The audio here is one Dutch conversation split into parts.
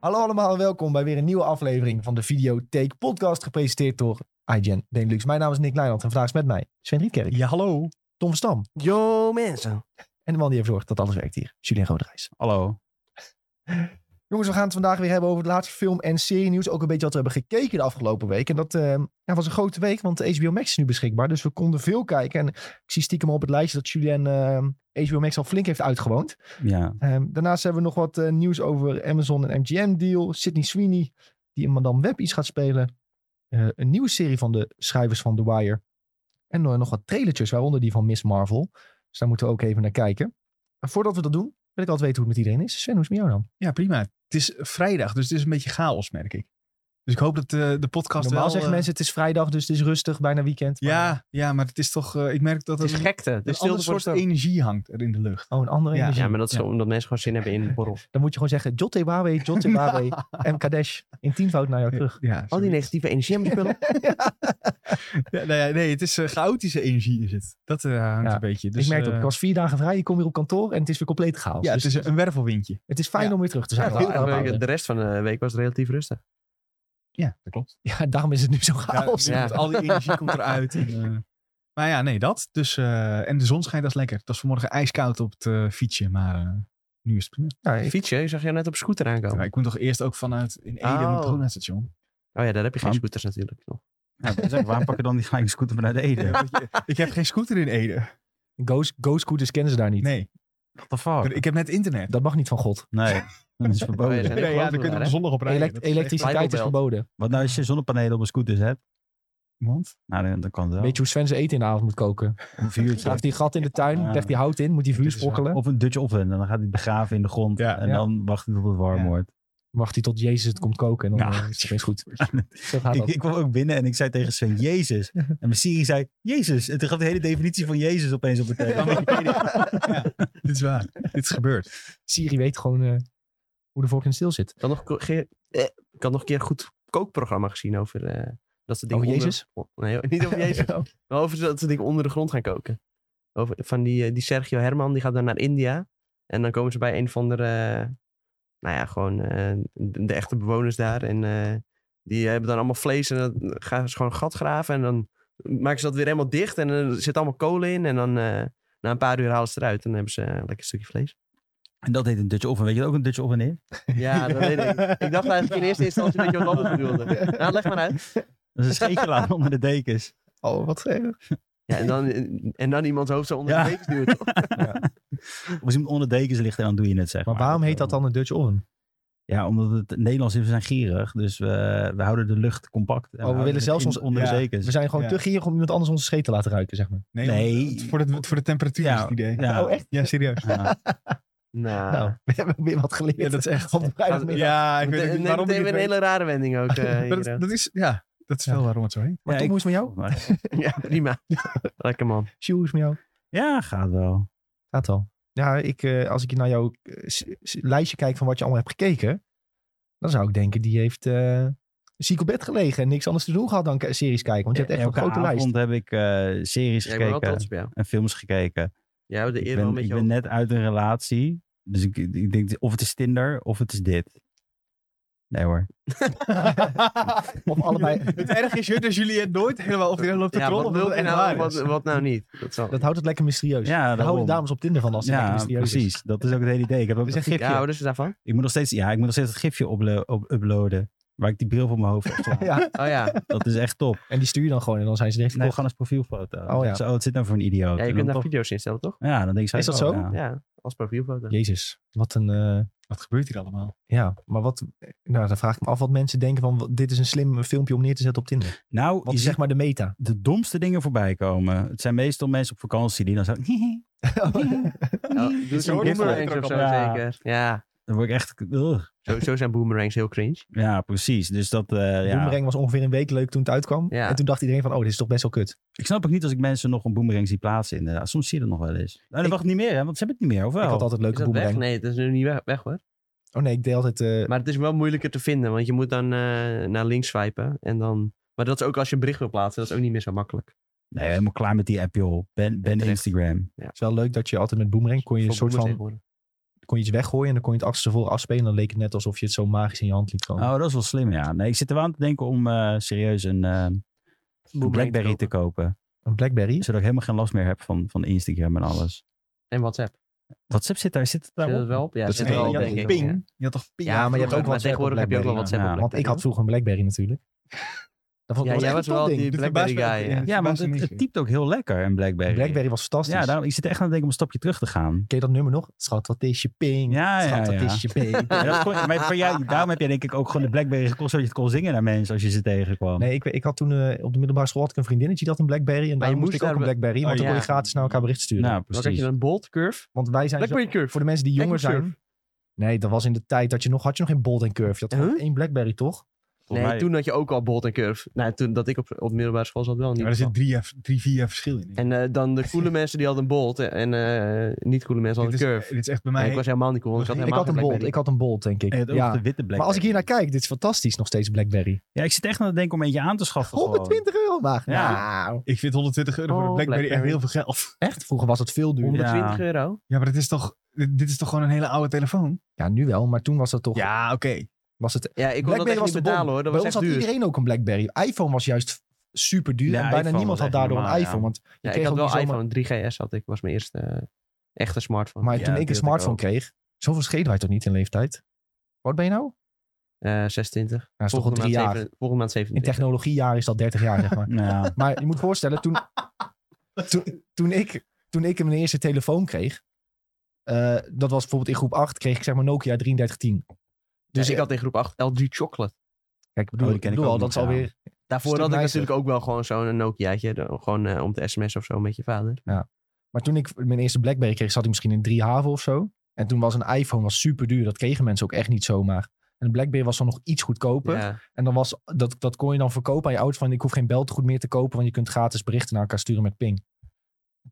Hallo allemaal en welkom bij weer een nieuwe aflevering van de Videotheek Podcast, gepresenteerd door iGen Benelux. Mijn naam is Nick Leiland en vandaag is met mij Sven Rietkerk, Ja, hallo. Tom van Stam Yo mensen. en de man die heeft zorgt dat alles werkt hier, Julien Roderijs. Hallo. Jongens, we gaan het vandaag weer hebben over het laatste film- en serie-nieuws. Ook een beetje wat we hebben gekeken de afgelopen week. En dat eh, ja, was een grote week, want HBO Max is nu beschikbaal. Dus we konden veel kijken. En ik zie stiekem al op het lijstje dat Julien eh, HBO Max al flink heeft uitgewoond. Ja, Ehm, daarnaast hebben we nog wat eh, nieuws over Amazon en MGM-deal. Sydney Sweeney, die in Madame Web iets gaat spelen. Eh, een nieuwe serie van de schrijvers van The Wire. En eh, nog wat trailertjes, waaronder die van Miss Marvel. Dus daar moeten we ook even naar kijken. Maar voordat we dat doen, wil ik altijd weten hoe het met iedereen is. Sven, hoe is het met jou dan? ja prima. Het is vrijdag, dus het is een beetje chaos, merk ik. Dus ik hoop dat eh, de podcast Normaal wel... zeggen eh, mensen, het is vrijdag, dus het is rustig, bijna weekend. maar- Ja, ja, maar het is toch... eh, ik merk dat Het is een, gekte. een De ander stilte voor soort de energie hangt er in de lucht. Oh, een andere Ja. energie. Ja, maar dat is Ja. omdat mensen gewoon zin hebben in borrel. Dan moet je gewoon zeggen, Jotte Huawei, Jotte Huawei, M. Kadesh. In tienvoud naar jou terug. Ja, Al sorry. die negatieve energie hebben spullen. Ja, nou ja, nee, het is eh, chaotische energie is het. Dat eh, hangt Ja. een beetje. Dus, ik merk dat eh, ik was vier dagen vrij, je komt hier op kantoor en het is weer compleet chaos. Ja, Dus het is een wervelwindje. het is fijn Ja. om weer terug te zijn. Ja, Heel heel erg erg. belangrijk. de rest van de week was het relatief rustig. Ja, dat klopt. Ja, daarom is het nu zo chaos. ja. Al die energie komt eruit. En, eh, maar ja, nee, dat. Dus, eh, en de zon schijnt, dat is lekker. Het was vanmorgen ijskoud op het eh, fietsje, maar eh, nu is het prima. Ja, ik- Fietsen, je zag jou net op scooter Maar Oh. aankomen. ik moet toch eerst ook vanuit in Ede Oh. naar het Hoofdstation. Oh ja, daar heb je geen Maar- scooters natuurlijk nog. Ja, dat is ook- waarom pak je dan niet gelijk een scooter vanuit Ede? Want je- ik heb geen scooter in Ede. Ghost, ghost scooters kennen ze daar niet. Nee, What the fuck? ik heb net internet. Dat mag niet van God. Nee, dat is Oh, ja, verboden. dat- Nee, ja, dan kun je er op zondag op rijden. Elekt- Dat is echt- elektriciteit is Bijbelbelt. verboden. Wat nou als je zonnepanelen op een scooter zet? Want? Nou, dan, dan kan het wel. Weet je hoe Sven zijn eten in de avond moet koken? Een vuurtje. Graaf die gat in de tuin, Ja. legt die hout in, moet die vuur Dit is wel- sprokkelen. Of een Dutch oven. En dan gaat hij het begraven in de grond. Ja. en Ja. dan wacht hij tot het warm Ja. wordt. Wacht hij tot Jezus het komt koken en dan Ja. eh, is het eens goed. Zo gaat Ik, dat. ik kwam ook binnen en ik zei tegen Sven, Jezus. En mijn Siri zei, Jezus. En toen gaf de hele definitie van Jezus opeens op het Dan teken. Wikipedia. ja, dit is waar. Dit is gebeurd. Siri weet gewoon eh, hoe de vork in stil zit. Ik had nog, ko- ge- eh, ik had nog een keer een goed kookprogramma gezien over eh, dat ze dingen Over onder- Oh, Jezus? o- nee, niet over Jezus. Oh, maar over dat ze dingen onder de grond gaan koken. Over, van die, eh, die Sergio Herman, die gaat dan naar India. En dan komen ze bij een van de, nou ja, gewoon eh, de, de echte bewoners daar. En eh, die hebben dan allemaal vlees en dan gaan ze gewoon een gat graven. En dan maken ze dat weer helemaal dicht en er zit allemaal kolen in. En dan eh, na een paar uur halen ze het eruit en dan hebben ze een lekker stukje vlees. En dat heet een Dutch oven. Weet je wat ook een Dutch oven is? Ja, dat weet ik. Ik dacht eigenlijk in eerste instantie dat je wat anders bedoelde. Nou, leg maar uit. Dat is een scheetjelaan onder de dekens. oh, wat eh. erg. Ja, en, dan, en dan iemands hoofd zo onder Ja. de dekens duwt. Of als iemand onder de dekens ligt en dan doe je het, zeg maar. Maar waarom heet dat eh, dan een Dutch oven? Ja, omdat het Nederlands is, we zijn gierig. Dus we, we houden de lucht compact. En Oh, we willen houden zelfs het in- ons- onder Ja. de dekens. We zijn gewoon Ja. te gierig om iemand anders onze scheet te laten ruiken, zeg maar. Nee. want Voor de, voor de temperatuur is het idee. Ja. Oh, echt? Ja, serieus. Ja. Nou, Nou, we hebben weer wat geleerd. Ja, dat is echt... Op vrijdagmiddag. Ja, ik Meteen- weet niet nee, waarom ik meteen dit weer een weet. hele rare wending ook. eh, Maar hier, dat, dat is, ja, dat is wel waarom het zo heet. Maar Ja, Tom, ik- hoe is het met jou? Oh, Maar- eh. ja, prima. Lekker man. Sjoe, hoe is het met jou? ja, gaat wel. Gaat al. Ja, ik, eh, als ik naar jouw eh, s- s- lijstje kijk van wat je allemaal hebt gekeken, dan zou ik denken, die heeft eh, ziek op bed gelegen en niks anders te doen gehad dan k- series kijken. Want je hebt echt een Elke grote avond lijst. heb ik eh, series Ja, ik ben wel gekeken trots op jou. en films gekeken. Jij hebt de Ik eer wel een ben, ik beetje ben net uit een relatie. Dus ik, ik denk, of het is Tinder of het is dit. Nee hoor. Of allebei. Het erg is dat Juliette nooit helemaal op de loopt te Ja, trollen. wat omdat wil het je echt nou, waar is. wat, wat nou niet? Dat zal... dus. Dat houdt het lekker mysterieus. Ja, Daar houden daarom. de dames op Tinder van als ze lekker Ja, mysterieus is. precies. Dat is ook het hele idee. Ik heb ook Dus dat zeg ik, gifje. Ja, houden ze daarvan? ik, moet nog steeds, ja, ik moet nog steeds het gifje uplo- op- uploaden. Waar ik die bril voor mijn hoofd heb slaan. Ja, Oh ja. Dat is echt top. en die stuur je dan gewoon en dan zijn ze direct Nee, verkocht. gewoon als profielfoto. Oh, ja. Zo, wat zit nou voor een idioot? ja je En kunt dan daar toch- video's instellen, toch? ja, dan denk ik Is dat oh, zo? ja. Ja, als profielfoto. Jezus, wat een... eh, Wat gebeurt hier allemaal? ja, maar wat... Nou, dan vraag ik me af wat mensen denken van, wat- dit is een slim filmpje om neer te zetten op Tinder. Nou, Wat je is ziet zeg maar de meta? de domste dingen voorbij komen. Het zijn meestal mensen op vakantie die dan zo... Ja, doe Zo zo'n hoort het boomerangs ook of zo allemaal. zeker. Ja, Dan word ik echt... ugh. zo, zo zijn boomerangs heel cringe. Ja, precies. Dus dat... eh, De ja. Boomerang was ongeveer een week leuk toen het uitkwam. Ja. En toen dacht iedereen van, oh, dit is toch best wel kut. Ik snap ook niet als ik mensen nog een boomerang zie plaatsen inderdaad. Soms zie je dat nog wel eens. Nou, dat Ik- wacht niet meer hè, want ze hebben het niet meer, of wel? Ik had altijd Oh. Is leuke dat weg? Boomerang. Nee, dat is nu niet weg, weg hoor. Oh nee, ik deed altijd... eh, Maar het is wel moeilijker te vinden, want je moet dan eh, naar links swipen. En dan... Maar dat is ook als je een bericht wil plaatsen, dat is ook niet meer zo makkelijk. Nee, helemaal klaar met die app joh. Ben, ben Terecht. Instagram. Het is wel leuk dat je altijd met Boomerang kon je een Voor soort boomers van tegenwoordig. kon je iets weggooien en dan kon je het achterstevoren afspelen. Dan leek het net alsof je het zo magisch in je hand liet komen. Oh, dat is wel slim, ja. Nee, ik zit er wel aan te denken om eh, serieus een eh, een Blackberry te kopen. Een Blackberry. Zodat ik helemaal geen last meer heb van, van Instagram en alles. En WhatsApp. WhatsApp zit daar, zit het daar Zit dat op? wel op? Ja, Dat zit is er wel een- op, ja, denk ik. Ping. Ja. Je had toch ping? Ja, maar je hebt ook wel maar tegenwoordig heb je ook wel WhatsApp WhatsApp ja. op Want ik had Blackberry, vroeger een Blackberry natuurlijk. Dat vond ik Ja, wel jij echt was een wel top die ding. Blackberry guy. ja. Ja, want het, het typt ook heel lekker, een Blackberry. Blackberry was fantastisch. Ja, daarom, ik zit echt aan het denken om een stapje terug te gaan. Ken je dat nummer nog? Schat, wat is je ping? Ja, ja, Schat, wat ja. is je ping? Ja, dat is gewoon- maar voor jou, daarom heb jij denk ik ook gewoon de Blackberry gekocht, zodat je het kon zingen naar mensen als je ze tegenkwam. Nee, ik, ik had toen eh, op de middelbare school had ik een vriendinnetje die had een Blackberry. En daar je moest moest ik ook een daar- Blackberry, want Oh, dan kon je ja. gratis naar elkaar bericht sturen. nou, Wat had je precies. dan? Bolt, Curve? Want wij zijn zo, Blackberry Curve. voor de mensen die jonger Blackberry zijn. Nee, dat was in de tijd dat je nog, had je nog geen Bold en Curve. Je had Huh? gewoon één Blackberry, toch? Volgens Nee, mij- toen had je ook al Bolt en Curve. Nou, toen dat ik op, op middelbare school zat wel niet. Maar er zit drie, jaar- drie vier jaar verschil in. En eh, dan de coole mensen die hadden een Bolt en eh, niet coole mensen dit, hadden is, een Curve. dit is echt bij En mij... ik was helemaal niet cool. want Ik had, Ik helemaal had een geen Bold, ik Blackberry. had een Bold, denk ik. En je had ook Ja. de witte Blackberry. Maar als ik hier naar kijk, dit is fantastisch nog steeds Blackberry. Ja, ik zit echt aan het denken om eentje aan te schaffen. gewoon. 120 euro maar. Ja. Nou, Ik vind 120 euro voor Oh, een Blackberry, echt heel Blackberry. veel geld. echt? Vroeger was het veel duurder. 120 euro. Ja, maar dat is toch, dit dit is toch gewoon een hele oude telefoon? Ja, nu wel, maar toen was dat toch... Ja, oké. Was het, Ja, ik kon dat Blackberry echt was niet de bom. betalen hoor. Dat bij ons was echt had duur. iedereen ook een Blackberry. iPhone was juist super duur Ja, en bijna iPhone niemand was had echt daardoor normaal, een ja. iPhone. Want je Ja, kreeg ik had ook wel niet zomaar- iPhone 3GS had ik. was mijn eerste eh, echte smartphone. Maar Ja, toen dat ik een had ik smartphone ook. kreeg, zoveel schelen wij toch niet in leeftijd? Wat ben je nou? Eh, 26. Ja, dat is toch al Volgende drie maand jaar. zeven- volgende maand In 27. technologiejaar is dat 30 jaar, zeg maar. Ja. Maar je moet voorstellen, toen, toen, toen, ik, toen ik mijn eerste telefoon kreeg, eh, dat was bijvoorbeeld in groep 8, kreeg ik zeg maar Nokia 3310. Dus Dus ik had in groep 8 LG Chocolate. Kijk, ik bedoel, Oh, die ik ken ik bedoel al, ook dat nog, is alweer... Daarvoor Stuk had ik nicer. natuurlijk ook wel gewoon zo'n Nokiaatje. de- Gewoon eh, om te sms of zo met je vader. Maar toen ik mijn eerste Blackberry kreeg, zat ik misschien in drie haven of zo. En toen was een iPhone was super duur. Dat kregen mensen ook echt niet zomaar. En de Blackberry was dan nog iets goedkoper. Ja. En dan was, dat, dat kon je dan verkopen aan je ouders van ik hoef geen beltegoed meer te kopen, want je kunt gratis berichten naar elkaar sturen met ping.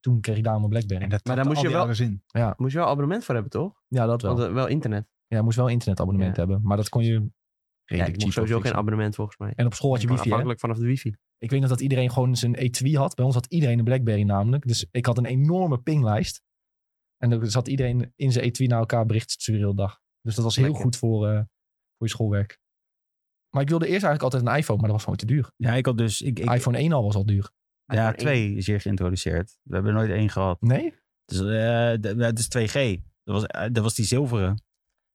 Toen kreeg ik daar mijn Blackberry. En dat Maar maar dan dan moest je moest je wel- wel... in. Moest je wel abonnement voor hebben, toch? Ja, dat wel. Want eh, wel internet. Ja, je moest wel een internetabonnement Ja. hebben, maar dat kon je Ja, redelijk ik cheap mocht sowieso geen fixen. abonnement volgens mij. En op school had je Maar wifi, hè? Afhankelijk vanaf de wifi. Ik weet nog dat iedereen gewoon zijn E2 had. Bij ons had iedereen een Blackberry namelijk. Dus ik had een enorme pinglijst. En dan zat iedereen in zijn E2 naar elkaar bericht te sturen de hele dag. Dus dat was heel Lekker. goed voor, eh, voor je schoolwerk. Maar ik wilde eerst eigenlijk altijd een iPhone, maar dat was gewoon te duur. ja, ik had dus... Ik, ik, iPhone 1 al was al duur. ja, twee is hier geïntroduceerd. We hebben er nooit één gehad. Nee? Ik Dus, eh, d- het is 2G. Dat was, eh, dat was die zilveren.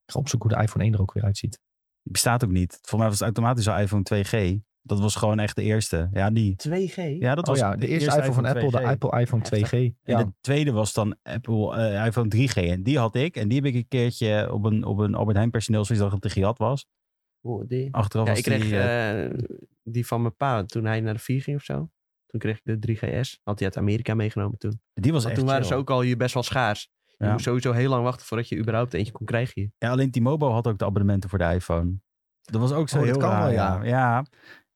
ga opzoeken hoe de iPhone 1 er ook weer uitziet. Die bestaat ook niet. Volgens mij was het automatisch al iPhone 2G. Dat was gewoon echt de eerste. Ja, die. 2G? Ja, dat oh was ja, de eerste iPhone van Apple, 2G. de Apple iPhone 2G. En Ja, de tweede was dan Apple eh, iPhone 3G. En die had ik. En die heb ik een keertje op een, op een Albert Heijn personeelsvisdag dat de Giat was. Oh, die. Achteraf Ja, was ik kreeg die... eh, eh, die van mijn pa toen hij naar de 4 ging of zo. Toen kreeg ik de 3GS. Had hij uit Amerika meegenomen toen. die was Want echt toen waren ze chill. ook al hier best wel schaars. Je Ja. moest sowieso heel lang wachten voordat je überhaupt eentje kon krijgen hier. Ja, alleen T-Mobile had ook de abonnementen voor de iPhone. Dat was ook zo Oh, dat heel kan raar, wel, ja. ja. ja.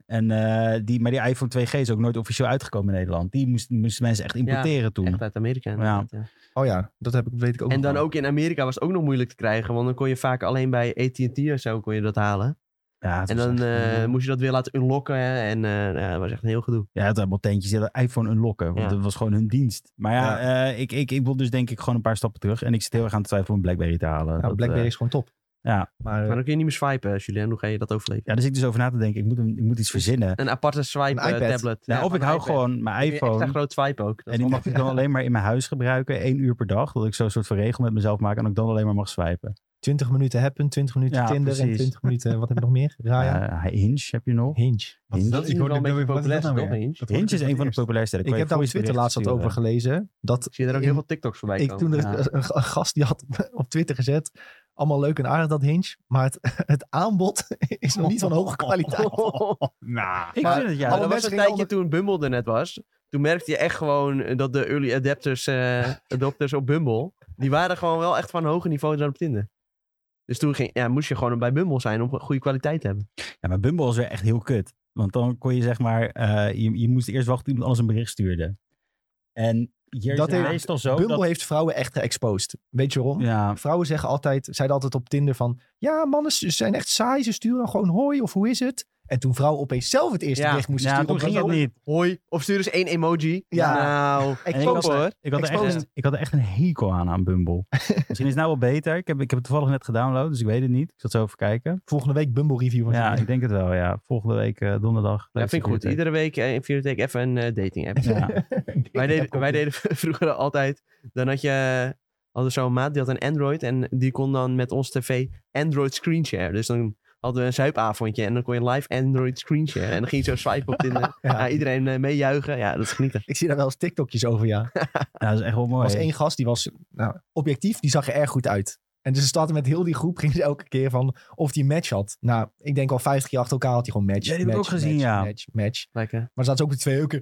En, eh, die, maar die iPhone 2G is ook nooit officieel uitgekomen in Nederland. Die moest- moesten mensen echt importeren toen. Echt uit Amerika. eh, inderdaad, ja. oh ja, dat heb ik, weet ik ook En nog dan wel. ook in Amerika was het ook nog moeilijk te krijgen. Want dan kon je vaak alleen bij AT&T of zo kon je dat halen. Ja, het En was dan echt- eh, moest je dat weer laten unlocken. hè. En eh, ja, dat was echt een heel gedoe. Ja, het abonnementjes die hadden iPhone unlocken. Want Ja. dat was gewoon hun dienst. Maar ja, eh, ik, ik, ik wil dus denk ik gewoon een paar stappen terug. En ik zit heel erg aan het twijfelen om BlackBerry te halen. Nou, Dat, Blackberry eh, is gewoon top. ja. Maar, eh, Maar dan kun je niet meer swipen, Julien. Hoe ga je dat overleven? ja, daar zit ik dus over na te denken. Ik moet, hem- ik moet iets verzinnen. Een aparte swipe Een eh, iPad. tablet. Ja, Nou, of van ik een hou iPad. gewoon mijn Kun je Extra iPhone. groot swipe ook. Dat En die mag ik dan alleen maar in mijn huis gebruiken. één uur per dag. Dat ik zo'n soort van regel met mezelf maak. En dat ik dan alleen maar mag swipen. 20 minuten Happen, 20 minuten Ja, Tinder en precies. 20 minuten, wat heb je nog meer? Raya? Eh, Hinge heb je nog. Ah, Hinge. Wat is Hinge. dat? is Ik nu hoor wel dit nou een beetje weer. Wat is dat nou populair, toch, weer? Hinge? Dat hoor Hinge ik is voor een van de het eerst. populairste. Daar Ik kan je heb daar op voice Twitter laatst berichten wat over sturen. gelezen. Dat Ik zie er ook in- heel veel TikToks voorbij ik komen. toen Ja. een, een gast die had op Twitter gezet. Allemaal leuk en aardig dat Hinge. Maar het, het aanbod is nog niet van hoge kwaliteit. Nou, Ik Maar- vind het Ja, ja. alle dat was mensen een gingen tijdje toen Bumble er net was. Toen merkte je echt gewoon eh, dat de early adapters, eh, adopters op Bumble... die waren gewoon wel echt van een hoger niveau dan op Tinder. Dus toen ging, ja, moest je gewoon bij Bumble zijn om goede kwaliteit te hebben. Ja, maar Bumble was weer echt heel kut. Want dan kon je zeg maar, eh, je, je moest eerst wachten tot iemand anders een bericht stuurde. En hier Dat is het heeft- meestal zo Bumble dat... heeft vrouwen echt geëxposed. Weet je waarom? Ja, Vrouwen zeggen altijd, zeiden altijd op Tinder van... Ja, mannen ze zijn echt saai. Ze sturen dan gewoon hoi of hoe is het? En toen vrouw opeens zelf het eerste Ja. bericht moest Ja, sturen. toen was ging dat het ook- niet. Hoi. Of stuur eens één emoji. Ja. Nou, Ik En ik vond was- het- hoor. Ik had, er echt, Exposed. een- ik had er echt een hekel aan aan Bumble. Misschien is het nou wel beter. Ik heb, ik heb het toevallig net gedownload, dus ik weet het niet. Ik zat zo even kijken. volgende week Bumble review. van Ja, Jimmy. ik denk het wel. Ja. Volgende week eh, donderdag. Dat vind ik goed. Iedere week eh, in vier week even een eh, dating app. Ja. Wij deden, wij deden vroeger altijd, dan had je hadden zo'n maat, die had een Android en die kon dan met ons tv Android screenshare. Dus dan hadden we een zuipavondje en dan kon je live Android screenshare. En dan ging je zo swipen op Tinder. Ja. Ja, iedereen eh, meejuichen. Ja, dat is genieten. Ik zie daar wel eens TikTokjes over, ja. Er Ja, dat is echt wel mooi. was één gast, die was nou, objectief, die zag er erg goed uit. En dus ze starten met heel die groep, gingen ze elke keer van of die match had. Nou, ik denk al 50 keer achter elkaar had hij gewoon match. Ja, die heb ik match, ook gezien, match, ja. Match, match. Lekker. Maar er zaten ze ook de twee ook.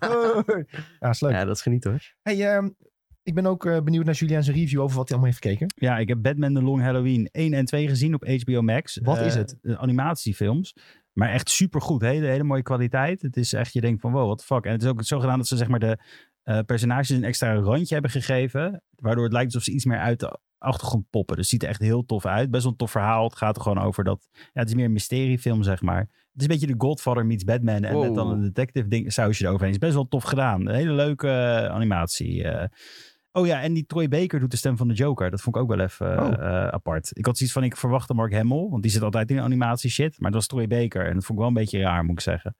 Hoi. Ja, is leuk. Ja, dat is genieten hoor. Hey, ehm, ik ben ook eh, benieuwd naar Julian zijn review over wat hij allemaal heeft gekeken. Ja, ik heb Batman The Long Halloween 1 en 2 gezien op HBO Max. Wat Eh, is het? de Animatiefilms. Maar echt supergoed. Hele, hele mooie kwaliteit. Het is echt, je denkt van wow, what the fuck. En het is ook zo gedaan dat ze zeg maar de eh, personages een extra randje hebben gegeven. Waardoor het lijkt alsof ze iets meer uit de achtergrond poppen. Dus het ziet er echt heel tof uit. Best wel een tof verhaal. Het gaat er gewoon over dat... Ja, het is meer een mysteriefilm, zeg maar. Het is een beetje de Godfather meets Batman. En met Wow. dan een detective ding, sausje eroverheen. Het is best wel tof gedaan. Een hele leuke eh, animatie. eh. Oh ja, en die Troy Baker doet de stem van de Joker. Dat vond ik ook wel even eh, Oh. eh, apart. Ik had zoiets van, ik verwachtte Mark Hamill. Want die zit altijd in animatie shit. Maar dat was Troy Baker. En dat vond ik wel een beetje raar, moet ik zeggen.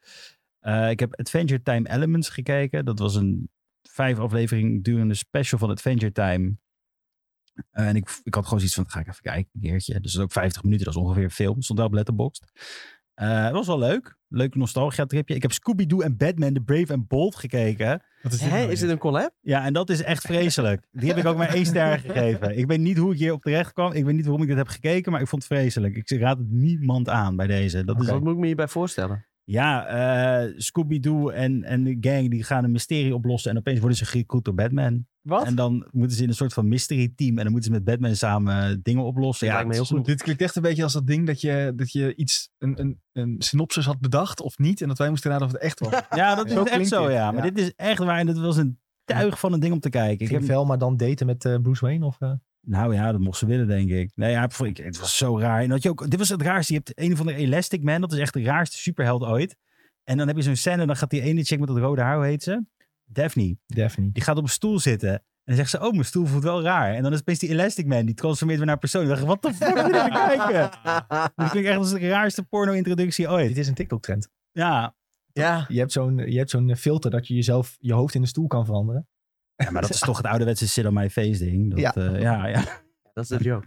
Eh, ik heb Adventure Time Elements gekeken. Dat was een vijf aflevering durende special van Adventure Time. Eh, en ik, ik had gewoon zoiets van, dat ga ik even kijken een keertje. Dus dat is ook 50 minuten, dat is ongeveer een film. Stond daar op Letterboxd. Eh, het was wel leuk. Leuk nostalgia-tripje. Ik heb Scooby-Doo en Batman, The Brave and Bold gekeken. Wat is dit Hè, nou is weer? dit een collab? Ja, en dat is echt vreselijk. Die heb ik ook maar één ster gegeven. Ik weet niet hoe ik hierop terecht kwam. Ik weet niet waarom ik dit heb gekeken, maar ik vond het vreselijk. Ik raad het niemand aan bij deze. Dat is Wat moet ik me hierbij voorstellen? ja, eh, Scooby-Doo en, en de gang die gaan een mysterie oplossen. En opeens worden ze gerecruit door Batman. Wat? En dan moeten ze in een soort van mystery team. En dan moeten ze met Batman samen dingen oplossen. Dat lijkt me heel het is Dit klinkt echt een beetje als dat ding dat je, dat je iets, een, een, een synopsis had bedacht of niet. En dat wij moesten raden of het echt was. Ja, dat is Zo echt klinkt zo, dit. ja. Maar Ja. dit is echt waar. En dit was een tuig van een ding om te kijken. Ik Ik heb, heb maar dan daten met eh, Bruce Wayne? Of, eh? nou ja, dat mocht ze willen, denk ik. Nee, ja, ik- het was zo raar. En dat je ook, dit was het raarste. Je hebt een van de Elastic Man. Dat is echt de raarste superheld ooit. En dan heb je zo'n scène. En dan gaat die ene chick met dat rode haar, hoe heet ze? Daphne. Daphne. Die gaat op een stoel zitten. En dan zegt ze, oh, mijn stoel voelt wel raar. En dan is opeens die Elastic Man. Die transformeert weer naar een persoon. Ik dacht, wat de fuck ben ik aan het kijken? Dat klinkt echt als de raarste porno-introductie ooit. Dit is een TikTok-trend. Ja, ja. Je hebt zo'n je hebt zo'n filter dat je jezelf je hoofd in de stoel kan veranderen. Ja, maar dat is toch het ouderwetse sit on my face ding. Dat, Ja. ja. ja, ja. Dat is de joke.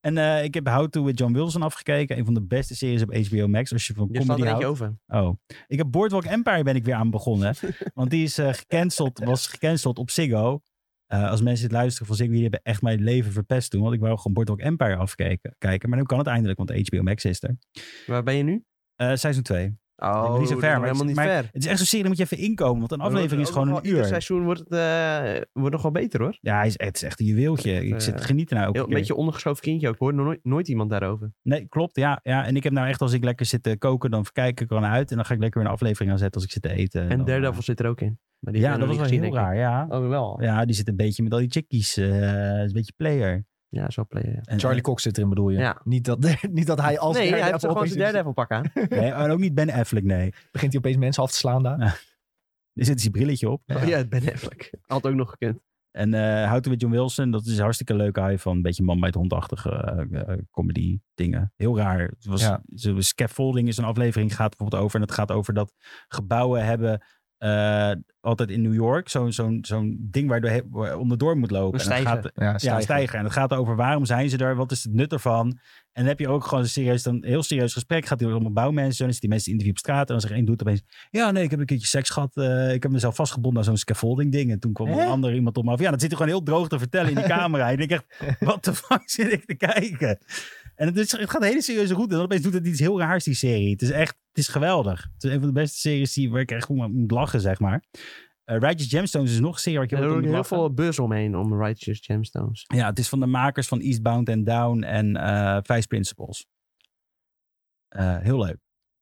En eh, ik heb How to with John Wilson afgekeken. Een van de beste series op HBO Max. Als je van Je staat comedy er eentje houdt. over. Oh. Ik heb Boardwalk Empire ben ik weer aan begonnen. want die is eh, gecanceld, was gecanceld op Ziggo. Eh, als mensen dit luisteren van Ziggo, die hebben echt mijn leven verpest toen. Want ik wou gewoon Boardwalk Empire afkijken. kijken. Maar nu kan het eindelijk, want HBO Max is er. Waar ben je nu? Eh seizoen 2. Oh, niet dat is zo ver, maar helemaal ik- niet maar- ver. Het is echt zo'n serie, dan moet je even inkomen. Want een aflevering is Ook nog gewoon wel- een Oh, Ieder uur. seizoen wordt het, eh, wordt nog wel beter hoor. Ja, hij is, het is echt een juweeltje. Ik Eh, zit te genieten nou ook. Heel, een beetje ondergeschoven kindje ook. Ik hoor nooit, nooit iemand daarover. Nee, klopt. Ja, ja, en ik heb nou echt als ik lekker zit te koken, dan kijk ik er gewoon uit. En dan ga ik lekker weer een aflevering aan zetten als ik zit te eten. En dan, Daredevil zit er ook in. Maar eh, die Ja, hebben dat we was wel nog niet heel gezien, raar, ja. denk ik. Oh, wel. Ja, Ja, die zit een beetje met al die chickies. eh, is een beetje player. zo player. ja. En, Charlie Cox zit erin, bedoel je? Ja. Niet, dat, niet dat hij als nee, hij Daredevil heeft gewoon opeens- zijn Daredevil pak aan. eh, Nee, en ook niet Ben Affleck, nee. Begint hij opeens mensen af te slaan daar. Er zit zijn brilletje op. Ja. Oh ja, Ben Affleck. Had ook nog gekund. En eh How to with John Wilson, dat is een hartstikke leuk. Hij van een beetje man bij het hondachtige eh, eh, comedy dingen. Heel raar. Het was, Ja. zo- Scaffolding is een aflevering, gaat bijvoorbeeld over. En het gaat over dat gebouwen hebben eh, altijd in New York. Zo'n zo'n zo'n ding waar je doorheen- waar je onderdoor moet lopen. Een En het stijger. gaat, Ja, ja, een stijger. En het gaat over waarom zijn ze er, wat is het nut ervan. En dan heb je ook gewoon een, serieus, dan, een heel serieus gesprek. Gaat hij door allemaal bouwmensen, dan is die mensen interview op straat. En dan zegt één doet opeens, ja nee, ik heb een keertje seks gehad. eh, ik heb mezelf vastgebonden aan zo'n scaffolding ding. En toen kwam Hè? een ander iemand op me af. Ja, dat zit er gewoon heel droog te vertellen in die camera. en ik denk echt, wat de fuck zit ik te kijken? En het, is, het gaat een hele serieuze route. En dan opeens doet het iets heel raars, die serie. Het is echt, het is geweldig. Het is een van de beste series die, waar ik echt om om moet lachen, zeg maar. Eh Righteous Gemstones is nog een serie waar ik Er heel, hoor erg om ik moet heel lachen. veel buzz omheen om Righteous Gemstones. Ja, het is van de makers van Eastbound and Down en eh Vice Principles. Eh, heel leuk.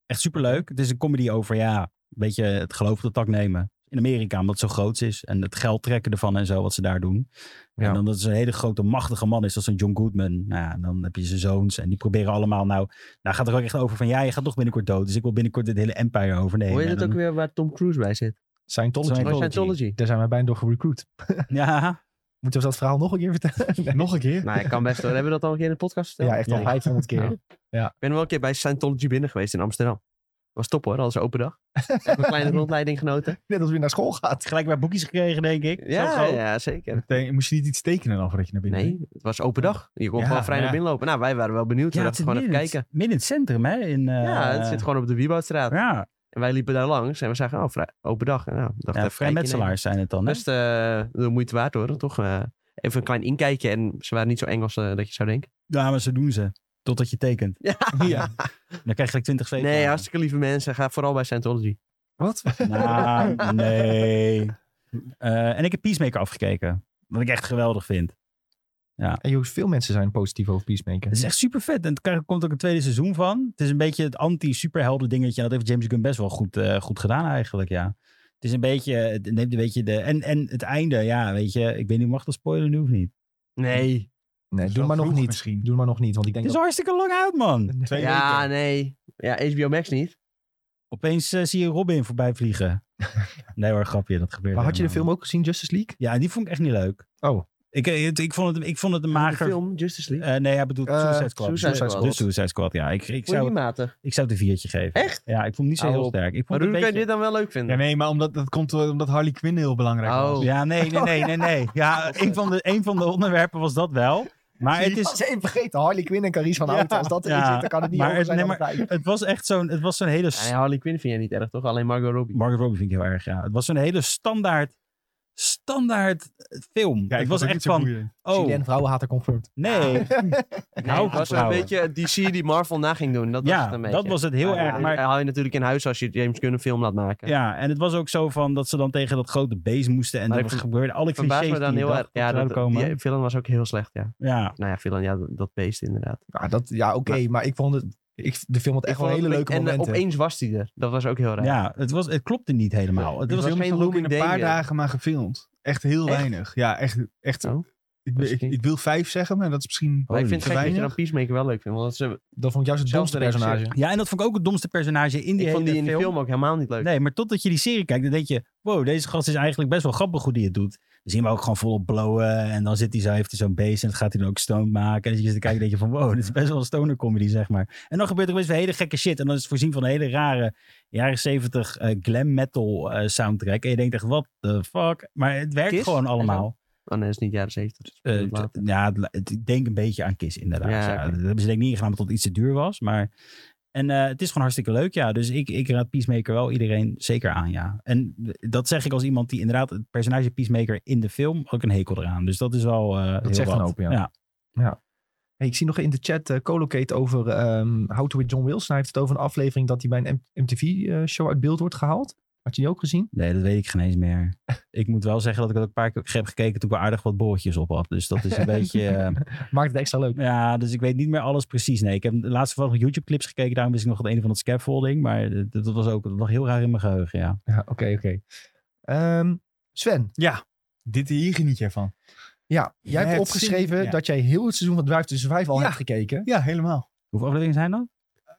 Echt superleuk. Het is een comedy over, ja, een beetje het geloof op de tak nemen. in Amerika, omdat het zo groot is. En het geld trekken ervan en zo, wat ze daar doen. En dan dat het een hele grote, machtige man is, als een John Goodman. Nou ja, dan heb je zijn zoons en die proberen allemaal nou... Nou gaat er ook echt over van, ja, je gaat toch binnenkort dood. Dus ik wil binnenkort dit hele empire overnemen. Hoor je En dat ook dan- weer waar Tom Cruise bij zit? Scientology. Scientology. Oh, Scientology. Daar zijn wij bijna door gerecruit. Ja, Moeten we dat verhaal nog een keer vertellen? Nee. Nog een keer? Nou, ik kan best wel. Hebben we dat al een keer in de podcast verteld? Ja, echt al Ja. 500 keer. Nou, Ja. Ik ben wel een keer bij Scientology binnen geweest in Amsterdam. Was top hoor, hadden ze open dag. Even een kleine rondleiding genoten. Net als weer naar school gaat. gelijk bij boekjes gekregen, denk ik. Zo Ja, groot. ja, zeker. Meteen- Moest je niet iets tekenen dan voordat je naar binnen Nee, het was open dag. Je kon Ja, gewoon vrij ja. naar binnen lopen. Nou, wij waren wel benieuwd. Ja, we het dachten zit gewoon even midden in het- kijken. Midden in het centrum, hè? In, eh, ja, het zit gewoon op de Wieboudstraat. Ja, En wij liepen daar langs en we zagen, oh, vrij, open dag. En Nou, dacht ja even kijken. vrijmetselaars zijn het dan, Nee, hè? Best eh, de moeite waard hoor, toch? eh, even een klein inkijkje. En ze waren niet zo eng als eh, dat je zou denken. Ja, maar zo doen ze. Totdat je tekent. Ja. Dan krijg je gelijk 20 zeven. Nee, hartstikke lieve mensen. Ga vooral bij Scientology. Wat? Nou, nee. Eh, en ik heb Peacemaker afgekeken. Wat ik echt geweldig vind. En joh, veel mensen zijn positief over Peacemaker. Het is echt super vet. En er komt ook een tweede seizoen van. Het is een beetje het anti-superhelden dingetje. En dat heeft James Gunn best wel goed, eh, goed gedaan eigenlijk, ja. Het is een beetje... Het neemt een beetje de... En, en het einde, ja, weet je. Ik weet niet, mag ik dat spoilen nu of niet? Nee. Nee, is doe wel maar nog vroeg niet. misschien. Doe maar nog niet, want ik denk Het dat... is al hartstikke lang uit, man. Twee Ja, weken. nee. Ja, HBO Max niet. Opeens eh, zie je Robin voorbij vliegen. nee hoor, grapje. Dat gebeurt Maar had je de helemaal film ook gezien, Justice League? niet. Ja, die vond ik echt niet leuk. Oh. Ik, eh, het- ik, vond, het, ik vond het een De mager... film, Justice League. Eh, nee, hij bedoelt Eh, Suicide Squad. Suicide Suicide Squad. De Suicide Squad, ja. Ik, ik, Vond je zou die het, matig? ik zou het een viertje geven. Echt? Ja, ik vond het niet zo Hou heel op. sterk. Ik Maar vond hoe het kan een je dit beetje... dan wel leuk vinden? Ja, nee, maar omdat, dat komt eh, omdat Harley Quinn heel belangrijk Oh. was. Ja, nee, nee, nee, nee, nee. Ja, een van, de, een van de onderwerpen was dat wel. Maar het is... Als even vergeten, Harley Quinn en Carice van Ja, Houten. Als dat erin ja. zit, dan kan het niet Maar over het- zijn nee, dan het lijkt. Het was echt zo'n... Het was zo'n hele... Ja, nee, Harley Quinn vind jij niet erg, toch? Alleen Margot Robbie. Margaret Robbie vind ik heel erg, ja. Het was zo'n hele standaard... Standaard film. Ja, ik het was ook niet echt zo van... boeiend. Oh, Julien Vrouwenhater confirmed. nee. Ik Nee, hou het van was een vrouwen. beetje DC die Marvel na ging doen. Dat was het Nou, Ja, een beetje. dat was het heel Ja, erg. dat Maar haal je natuurlijk in huis als je James Gunn een film laat maken. Ja, en het was ook zo van dat ze dan tegen dat grote beest moesten. En Maar dan ik ver- gebeurde alle clichés Verbaas die me dan je heel dacht erg. dat Ja, zouden dat, komen. die film was ook heel slecht, ja. ja, Nou ja, film, ja, dat, dat beest inderdaad. Ja, dat, ja oké, maar ik vond het... Ik, de film had echt Ik wel vond hele het leuke een- En eh, momenten. opeens was hij er. Dat was ook heel raar. ja het, was, het klopte niet helemaal. Het Het was was, ook geen in Looming een paar Day, eh. dagen maar gefilmd. Echt heel Echt? weinig. Ja, echt. echt Oh. ik, wil- ik, ik wil vijf zeggen, maar dat is misschien... Maar ik vind het Holy gek dat je weinig. dan Peacemaker wel leuk vindt. Want ze, Dat vond ik juist het Zelfs domste de regisseur. personage. ja, en dat vond ik ook het domste personage in ik die hele vond die in de film. film ook helemaal niet leuk. Nee, maar totdat je die serie kijkt, dan denk je... Wow, deze gast is eigenlijk best wel grappig hoe die het doet. Dan zien we ook gewoon volop blowen. En dan zit hij zo, heeft hij zo'n beest en dat gaat hij dan ook stoned maken. En dan zit je te kijken en denk je van... Wow, dit is best wel een stoner comedy, zeg maar. En dan gebeurt er best wel hele gekke shit. En dan is het voorzien van een hele rare jaren zeventig eh, glam metal eh, soundtrack. En je denkt echt, what the fuck? Maar het werkt Kiss? gewoon allemaal. Oh nee, dat is niet jaren 70. Eh, t- ja, het la- het- ik denk een beetje aan Kiss inderdaad. Ja, Ja, oké. Dat hebben ze denk ik niet ingedaan omdat het iets te duur was. Maar... En eh, het is gewoon hartstikke leuk, ja. Dus ik, ik raad Peacemaker wel iedereen zeker aan, ja. En eh, dat zeg ik als iemand die inderdaad het personage Peacemaker in de film ook een hekel eraan. Dus dat is wel eh, heel zegt wat. een hoop, ja. Hey, ik zie nog in de chat eh colocate over ehm How to with John Wilson. Hij heeft het over een aflevering dat hij bij een MTV-show eh, uit beeld wordt gehaald. Had je die ook gezien? Nee, dat weet ik geen eens meer. ik moet wel zeggen dat ik het ook een paar keer heb gekeken toen ik wel aardig wat borreltjes op had. Dus dat is een beetje... eh, Maakt het extra leuk. Ja, dus ik weet niet meer alles precies. Nee, ik heb de laatste vooral nog YouTube-clips gekeken. Daarom wist ik nog het ene van het scaffolding. Maar eh, dat, dat was ook dat lag heel raar in mijn geheugen, ja. Ja, oké, oké. Ehm, Sven, Ja, dit hier geniet je van. ja, jij hebt hebt opgeschreven zin, ja. dat jij heel het seizoen van Drive to Survive al Ja. hebt gekeken. Ja, helemaal. Hoeveel afleveringen zijn dat?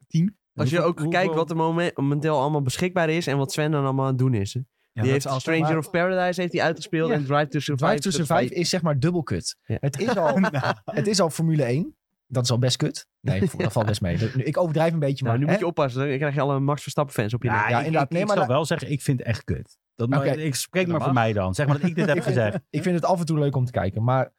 Tien. Als je ook kijkt wat er momen- momenteel allemaal beschikbaar is en wat Sven dan allemaal aan het doen is. hè. Ja, die dat heeft is altijd Stranger maar- of Paradise heeft hij uitgespeeld Ja. en Drive to Survive. Drive to Survive is zeg maar dubbel kut. Ja. Het, is al, Nou, het is al Formule 1. Dat is al best kut. Nee, dat valt best mee. Dat- nu- Ik overdrijf een beetje, maar... Nou, nu hè? moet je oppassen, dan krijg je alle Max Verstappen fans op je Ja, nek. Ja, ik, inderdaad. ik, Nee, ik maar zal da- wel zeggen, ik vind het echt kut. Dat Oké. maar, ik spreek Dat maar voor mag. mij dan. Zeg maar dat ik dit heb gezegd. Ik vind het af en toe leuk om te kijken. Maar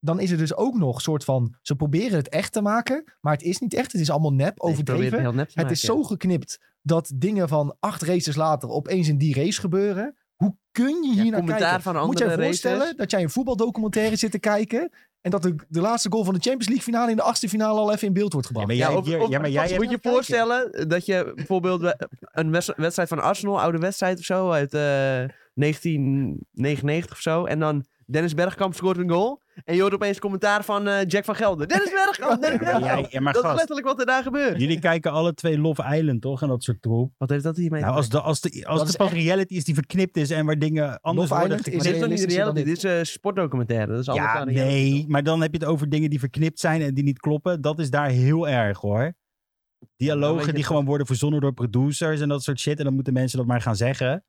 dan is er dus ook nog soort van... Ze proberen het echt te maken, maar het is niet echt. Het is allemaal nep, Ik probeer overdreven. Het, heel nep te Het is maken, zo geknipt dat dingen van acht races later opeens in die race gebeuren. Hoe kun je hier ja. Ja, naar commentaar kijken? van Moet andere jij racers. voorstellen dat jij een voetbaldocumentaire zit te kijken en dat de, de laatste goal van de Champions League finale in de achtste finale al even in beeld wordt Ja, gebracht? maar Ja, Ja, jij, hebt of- hier- of- ja, maar jij hebt- Moet je je voorstellen dat je bijvoorbeeld we- een wes- wedstrijd van Arsenal, oude wedstrijd of zo, uit eh, 1999 of zo. En dan Dennis Bergkamp scoort een goal. En je hoort opeens commentaar van eh, Jack van Gelder. Dennis Bergkamp, Dennis Ja, Bergkamp. jij- ja, maar Dat is gast, letterlijk wat er daar gebeurt. jullie kijken alle twee Love Island, toch? En dat soort troep. Wat heeft dat hiermee Nou, als de, als de, als Dat de is pas reality is die verknipt is en waar dingen anders Love worden Island Maar is geknipt. dit is toch niet realistischer dan reality, dit is eh, sportdocumentaire. Dat is anders Ja, dan reality. nee. Maar dan heb je het over dingen die verknipt zijn en die niet kloppen. Dat is daar heel erg, hoor. Nou, weet je Dialogen die het gewoon worden verzonnen door producers en dat soort shit. En dan moeten mensen dat maar gaan zeggen.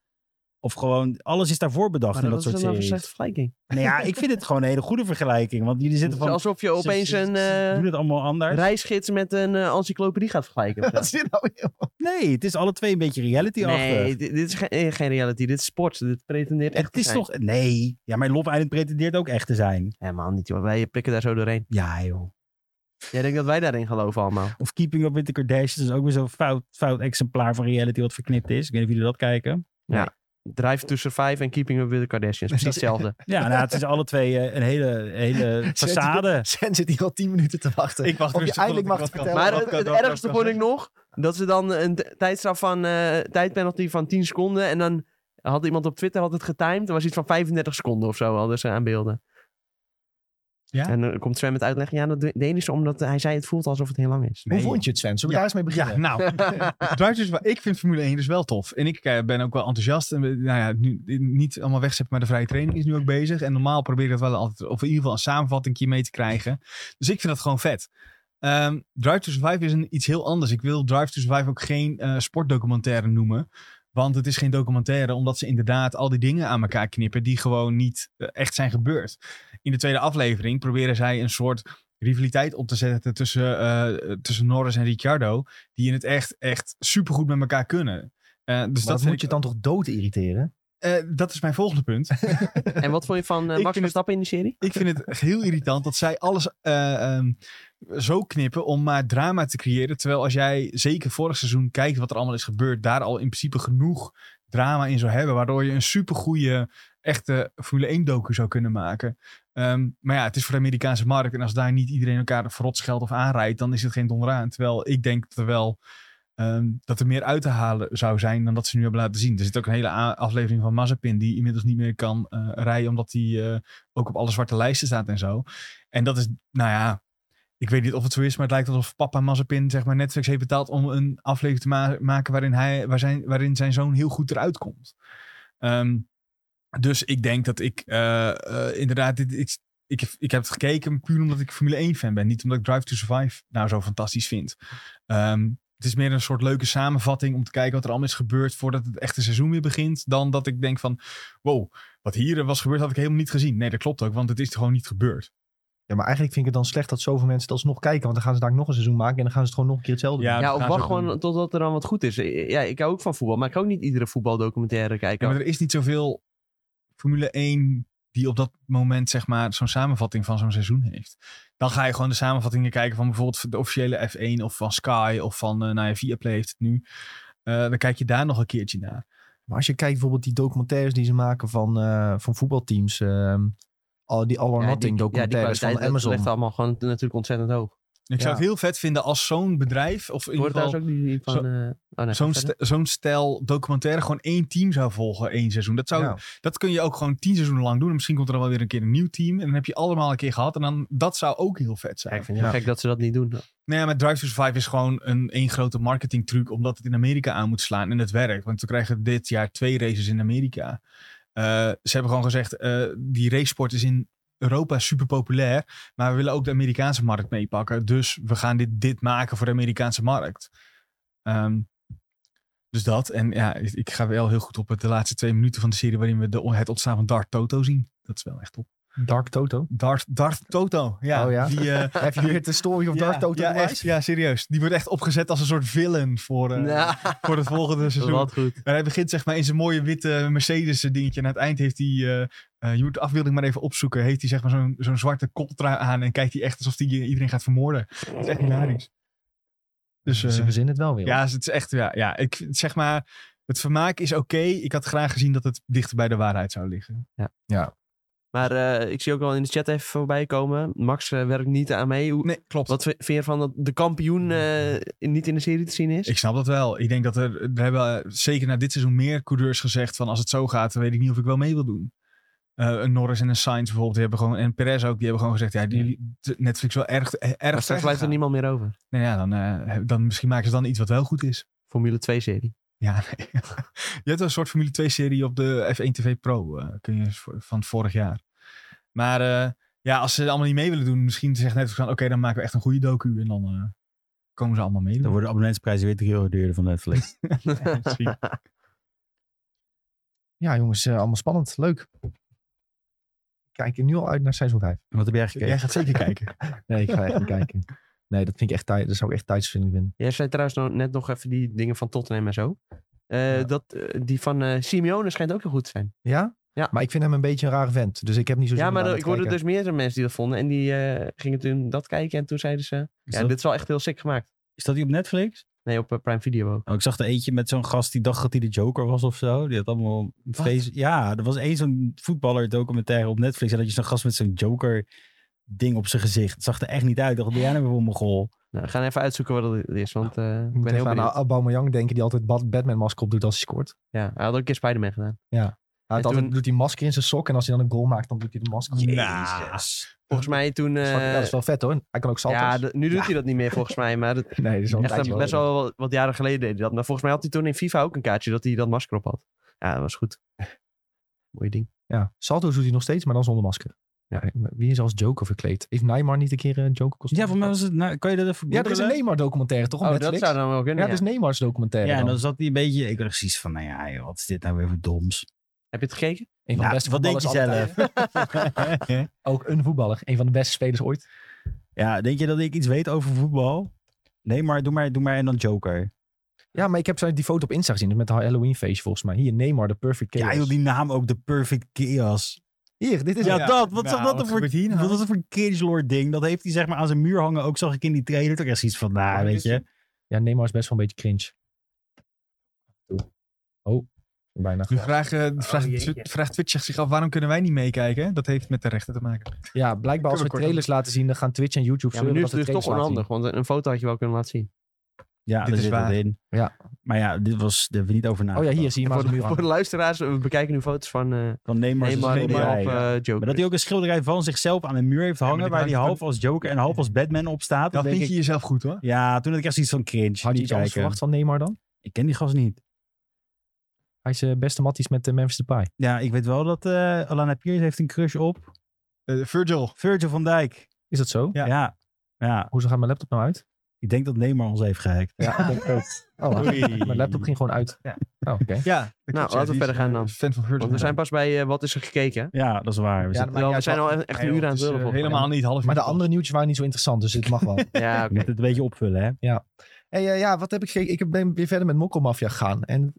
Of gewoon, alles is daarvoor bedacht Maar in dat, dat is soort dan wel een series. slechte vergelijking. Nou ja, ik vind het gewoon een hele goede vergelijking. Want jullie Het zitten is van... alsof je opeens ze- ze- een ze eh, doen het allemaal anders. reisgids met een eh, encyclopedie gaat vergelijken. of zo. Wat is dit nou weer? Nee, het is alle twee een beetje reality achter. Nee, dit, dit is geen, eh, geen reality. Dit is sport. Dit pretendeert echt Het is toch... Nee. Ja, maar Love Island pretendeert ook echt te zijn. Helemaal niet, joh. Wij prikken daar zo doorheen. Ja, joh. Jij denkt dat wij daarin geloven allemaal. Of Keeping Up With The Kardashians is ook weer zo'n fout, fout exemplaar van reality wat verknipt is. Ik weet niet of jullie dat kijken. Drive to Survive en Keeping Up With The Kardashians. Precies hetzelfde. Ja, nou, het is alle twee eh, een hele, hele Zet- façade. Sen zit hier al 10 minuten te wachten. Ik wacht Of je rustig tot eindelijk mag ik wat kan. vertellen. Maar wat het, kan- het wat kan ergste ik vond ik zeggen? nog dat ze dan een t- tijdstraf van eh, tijdpenalty van 10 seconden en dan had iemand op Twitter had het getimed. Er was iets van 35 seconden of zo al dus aan beelden. Ja? En dan komt Sven met uitleggen. Ja, dat deed ze omdat hij zei het voelt alsof het heel lang is. Hoe Nee. vond je het, Sven? Zullen we daar eens mee beginnen? Ja, nou. Drive to Survive. Ik vind Formule 1 dus wel tof. En ik eh, ben ook wel enthousiast. En, we- nou ja, nu, niet allemaal wegzetten, maar de vrije training is nu ook bezig. En normaal probeer ik dat wel altijd, of in ieder geval een samenvatting mee te krijgen. Dus ik vind dat gewoon vet. Ehm, Drive to Survive is een, iets heel anders. Ik wil Drive to Survive ook geen eh, sportdocumentaire noemen. Want het is geen documentaire, omdat ze inderdaad al die dingen aan elkaar knippen die gewoon niet eh, echt zijn gebeurd. In de tweede aflevering proberen zij een soort rivaliteit op te zetten tussen, eh, tussen Norris en Ricciardo. Die in het echt, echt supergoed met elkaar kunnen. Eh, Maar dus dat, dat vind moet je ik- dan toch dood irriteren? eh, dat is mijn volgende punt. En wat vond je van eh, Ik Max vind Verstappen in de serie? Ik vind het heel irritant dat zij alles eh, ehm, zo knippen om maar drama te creëren. Terwijl als jij zeker vorig seizoen kijkt wat er allemaal is gebeurd, daar al in principe genoeg drama in zou hebben. Waardoor je een supergoeie echte Formule 1 docu zou kunnen maken. Ehm, maar ja, het is voor de Amerikaanse markt. En als daar niet iedereen elkaar verrot scheldt of aanrijdt, dan is het geen donder aan. Terwijl ik denk dat er wel... ehm, dat er meer uit te halen zou zijn dan dat ze nu hebben laten zien. Er zit ook een hele a- aflevering van Mazepin die inmiddels niet meer kan eh, rijden omdat hij eh, ook op alle zwarte lijsten staat en zo. En dat is, nou ja, ik weet niet of het zo is, maar het lijkt alsof papa Mazepin zeg maar Netflix heeft betaald om een aflevering te ma- maken waarin, hij, waar zijn, waarin zijn zoon heel goed eruit komt. Ehm, dus ik denk dat ik eh, eh, inderdaad, dit, ik, ik, ik heb het gekeken puur omdat ik Formule 1 fan ben. Niet omdat ik Drive to Survive nou zo fantastisch vind. Ehm, het is meer een soort leuke samenvatting om te kijken wat er allemaal is gebeurd voordat het echte seizoen weer begint. Dan dat ik denk van, wow, wat hier was gebeurd had ik helemaal niet gezien. Nee, dat klopt ook, want het is gewoon niet gebeurd. Ja, maar eigenlijk vind ik het dan slecht dat zoveel mensen het alsnog kijken. Want dan gaan ze daar nog een seizoen maken en dan gaan ze het gewoon nog een keer hetzelfde Ja, doen. dat Ja, of gaan ze wacht ook doen. gewoon totdat er dan wat goed is. Ja, ik hou ook van voetbal, maar ik hou ook niet iedere voetbaldocumentaire kijken. maar er is niet zoveel Formule 1 die op dat moment zeg maar zo'n samenvatting van zo'n seizoen heeft. Dan ga je gewoon de samenvattingen kijken van bijvoorbeeld de officiële F1 of van Sky of van eh nou ja, Viaplay heeft het nu. Eh, dan kijk je daar nog een keertje naar. Maar als je kijkt bijvoorbeeld die documentaires die ze maken van, eh, van voetbalteams. ehm, al die All or Ja, die- Nothing documentaires kwaliteit, van dat Amazon. ligt allemaal gewoon natuurlijk ontzettend hoog. Ik Ja. zou het heel vet vinden als zo'n bedrijf of in ieder Wordt geval daar ook die van... zo- eh, oh, nee, zo'n ga ste- zo'n stijl documentaire gewoon één team zou volgen één seizoen. Dat zou Ja. Dat kun je ook gewoon tien seizoenen lang doen. En misschien komt er dan wel weer een keer een nieuw team. En dan heb je allemaal een keer gehad. En dan, dat zou ook heel vet Ja, zijn. ik vind het heel gek dat ze dat niet doen. Nee, Nou maar Drive to Survive is gewoon een één grote marketingtruc. Omdat het in Amerika aan moet slaan. En het werkt. Want we krijgen dit jaar twee races in Amerika. Eh, ze hebben gewoon gezegd, eh, die racesport is in Europa super populair. Maar we willen ook de Amerikaanse markt meepakken. Dus we gaan dit, dit maken voor de Amerikaanse markt. Ehm, dus dat. En ja, ik ik ga wel heel goed op het, de laatste twee minuten van de serie... waarin we de, het ontstaan van Dart Toto zien. Dat is wel echt top. Dark Toto. Dart, Dart Toto. Ja, Oh ja? Die, eh, Heb je weer de story of Dark Toto? ja, gemaakt? echt, ja, serieus. Die wordt echt opgezet als een soort villain voor, eh, Nou, voor het volgende seizoen. wat goed. Maar hij begint zeg maar in zijn mooie witte Mercedes dingetje. En aan het eind heeft hij, eh eh, je moet de afbeelding maar even opzoeken, heeft hij zeg maar zo'n zo'n zwarte coltra aan en kijkt hij echt alsof hij iedereen gaat vermoorden. Dat is echt hilarisch. Dus eh, Ze verzinnen het wel weer. ja, het is echt, ja, ja ik, vind- zeg maar, het vermaak is oké. Ik had graag gezien dat het dichter bij de waarheid zou liggen. Maar eh, ik zie ook wel in de chat even voorbij komen. Max eh, werkt niet aan mee. Hoe, Nee, klopt. Wat vi- vind je ervan dat de kampioen eh, niet in de serie te zien is? Ik snap dat wel. Ik denk dat er, er hebben eh, zeker na dit seizoen meer coureurs gezegd van als het zo gaat, dan weet ik niet of ik wel mee wil doen. Eh, een Norris en een Sainz bijvoorbeeld, die hebben gewoon, en Perez ook, die hebben gewoon gezegd, ja, die de Netflix wel erg, eh, erg Maar straks slecht. blijft er gegaan. niemand meer over. Nou ja, dan, eh, dan misschien maken ze dan iets wat wel goed is. Formule 2-serie. Ja, nee. je hebt een soort Formule 2-serie op de F1 TV Pro, eh, kun je voor- van vorig jaar. Maar eh, ja, als ze het allemaal niet mee willen doen, misschien zegt Netflix van, oké, dan maken we echt een goede docu en dan eh, komen ze allemaal mee. Dan worden abonnementsprijzen weer 3 euro duurder van Netflix. misschien. Ja, jongens, eh, allemaal spannend. Leuk. Kijk er nu al uit naar seizoen 5. Wat heb jij gekeken? Jij gaat zeker kijken. Nee, ik ga echt niet kijken. Nee, dat vind ik echt tijd. Dat zou ik echt tijdsvinding vinden. Jij zei trouwens nog, net nog even die dingen van Tottenham en zo. Eh, Ja. dat, eh, die van eh, Simeone schijnt ook heel goed te zijn. Ja? Ja. Maar ik vind hem een beetje een rare vent. Dus ik heb niet zo zin ja, om maar daar eh, naar ik te hoorde kijken. dus meerdere mensen die dat vonden. En die eh, gingen toen dat kijken. En toen zeiden ze, Is, ja, dat, dit is wel echt heel sick gemaakt. is dat die op Netflix? Nee, op eh, Prime Video ook. Oh, ik zag er eentje met zo'n gast die dacht dat hij de Joker was of zo. Die had allemaal face. Ja, er was één zo'n voetballer documentaire op Netflix. En dat je zo'n gast met zo'n Joker ding op zijn gezicht. Het zag er echt niet uit. Ik dacht, wat ben jij nou weer voor Mongool? Nou, we gaan even uitzoeken wat dat is. Want eh, Ik ik moet ben heel even benieuwd. aan Aubameyang denken die altijd Bat- Batman-masker op doet als hij scoort. Ja, hij had ook een keer Spider-Man gedaan. Hij had En altijd, toen- doet hij masker in zijn sok en als hij dan een goal maakt, dan doet hij de masker. op. Jezus. Volgens mij toen... Dat is wel- ja, dat is eh, wel vet hoor. Hij kan ook salto's. ja, de- nu doet hij dat niet meer volgens mij. Maar dat, nee, dat is wel een echt tijdje een- best geleden. wel wat, wat jaren geleden deed hij dat. Maar volgens mij had hij toen in FIFA ook een kaartje dat hij dat masker op had. Ja, dat was goed. Mooi ding. Ja, salto's doet hij nog steeds, maar dan zonder masker. Ja, wie is als Joker verkleed? Heeft Neymar niet een keer een Joker Ja, kostuum? volgens mij was het... Nou, kan je dat even Ja, er is een googlen? Neymar-documentaire toch op Oh, dat Netflix? zou dan wel ja, kunnen. dat ja. is Neymar's documentaire. Ja, en dan. dan zat hij een beetje... Ik dacht precies van, nou ja, joh, wat is dit nou weer voor doms? Heb je het gekeken? Een van Nou, de beste wat denk je voetballers aller zelf? tijden. Ook een voetballer. Een van de beste spelers ooit. Ja, denk je dat ik iets weet over voetbal? Nee, maar doe maar, doe maar en dan Joker. Ja, maar ik heb zo die foto op Insta gezien. Met de Halloween feestje volgens mij. Hier, Neymar, de perfect Ja, chaos. joh, die naam ook, de Perfect Chaos. Hier, dit is Ja, hem. Ja, dat. Wat nou, zag dat wat er voor... gebeurt hier nou? Wat was dat voor Kingslord ding? Dat heeft hij zeg maar aan zijn muur hangen. Ook zag ik in die trailer. Toch echt iets van, nou, Ja, weet dit- je. Ja, Neymar is best wel een beetje cringe. Oh, bijna. Nu vraagt eh, vraagt Oh, jeetje. Twi- vraagt Twitch zich af, waarom kunnen wij niet meekijken? Dat heeft met de rechten te maken. Ja, blijkbaar als we Kunnen we kort trailers laten zien, dan gaan Twitch en YouTube Ja, maar zeuren nu is dat het we dus toch trailers laten onhandig, want een foto had je wel kunnen laten zien. Ja, Dit daar is zit dat waar. in. Ja. Maar ja, dit was, daar hebben we niet over zien. nagedacht. Oh ja, hier zie je maar Voor zo'n de, muur voor de hangen. luisteraars, we bekijken nu foto's van eh Van Neymar, Nee, dus Neymar, Neymar, Neymar, Neymar Neymar, of ja. eh, Joker. Maar dat hij ook een schilderij van zichzelf aan een muur heeft hangen. maar dit waar hij hangt half als Joker en half als Batman op staat. Dan denk vind je ik, jezelf goed hoor. Ja, toen had ik echt zoiets van cringe. Had je iets anders Kijken. verwacht van Neymar dan? Ik ken die gast niet. Hij is eh, beste matties met de Memphis Depay. Ja, ik weet wel dat eh Alana Pierce heeft een crush op Eh, Virgil. Virgil van Dijk. Is dat zo? Ja. Ja. ja. Hoezo gaat mijn laptop nou uit? ik denk dat Neymar ons heeft gehackt. Ja, ik denk ook. Oh, wacht. mijn laptop ging gewoon uit. Ja. Oh, oké. Ja, dat klopt, ja, laten we die is, verder gaan eh, dan. Fan van Virgil. Want we zijn pas bij eh, Wat is er gekeken. Ja, dat is waar. Ja, We zitten maar Wel, ja, we zijn al echt een uur aan Nee, joh, het lullen. is, eh, volgens mij. Helemaal niet, half Maar de uur. andere nieuwtjes waren niet zo interessant, dus dit mag wel. Ja, oké. met het een beetje opvullen, hè? hey, eh, ja, wat heb ik gekeken? Ik ben weer verder met Mokkelmafia gegaan. En de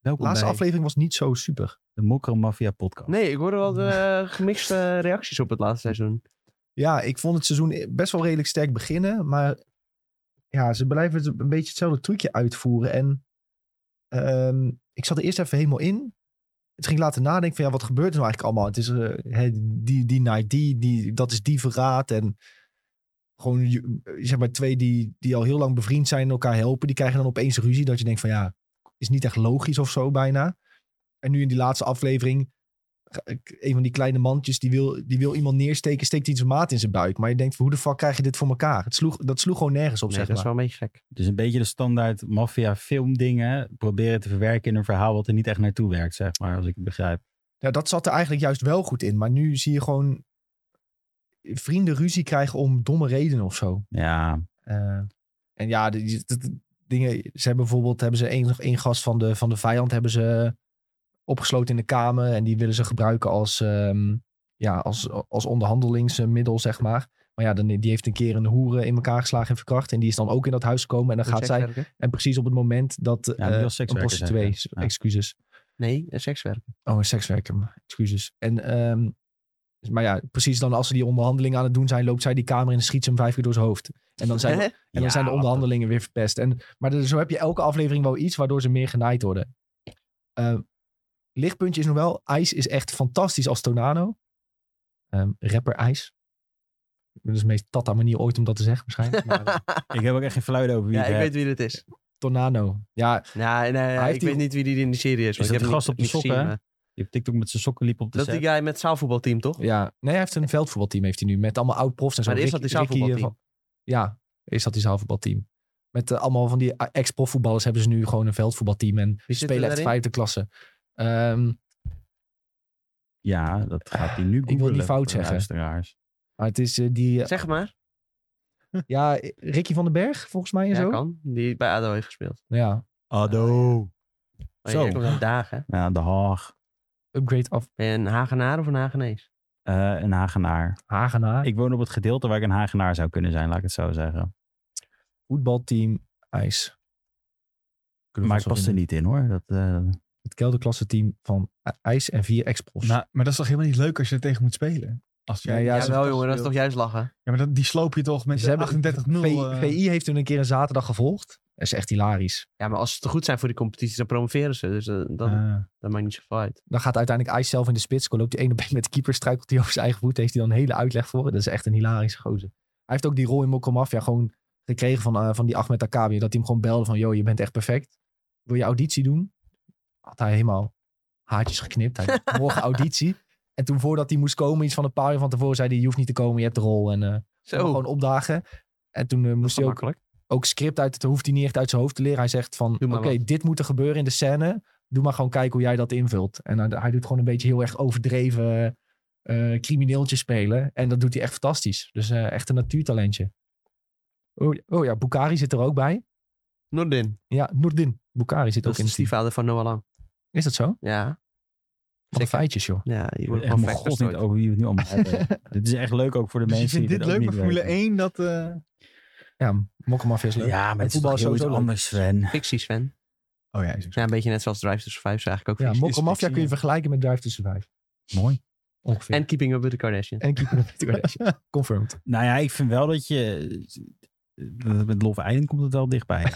Welkom laatste bij aflevering was niet zo super. de Mokro Mafia podcast. Nee, ik hoorde wel eh, gemixte reacties op het laatste seizoen. Ja, ik vond het seizoen best wel redelijk sterk beginnen. Maar ja, ze blijven het een beetje hetzelfde trucje uitvoeren. En ehm, ik zat er eerst even helemaal in. Het ging later nadenken van ja, wat gebeurt er nou eigenlijk allemaal? Het is eh, hè, die, die night, die, die, dat is die verraad. En gewoon je- eh, zeg maar twee die, die al heel lang bevriend zijn en elkaar helpen. Die krijgen dan opeens ruzie dat je denkt van ja, is niet echt logisch of zo bijna. En nu in die laatste aflevering een van die kleine mandjes, die wil, die wil iemand neersteken, steekt iets maat in zijn buik. Maar je denkt, van, hoe de fuck krijg je dit voor elkaar? Het sloeg, dat sloeg gewoon nergens op, Nee, zeg dat is maar. wel een beetje gek. Dus een beetje de standaard maffia filmdingen. Proberen te verwerken in een verhaal wat er niet echt naartoe werkt, zeg maar. Als ik het begrijp. Ja, dat zat er eigenlijk juist wel goed in. Maar nu zie je gewoon vrienden ruzie krijgen om domme redenen of zo. Ja, Eh, en ja, die, die- die dingen, ze hebben bijvoorbeeld, hebben ze één, nog één gast van de, van de vijand hebben ze opgesloten in de kamer. En die willen ze gebruiken als, ehm, ja, als, als onderhandelingsmiddel, zeg maar. Maar ja, dan, die heeft een keer een hoeren in elkaar geslagen en verkracht. En die is dan ook in dat huis gekomen. En dan gaat zij, Sekswerker? en precies op het moment dat die eh, was een sekswerker, prostituee, zei hij. Ja. excuses. Nee, eh, een sekswerker. Oh, een sekswerker. Excuses. En, ehm, maar ja, precies dan als ze die onderhandeling aan het doen zijn, loopt zij die kamer in en schiet ze hem vijf keer door zijn hoofd. En dan zijn, en Hè? dan Ja, zijn de wat onderhandelingen weer verpest. En, maar er- zo heb je elke aflevering wel iets waardoor ze meer genaaid worden. Ehm, lichtpuntje is nog wel, IJs is echt fantastisch als Tornado. Ehm, rapper IJs. Dat is de meest tatta manier ooit om dat te zeggen waarschijnlijk. Maar, eh, ik heb ook echt geen fluit over wie Ja, het ik hebt. weet wie dit is. Tornado. Ja, Nou, nee, heeft ik die- weet niet wie die in de serie is. want dat ik heb de hem gast niet- op de niet sok, gezien, hè? maar- Die op TikTok met zijn sokken liep op de Dat is set. die guy met het zaalvoetbalteam, toch? Ja, nee, hij heeft een veldvoetbalteam heeft hij nu met allemaal oud-profs en zo. Maar eerst had hij Ricky- Ricky, eh, zaalvoetbalteam. van- Ja, eerst had hij zaalvoetbalteam. Met eh, allemaal van die eh, ex-profvoetballers hebben ze nu gewoon een veldvoetbalteam en Wie zit er spelen echt daarin? vijfde klasse. Ehm, Ja, dat gaat hij nu wil niet googelen. fout voor de zeggen. luisteraars. maar het is eh, die, eh, Zeg maar. ja, Ricky van den Berg volgens mij en Ja, zo. kan. Die bij ADO heeft gespeeld. Ja, Oh, Ado. Maar Zo. Jij komt uit Dagen. Ja, de Haag. upgrade af Ben je een Hagenaar of een Hagenees? Eh, een Hagenaar. Hagenaar. Ik woon op het gedeelte waar ik een Hagenaar zou kunnen zijn, laat ik het zo zeggen. voetbalteam IJs. Kunnen we Maar ik vast wel pas er vinden. niet in hoor. Dat, eh, Het kelderklasse team van eh, IJs en vier ex-profs. Nou, Nou, Maar, maar dat is toch helemaal niet leuk als je er tegen moet spelen? Als jij, Ja, Ja, ze- wel jongen, dat is toch juist lachen. Ja, maar dat, die sloop je toch met Ze hebben- 38-0. V- eh, VI heeft hun een keer een zaterdag gevolgd. Dat is echt hilarisch. Ja, maar als ze te goed zijn voor die competitie, dan promoveren ze. Dus eh, dat, eh, dat maakt niet zoveel uit. Dan gaat uiteindelijk IJs zelf in de spits. Loopt die ene been met de keeper, struikelt hij over zijn eigen voet. Heeft hij dan een hele uitleg voor. Dat is echt een hilarische gozer. Hij heeft ook die rol in Mokko Mafia gewoon gekregen van, eh, van die Ahmed Akabi. Dat hij hem gewoon belde van, joh, je bent echt perfect. Wil je auditie doen? Had hij helemaal haartjes geknipt. Hij dacht, morgen auditie. En toen voordat hij moest komen, iets van een paar uur van tevoren, zei hij, je hoeft niet te komen, je hebt de rol. En eh, Zo, gewoon opdagen. En toen eh, moest hij ook makkelijk. ook script uit. Dat hoeft hij niet echt uit zijn hoofd te leren. Hij zegt van, Doe oké, maar dit moet er gebeuren in de scène. Doe maar gewoon kijken hoe jij dat invult. En hij, hij doet gewoon een beetje heel erg overdreven eh crimineeltje spelen. En dat doet hij echt fantastisch. Dus eh, echt een natuurtalentje. Oh, oh ja, Bukari zit er ook bij. Nordin, Ja, Noordin Bukari zit dat ook is in de het team. stiefvader van Noah Lang. Is dat zo? Wat Ja, een feitjes, joh. ja je ik wordt word gewoon vet echt mijn god niet verstrooid. over wie we het nu allemaal hebben. dit is echt leuk ook voor de dus je mensen vindt die dit leuk, ook maar niet Formule weten. 1, dat... eh, Ja, Mokkelmafia is leuk. Ja, maar het is voetbal toch is heel iets sowieso leuk. anders, Sven. Ficties fan. Oh ja, is ook zo. Ja, een beetje net zoals Drive to Survive is eigenlijk ook Ja, fictie. Mokkelmafia kun je vergelijken met Drive to Survive. Mooi. Ongeveer. En Keeping Up With The Kardashians. en Keeper of the Kardashians. Confirmed. Nou ja, ik vind wel dat je... eh, Met Love Island komt het wel dichtbij.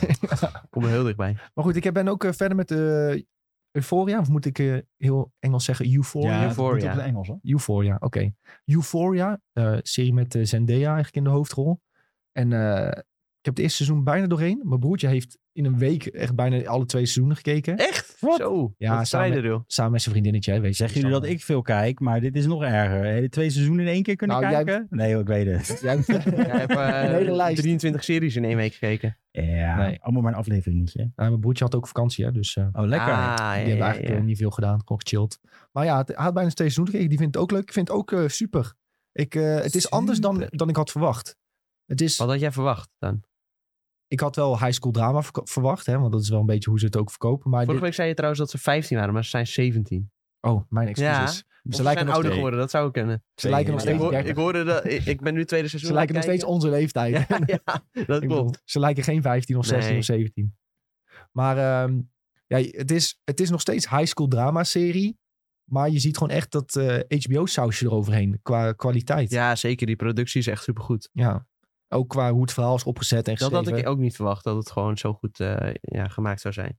Kom er heel dichtbij. Maar goed, ik heb- ben ook eh, verder met eh, Euphoria. Of moet ik eh, heel Engels zeggen Euphoria? Ja, dat voor, moet ja. op het Engels, hoor. Euphoria, oké. Euphoria, eh, serie met eh, Zendaya eigenlijk in de hoofdrol. En eh, ik heb het eerste seizoen bijna doorheen. Mijn broertje heeft in een week echt bijna alle twee seizoenen gekeken. Echt? Zo, Ja, ja, samen- strijder joh. Samen met zijn vriendinnetje, hè, weet je. Zeggen jullie dat Dus ik veel kijk, maar dit is nog erger. Hele twee seizoenen in één keer kunnen Nou, jij- kijken? Nee hoor, ik weet het. dan- Jij... Ja, ik heb Een hele eh, lijst. 23 series in één week gekeken. Ja, Nee. allemaal maar een afleveringetje. Nou, mijn broertje had ook vakantie, hè, dus eh, Oh, lekker. Ah, ja, die hebben ja, eigenlijk ja. eh, niet veel gedaan. Gewoon gechilled. Maar ja, het- hij had bijna twee seizoenen gekeken. Die vindt het ook leuk. Ik vind het ook eh, super. Ik, eh, het is anders dan, dan ik had verwacht. Het is... Wat had jij verwacht dan? ik had wel high school drama verko- verwacht, hè, want dat is wel een beetje hoe ze het ook verkopen. Maar Vorige dit, week zei je trouwens dat ze 15 waren, maar ze zijn 17. oh, mijn excuses. Of ze Ze lijken nog zijn ouder steeds, geworden, dat zou kunnen. ze lijken nog Ik, steeds, hoor, dertig. ik hoorde dat, ik, ik ben nu tweede seizoen ze aan lijken nog het steeds kijken. onze leeftijd. Ja, ja, dat Ik bedoel, klopt. ze lijken geen 15 of 16 Nee. of 17. Maar ehm, ja, het, is, het is nog steeds high school drama serie. Maar je ziet gewoon echt dat eh, HBO-sausje eroverheen qua kwaliteit. Ja, zeker. Die productie is echt supergoed. Ja. Ook qua hoe het verhaal is opgezet en Dat geschreven. had ik ook niet verwacht, dat het gewoon zo goed eh, ja, gemaakt zou zijn.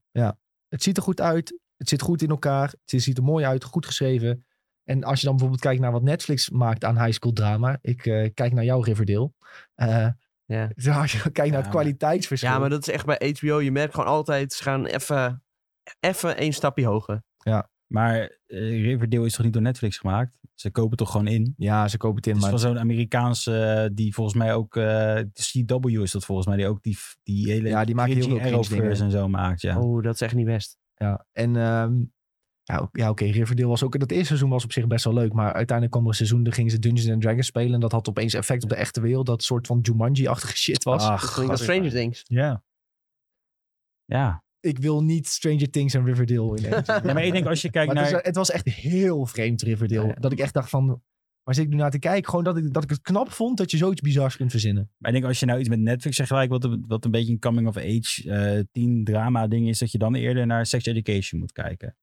Het ziet er goed uit. Het zit goed in elkaar. Het ziet er mooi uit. Goed geschreven. En als je dan bijvoorbeeld kijkt naar wat Netflix maakt aan high school drama. Ik eh, kijk naar jouw Riverdale. Eh, Ja. ja, als je kijkt naar het maar- kwaliteitsverschil. Ja, maar dat is echt bij HBO. Je merkt gewoon altijd, ze gaan even even één stapje hoger. Maar eh, Riverdale is toch niet door Netflix gemaakt? Ze kopen toch gewoon in? Ja, ze kopen het in. Het is Maar van zo'n Amerikaanse, eh, die volgens mij ook, eh, de CW is dat volgens mij, die ook die, die hele Ja, die maken heel cringy veel cringe Arrowverse dingen. en zo maakt, ja. Oh, dat is echt niet best. ja. En ehm, ja, ook- ja oké, Riverdale was ook... Dat eerste seizoen was op zich best wel leuk. Maar uiteindelijk kwam er een seizoen... Daar gingen ze Dungeons and Dragons spelen. En dat had opeens effect op de echte wereld. Dat soort van Jumanji-achtige shit was. Ach, Dat klinkt als gast. Stranger Things. Ja. Ja. Ik wil niet Stranger Things en Riverdale in één ja, maar ik denk als je kijkt Maar naar... het, is- het was echt heel vreemd Riverdale. Ja. Dat ik echt dacht van, waar zit ik nu naar te kijken? Gewoon dat ik, dat ik het knap vond dat je zoiets bizars kunt verzinnen. Maar ik denk als je nou iets met Netflix zegt gelijk, wat, een- wat een beetje een coming of age eh teen drama ding is, dat je dan eerder naar Sex Education moet kijken.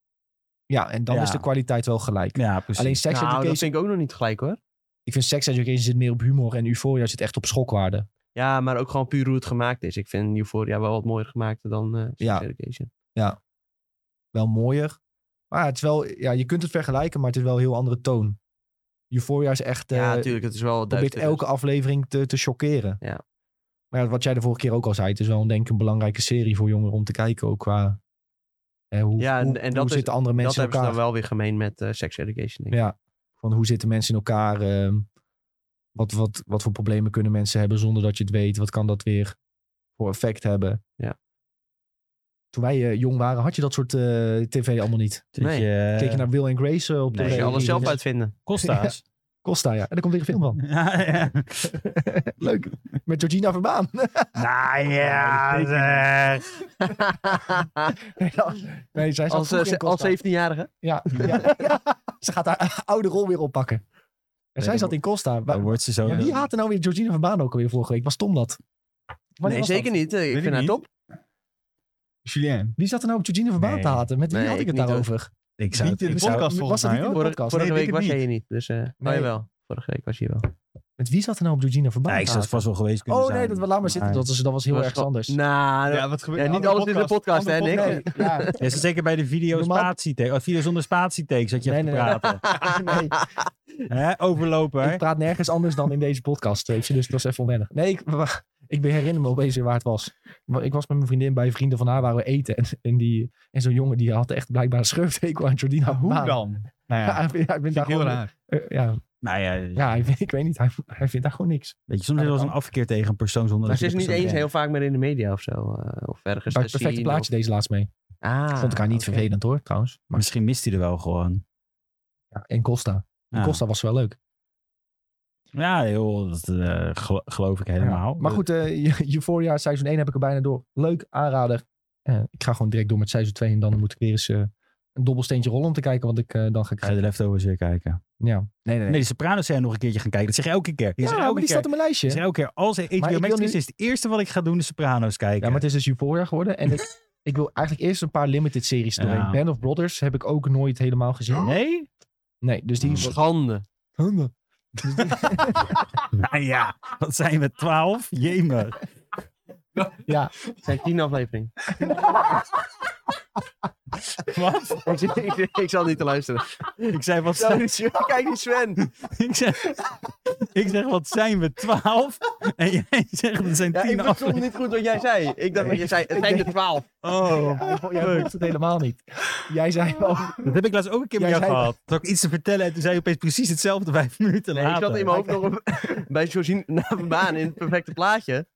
Ja, en dan Ja. is de kwaliteit wel gelijk. Ja, precies. Alleen Sex nou, dat Education, vind ik ook nog niet gelijk hoor. ik vind Sex Education zit meer op humor en Euphoria zit echt op schokwaarde. Ja, maar ook gewoon puur hoe het gemaakt is. Ik vind Euphoria wel wat mooier gemaakt dan eh Sex Ja. Education. Wel mooier. Maar het is wel, ja, je kunt het vergelijken, maar het is wel een heel andere toon. Euphoria is echt, eh ja, natuurlijk. Het is wel probeert duister. dus- elke aflevering te, te chockeren. Ja. Maar ja, wat jij de vorige keer ook al zei, het is wel denk ik een belangrijke serie voor jongeren om te kijken, ook qua Hè, hoe Ja, en- hoe, en hoe dat is- zitten andere Dat mensen in hebben ze elkaar? dan wel weer gemeen met eh, sex education. Denk ik. Ja, van hoe zitten mensen in elkaar? ehm, wat, wat, wat voor problemen kunnen mensen hebben zonder dat je het weet? Wat kan dat weer voor effect hebben? Ja. Toen wij eh, jong waren, had je dat soort eh, tv allemaal niet. Dat Nee. je- Keek je naar Will en Grace eh, op Nee, de Moet je tv? Eh, alles zelf uitvinden. Costa's. Costa, ja. En daar komt weer een film van. Ja, ja. Leuk. Met Georgina Verbaan. nou ja, zeg. nee, ja. nee, zij zat Als, vroeg in eh, als Costa. 17-jarige. Ja, ja, Ze gaat haar oude rol weer oppakken. En zij dan zat in Costa. Wa- Oh, Dan wordt ze zo... Ja, wie haatte nou weer Georgina Verbaan ook alweer vorige week? Was Tom dat? Wanneer Nee, was zeker dat? niet. Eh, Ik ik vind haar niet. top. Julien. Wie zat er nou op Georgina Verbaan Nee. te haten? Met wie Nee, had ik ik het nou niet daarover? Ik zou Niet in ik de zou- podcast Was volgens het mij niet in hoor. de Vorige, podcast? vorige Nee, ik week was niet. jij hier niet. Dus, eh Nee. Oh jawel. Vorige week was je hier wel. Met wie zat er nou op Georgina Verbaan Ja, ik te zou het haten? vast wel geweest kunnen Oh zijn. nee, dat, laat maar zitten. Maar- Dat was, dat was heel Dat was erg wel- anders. Nou, Ja, wat gebeurt Ja, er? niet Andere alles in de podcast, hè, Andere Nick? Nee, ja, Ja, ze- zeker bij de video, Normaal- spatietek- oh, video zonder spatietek zat je Nee, te nee, nee. praten. nee, Hè? Overlopen, hè? ik praat nergens anders dan in deze podcast. Weet je, dus dat was even onwennig. Nee, ik, wa- ik ben- herinner me opeens weer waar het was. Maar Ik was met mijn vriendin bij vrienden van haar, waren we eten. En, en, die- en zo'n jongen die had echt blijkbaar een schurftekel aan Georgina Hoe Verbaan. dan? Nou ja, Ja, ik vind- ja, ik vind vind daar ik heel gewoon... raar. eh, ja, Nou ja, weet ja ik, weet- ik weet niet. Hij, hij vindt daar gewoon niks. je, soms is er wel een afkeer tegen een persoon zonder maar dat ze is je de niet persoon eens kent. heel vaak meer in de media of zo. eh, of Bij ergens te het perfecte zien, plaatje deze laatst mee. of- Ah, Vond ik haar niet oké. vervelend hoor, trouwens. Maar Misschien mist hij er wel gewoon. Ja, en Costa. En Ja. Costa was wel leuk. Ja, joh, dat eh, gel- geloof ik helemaal. Maar goed, eh, Euphoria seizoen 1 heb ik er bijna door. Leuk aanrader. Eh, ik ga gewoon direct door met seizoen 2 en dan moet ik weer eens eh, een dobbelsteentje rollen om te kijken wat ik eh, dan ga Ik ga je krijgen. de leftovers weer kijken. Ja. Nee, nee, Nee, de Sopranos zijn nog een keertje gaan kijken. Dat zeg je elke keer. Je Ja, zegt maar elke die keer. staat op mijn je lijstje. zegt elke keer, als er Maar HBO ik Max wil is, nu- is het eerste wat ik ga doen de Sopranos kijken. Ja, maar het is dus Euphoria geworden. En ik, ik wil eigenlijk eerst een paar limited series Ja. Oh. doorheen. Band of Brothers heb ik ook nooit helemaal gezien. Nee? Nee, dus die... Schande. Nou ja, wat zijn we, twaalf? Jemer. Het zijn tien afleveringen. Wat? ik, zit- ik, zit- ik zal niet te luisteren. Ik zei, wat zijn... Kijk die Sven. Ik zeg, ik zeg, wat zijn we, twaalf? En jij zegt, er zijn Ja, tien ik afleveringen. verstond niet goed wat jij zei. Ik dacht dat je zei, het zijn er twaalf. Oh. Jij vo- Jij voelt het helemaal niet. Jij zei wel... Dat heb ik laatst ook een keer met Jij jou zei- gehad. Toen had ik iets te vertellen en toen zei je opeens precies hetzelfde vijf minuten Nee, ik later. zat in mijn hoofd nog op- bij Georgine Baan in het perfecte plaatje.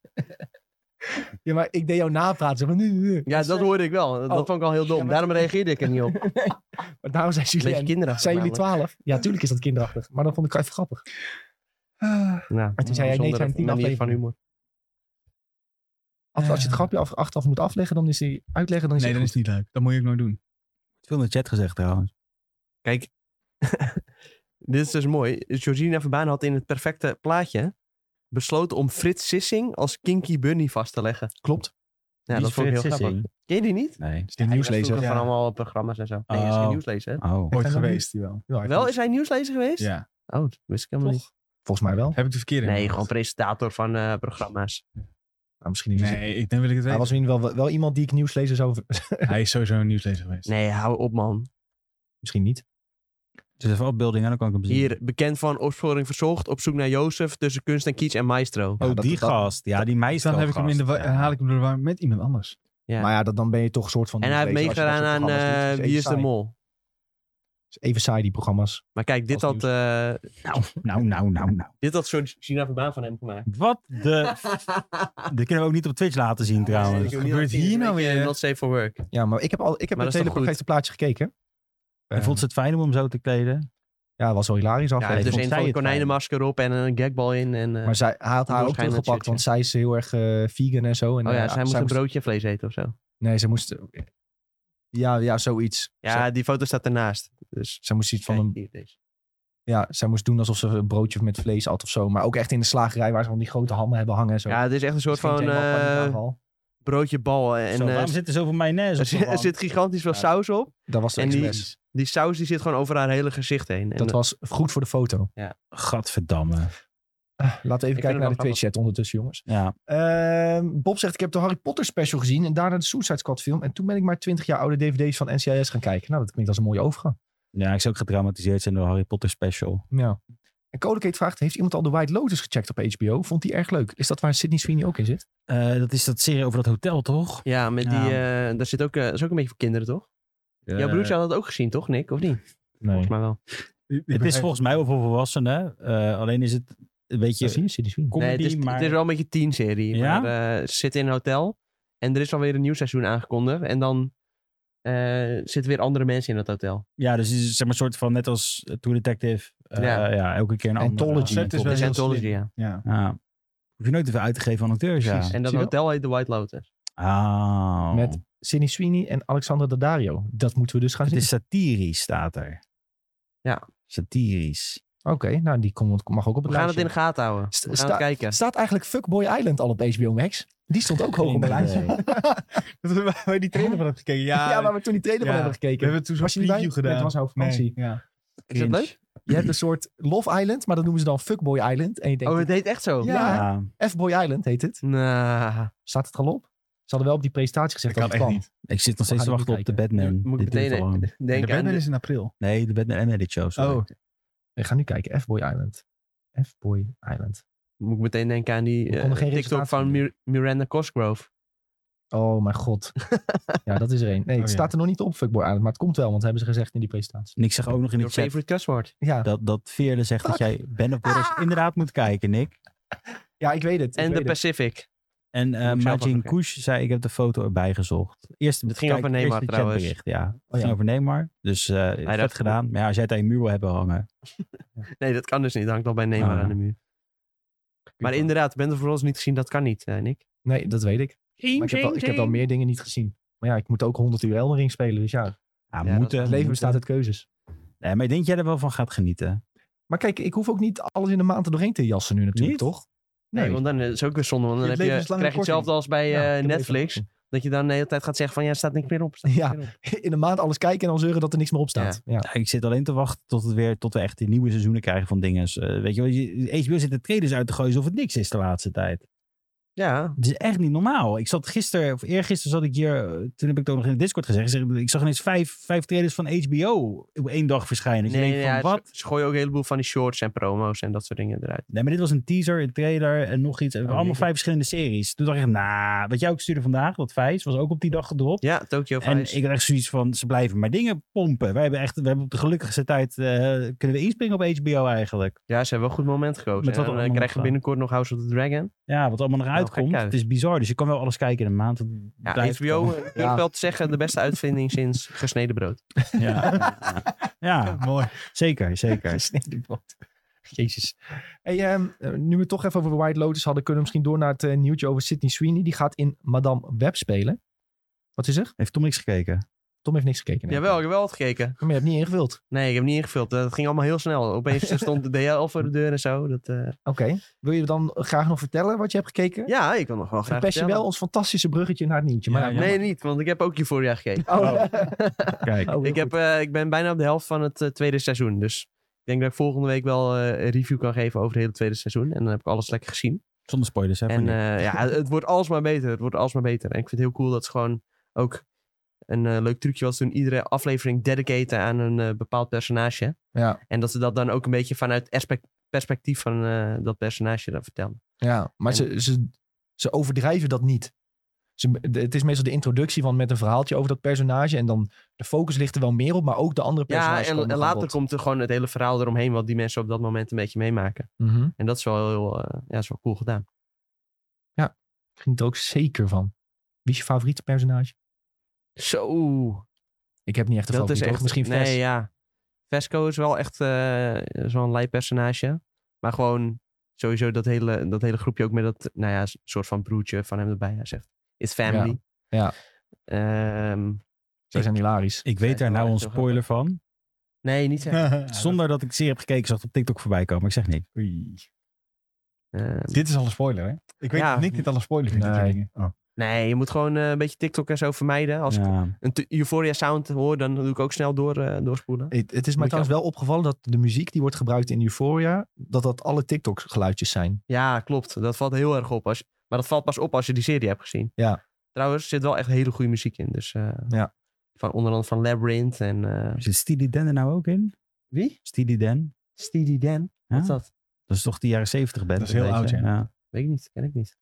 Ja, maar ik deed jou napraten. Zeg maar, nu, nu, nu. Ja, dat hoorde ik wel. Dat Oh. vond ik al heel dom. Ja, maar- Daarom reageerde ik er niet op. Maar daarom zijn Beetje jullie... kinderachtig. Zijn jullie namelijk. twaalf? Ja, tuurlijk is dat kinderachtig. Maar dat vond ik even grappig. Nou, Maar toen zei jij, nee, het zijn bijzondere tien manier van afleveringen. humor. Als, als je het grapje af, achteraf moet afleggen, dan is die uitleggen, dan is Ehm. Nee, die dat is niet leuk. Dat moet je ook nooit doen. Veel in de chat gezegd trouwens. Kijk, dit is dus mooi. Georgina Verbaan had in het perfecte plaatje besloten om Frits Sissing als Kinky Bunny vast te leggen. klopt. Ja, dat vond ik heel grappig. Ken je die niet? Nee. Is Dus die Hij was vroeger nieuwslezer? van allemaal programma's en zo. Nee, hij is Oh. geen nieuwslezer. hè? Oh. Ooit Echt dan geweest, die wel. Ja, ik Wel, vond- is hij nieuwslezer geweest? Ja. Oh, dat wist ik helemaal Toch? Volgens mij wel. Heb ik de verkeerde? niet. Nee, gewoon gemaakt? presentator van eh, programma's. Nou, misschien niet. Nee, ik denk wil ik het Hij weten. was in ieder geval wel, wel iemand die ik nieuwslezer zou... Hij is sowieso een nieuwslezer geweest. Nee, hou op man. misschien niet. Dus even afbeelding en dan kan ik hem zien. Hier, bekend van Opsporing Verzocht, op zoek naar Jozef, tussen kunst en kiets en maestro. Oh, Ja, dat- die dat- gast. Ja, die meisje. Dus Dan heb ik hem in de wa- haal ik hem door de war met iemand anders. Ja. Maar ja, dat, dan ben je toch een soort van En hij heeft nieuwslezer als je meegedaan dat soort aan programma's doet. Dat eh, Wie even is de saai. Mol. Dat is Even saai, die programma's. Maar kijk, dit Als had, eh Nou, nou, nou, nou, nou. dit had Georgina Verbaan van hem gemaakt. Wat de... Dat kunnen we ook niet op Twitch laten zien trouwens. Wat gebeurt hier nou weer? Not safe for work. Ja, maar ik heb, al, ik heb Maar het dat is hele toch goed? perfecte plaatje gekeken. En Eh, vond ze het fijn om hem zo te kleden? Ja, was wel hilarisch Ja, hij aflevering. heeft dus vond een zij van de het konijnenmasker op en een gagbal in. En, eh, maar zij, hij had haar ook Waarschijnlijk teruggepakt, shirtje. want zij is heel erg eh, vegan en zo. En, oh ja, eh, zij moest een broodje en vlees eten of zo. Nee, zij moest... Ja, ja, zoiets. Ja, Zij, die foto staat ernaast. Dus zij moest iets van kijk, een hier, deze. Ja, zij moest doen alsof ze een broodje met vlees had of zo. Maar ook echt in de slagerij waar ze van die grote hammen hebben hangen en zo. Ja, het is echt een soort Misschien van Jane Bal van die eh, aanval. broodje bal. En Zo, eh, waarom zit er zoveel mayonaise er, op? zit, zo'n er zit gigantisch veel Ja. saus op. Dat was de en die- express. Die saus die zit gewoon over haar hele gezicht heen. En, Dat was goed voor de foto. wand? Gadverdamme. Laten we even vind het kijken naar wel de Twitch-chat ondertussen, jongens. Ja. Ehm, Bob zegt, ik heb de Harry Potter special gezien en daarna de Suicide Squad film. En toen ben ik maar 20 jaar oude dvd's van NCIS gaan kijken. Nou, dat klinkt als een mooie overgang. ja, ik zou ook getraumatiseerd zijn door Harry Potter special. Ja. En Codecate vraagt, heeft iemand al The White Lotus gecheckt op HBO? Vond die erg leuk. Is dat waar Sydney Sweeney ook in zit? Eh, dat is dat serie over dat hotel, toch? ja, met Ja. die, eh, daar zit ook, eh, dat is ook een beetje voor kinderen, toch? Eh, Jouw broertje had dat ook gezien, toch, Nick? Of niet? Nee. Volgens mij wel. Eh, het is volgens mij wel voor volwassenen. eh, alleen is het een beetje Zie je, City Sweeney. comedy, Nee, het, is, maar... het is wel een beetje teen-serie. Ja? Maar eh, ze zitten in een hotel en er is alweer een nieuw seizoen aangekondigd. En dan eh, zitten weer andere mensen in dat hotel. Ja, dus het is zeg maar een soort van net als eh, True Detective. eh, Ja. ja. elke keer een andere. Anthology. andere Het is wel Dat is heel Anthology, slim. ja. Ja. Ja. Hoef je nooit te veel uit te geven aan acteurs, ja. En dat Zie je hotel heet The White Lotus. Ah. Met Sidney Sweeney en Alexander Daddario. Dat moeten we dus gaan Het zien. is satirisch, staat er. Ja. Satirisch. Oké, nou die komt, mag ook op We het gaan het lijstje. in de gaten houden. Sta- We gaan sta- het kijken. Staat eigenlijk Fuckboy Island al op HBO Max? Die stond ook hoog op mijn Geen lijstje. idee. Dat we- waar je die trailer van hebt gekeken. Ja, Ja, waar we toen die trailer van Ja. hebben we gekeken. hebben toen zo'n Was je niet bij? preview Nee, gedaan. het was nou vakantie. Nee, ja. Is het leuk? Je hebt een soort Love Island, maar dat noemen ze dan Fuckboy Island. En je denkt, Oh, het heet echt zo? Ja. Ja. F-Boy Island heet het. Nou, Staat het er al op? Ze hadden wel op die presentatie gezegd dat, Dat het kan kwam. echt niet. Ik zit nog steeds te gaan het wachten op de niet Batman. moet ik Dit duurt al meteen lang. De denken aan... Batman de- is in april. Nee, de Batman Animated Show. sorry. Oh. We gaan nu kijken, F-Boy Island. F-Boy Island. Moet ik meteen denken aan die We konden eh, geen TikTok resultaten van doen. Mir- Miranda Cosgrove. Oh mijn god. ja, dat is er één. Nee, het Oh, ja. staat er nog niet op, Fuckboy Island. Maar het komt wel, want dat hebben ze gezegd in die presentatie. En ik zeg ook nog in de Your chat favorite cussword. Ja, dat, dat Veerle zegt dat jij Ben of Brothers Ah. inderdaad moet kijken, Nick. ja ik weet het. ik En weet The het. Pacific. En eh zelf ook Majin nog, ja. Kush zei, ik heb de foto erbij gezocht. Eerst, Het ging over Neymar eerst de trouwens. Hm. chatbericht, Ja, het ja. ging over Neymar. Dus eh vet dacht- gedaan. Maar ja, als jij het aan je muur wil hebben hangen. Nee, dat kan dus niet. Dat hangt al bij Neymar Ah. aan de muur. Maar inderdaad, Band of Brothers niet gezien, dat kan niet, eh, Nick. Nee, dat weet ik. Maar ik heb, al, ik heb al meer dingen niet gezien. Maar ja, ik moet ook 100 uur Eldering spelen. Dus ja, Ja, dat- moeten, het leven moeten. bestaat uit keuzes. Nee, maar ik denk dat jij er wel van gaat genieten. Maar kijk, ik hoef ook niet alles in de maand er doorheen te jassen nu natuurlijk, Niet? toch? Nee, want dan eh, is het ook weer zonde. Want dan Je heb je, krijg je levenslange korting. hetzelfde als bij Ja, eh, ik heb Netflix. even- Dat je dan de hele tijd gaat zeggen van, ja, staat niks meer op. Staat Ja. niks meer op. in de maand alles kijken en dan zeuren dat er niks meer op staat. Ja. Ja, ik zit alleen te wachten tot, het weer, tot we echt die nieuwe seizoenen krijgen van dingen. Eh, weet je wel, je- HBO zit de traders uit te gooien alsof het niks is de laatste tijd. Ja, Het is echt niet normaal. Ik zat gisteren, of eergisteren zat ik hier, eh, toen heb ik het ook nog in de Discord gezegd. Ik, zeg, ik zag ineens vijf, vijf trailers van HBO op één dag verschijnen. Dus nee, je denkt ja, van, ze, wat? ze gooien ook een heleboel van die shorts en promo's en dat soort dingen eruit. Nee, maar dit was een teaser, een trailer en nog iets. En Oh, allemaal jeetje. vijf verschillende series. Toen dacht ik, nou, wat jij ook stuurde vandaag, dat Vijs, was ook op die dag gedropt. Ja, Tokyo en Vice. ik had echt zoiets van, ze blijven maar dingen pompen. Wij hebben echt, we hebben op de gelukkigste tijd, eh, kunnen we inspringen op HBO eigenlijk. Ja, ze hebben wel een goed moment gekozen. Met wat en dan eh, allemaal krijg je nog, binnenkort nog House of the Dragon. Ja, wat allemaal nog uitkomt. gek uit. Het is bizar, dus je kan wel alles kijken in een maand. Het Ja, blijft HBO, gewoon- eh, durf wel te zeggen, de beste uitvinding sinds gesneden brood. Ja, ja, ja, Mooi. zeker, zeker. Gesneden brood. Jezus. Hey, ehm, eh, nu we het toch even over de White Lotus hadden, kunnen we misschien door naar het eh, nieuwtje over Sydney Sweeney. Die gaat in Madame Web spelen. Wat is er? Heeft Tom niks gekeken? Tom heeft niks gekeken. nee. Jawel, ik heb wel wat gekeken. Maar je hebt niet ingevuld. Nee, ik heb niet ingevuld. Dat ging allemaal heel snel. Opeens stond de DL voor de deur en zo. Dat, eh, Oké. Wil je dan eh, graag nog vertellen wat je hebt gekeken? ja, ik kan nog wel graag Verpest je vertellen. wel ons fantastische bruggetje naar het nieuwtje. Maar Ja, nou, ja. Nee, niet, want ik heb ook Euphoria gekeken. Oh, Oh. oh, Kijk, heel ik, goed. heb, eh, ik ben bijna op de helft van het eh, tweede seizoen. Dus ik denk dat ik volgende week wel eh, een review kan geven over het hele tweede seizoen. En dan heb ik alles lekker gezien. zonder spoilers. Hè, En eh, ja, het wordt alsmaar beter. Het wordt alsmaar beter. En ik vind het heel cool dat ze gewoon ook een eh, leuk trucje was toen iedere aflevering dedicaten aan een eh, bepaald personage. Ja, En dat ze dat dan ook een beetje vanuit aspect, perspectief van eh, dat personage dan vertellen. ja. maar En- ze, ze, ze overdrijven dat niet. Ze, de- het is meestal de introductie van met een verhaaltje over dat personage. En dan de focus ligt er wel meer op, maar ook de andere Ja, personages. en, komen en nog aan later bod. komt er gewoon het hele verhaal eromheen wat die mensen op dat moment een beetje meemaken. Mhm. En dat is wel heel eh, ja, is wel cool gedaan. Geniet er ook zeker van. Wie is je favoriete personage? Zo, Ik heb niet echt een dat is favoriet. echt... hoor. Misschien nee, Fes. ja. Vesco is wel echt eh, zo'n lei personage. Maar gewoon sowieso dat hele, dat hele groepje ook met dat, nou ja, s- soort van broertje van hem erbij. Hij zegt, it's family. Ja, Ehm, Zij zijn hilarisch. ik weet daar Ja, nou echt een heel spoiler van. nee, niet zeggen. Zonder dat ik zeer heb gekeken, zag het op TikTok voorbij komen. Ik zeg niet. Oei. Ehm, Dit is al een spoiler, hè? Ik weet Ja. dat Nick dit al een spoiler vindt. dat Nee. soort dingen. Oh. nee, je moet gewoon eh, een beetje TikTok en zo vermijden. Als ik Ja. een te- Euphoria sound hoor, dan doe ik ook snel door, eh, doorspoelen. Het, het is mij je trouwens wel opgevallen dat de muziek die wordt gebruikt in Euphoria, dat dat alle TikTok geluidjes zijn. Ja, klopt. Dat valt heel erg op. Als, maar dat valt pas op als je die serie hebt gezien. Ja. Trouwens, er zit wel echt hele goede muziek in. Dus eh, Ja. van, onder andere van Labyrinth en... eh, Zit Steely Dan er nou ook in? Wie? Steely Dan? Steely Dan. Ja? Wat is dat? Dat is toch die jaren 70 band? Dat is heel een oud, beetje. ja. Weet ik niet. Ken ik niet.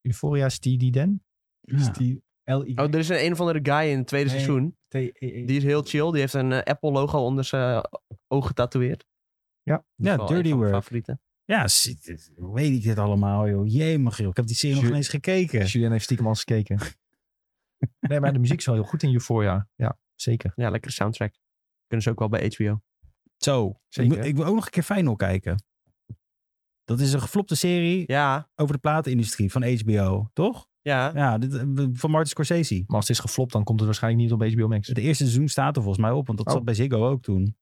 Euphoria, Steady Dan. Ja. Is die L-I... Oh, er Oh, is een, een of andere guy in het tweede Nee. seizoen. E Die is heel chill. Die heeft een eh, Apple-logo onder zijn oog getatoeëerd. Ja. Dat is Ja, wel Dirty een van mijn Work. favorieten. Ja, shit, dit- hoe weet ik dit allemaal, joh. Jemig, joh. Ik heb die serie nog Ju- nog eens gekeken. Julien heeft stiekem al eens gekeken. nee, maar de muziek is wel heel goed in Euphoria. Ja, zeker. Ja, lekkere soundtrack. Kunnen ze ook wel bij HBO. Zo. Ik, Zeker. moet- ik wil ook nog een keer Final kijken. Dat is een geflopte serie Ja, over de platenindustrie van HBO, toch? ja. Ja, dit, eh, van Martin Scorsese. Maar als het is geflopt, dan komt het waarschijnlijk niet op HBO Max. Het eerste seizoen staat er volgens mij op, want dat Oh. zat bij Ziggo ook toen.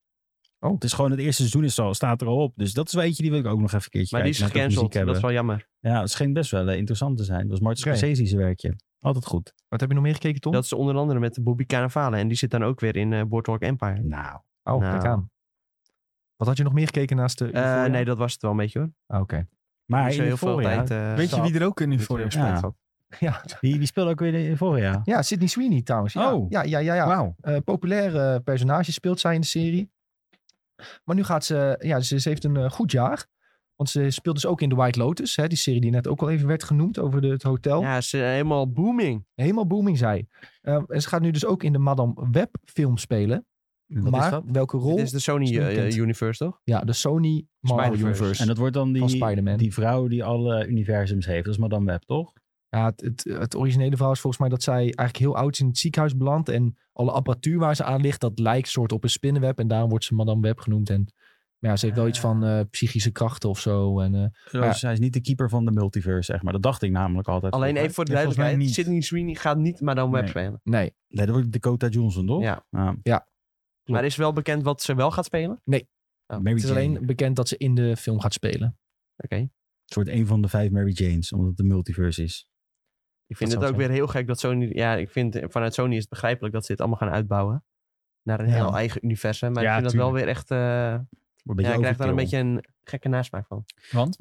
Oh. Het is gewoon het eerste seizoen is al, staat er al op. Dus dat is wel eentje die wil ik ook nog even een keertje Maar die is kijken. net ook gecanceld. muziek Dat hebben. is wel jammer. Ja, het scheen best wel eh, interessant te zijn. Dat was Martin Oké. Scorsese's werkje. Altijd goed. Wat heb je nog meer gekeken, Oh. Tom? Dat is onder andere met Bobby Cannavale. En die zit dan ook weer in eh Boardwalk Empire. Nou, oh, nou. kijk aan. Wat had je nog meer gekeken naast de Eh, Euphoria? nee, dat was het wel een beetje hoor. Ah, Oké. maar Niet zo in heel veel Euphoria, tijd. eh, Weet je wie er ook in eh, Euphoria Ja. speelt? Ja. die, die speelde ook weer in Euphoria. ja, Sydney Sweeney trouwens. Ja, Oh. ja, ja, ja. ja. Wauw. Eh, populair eh, personage speelt zij in de serie. Maar nu gaat ze, ja, ze, ze heeft een eh, goed jaar. Want ze speelt dus ook in The White Lotus, hè, die serie die net ook al even werd genoemd over de, het hotel. Ja, ze is helemaal booming. Helemaal booming zij. Eh, en ze gaat nu dus ook in de Madame Web film spelen. Wat maar is dat? welke rol? Dit is de Sony is niet eh, eh, bekend. Universe toch? Ja, de Sony Marvel Spider-Verse. Universe. En dat wordt dan Van die, Spider-Man. die vrouw die alle universums heeft. Dat is Madame Web, toch? Ja, het, het, het originele verhaal is volgens mij dat zij eigenlijk heel oud in het ziekenhuis belandt. En alle apparatuur waar ze aan ligt, dat lijkt soort op een spinnenweb. En daarom wordt ze Madame Web genoemd. En maar ja, ze heeft wel Ah. iets van eh, psychische krachten of zo. En, eh, Ja. Dus Zij is niet de keeper van de multiverse, zeg maar. Dat dacht ik namelijk altijd. Alleen even voor de Nee, volgens mij duidelijkheid. niet. Sydney Sweeney gaat niet Madame Web Nee. spelen. nee, Nee, dat wordt Dakota Johnson, toch? Ja. Ah, Maar is wel bekend wat ze wel gaat spelen? Oh, Mary het is Jane. alleen bekend dat ze in de film gaat spelen. Oké. Het wordt een van de vijf Mary Janes, omdat het de multiverse is. Ik vind Dat het zou ook zijn. weer heel gek dat Sony... Ja, ik vind eh, vanuit Sony is het begrijpelijk dat ze dit allemaal gaan uitbouwen. Naar een Ja. heel eigen universum. Maar Ja, ik vind dat wel weer echt... eh, Wordt een ja, ik beetje krijg daar een beetje overkill. een gekke nasmaak van. Want?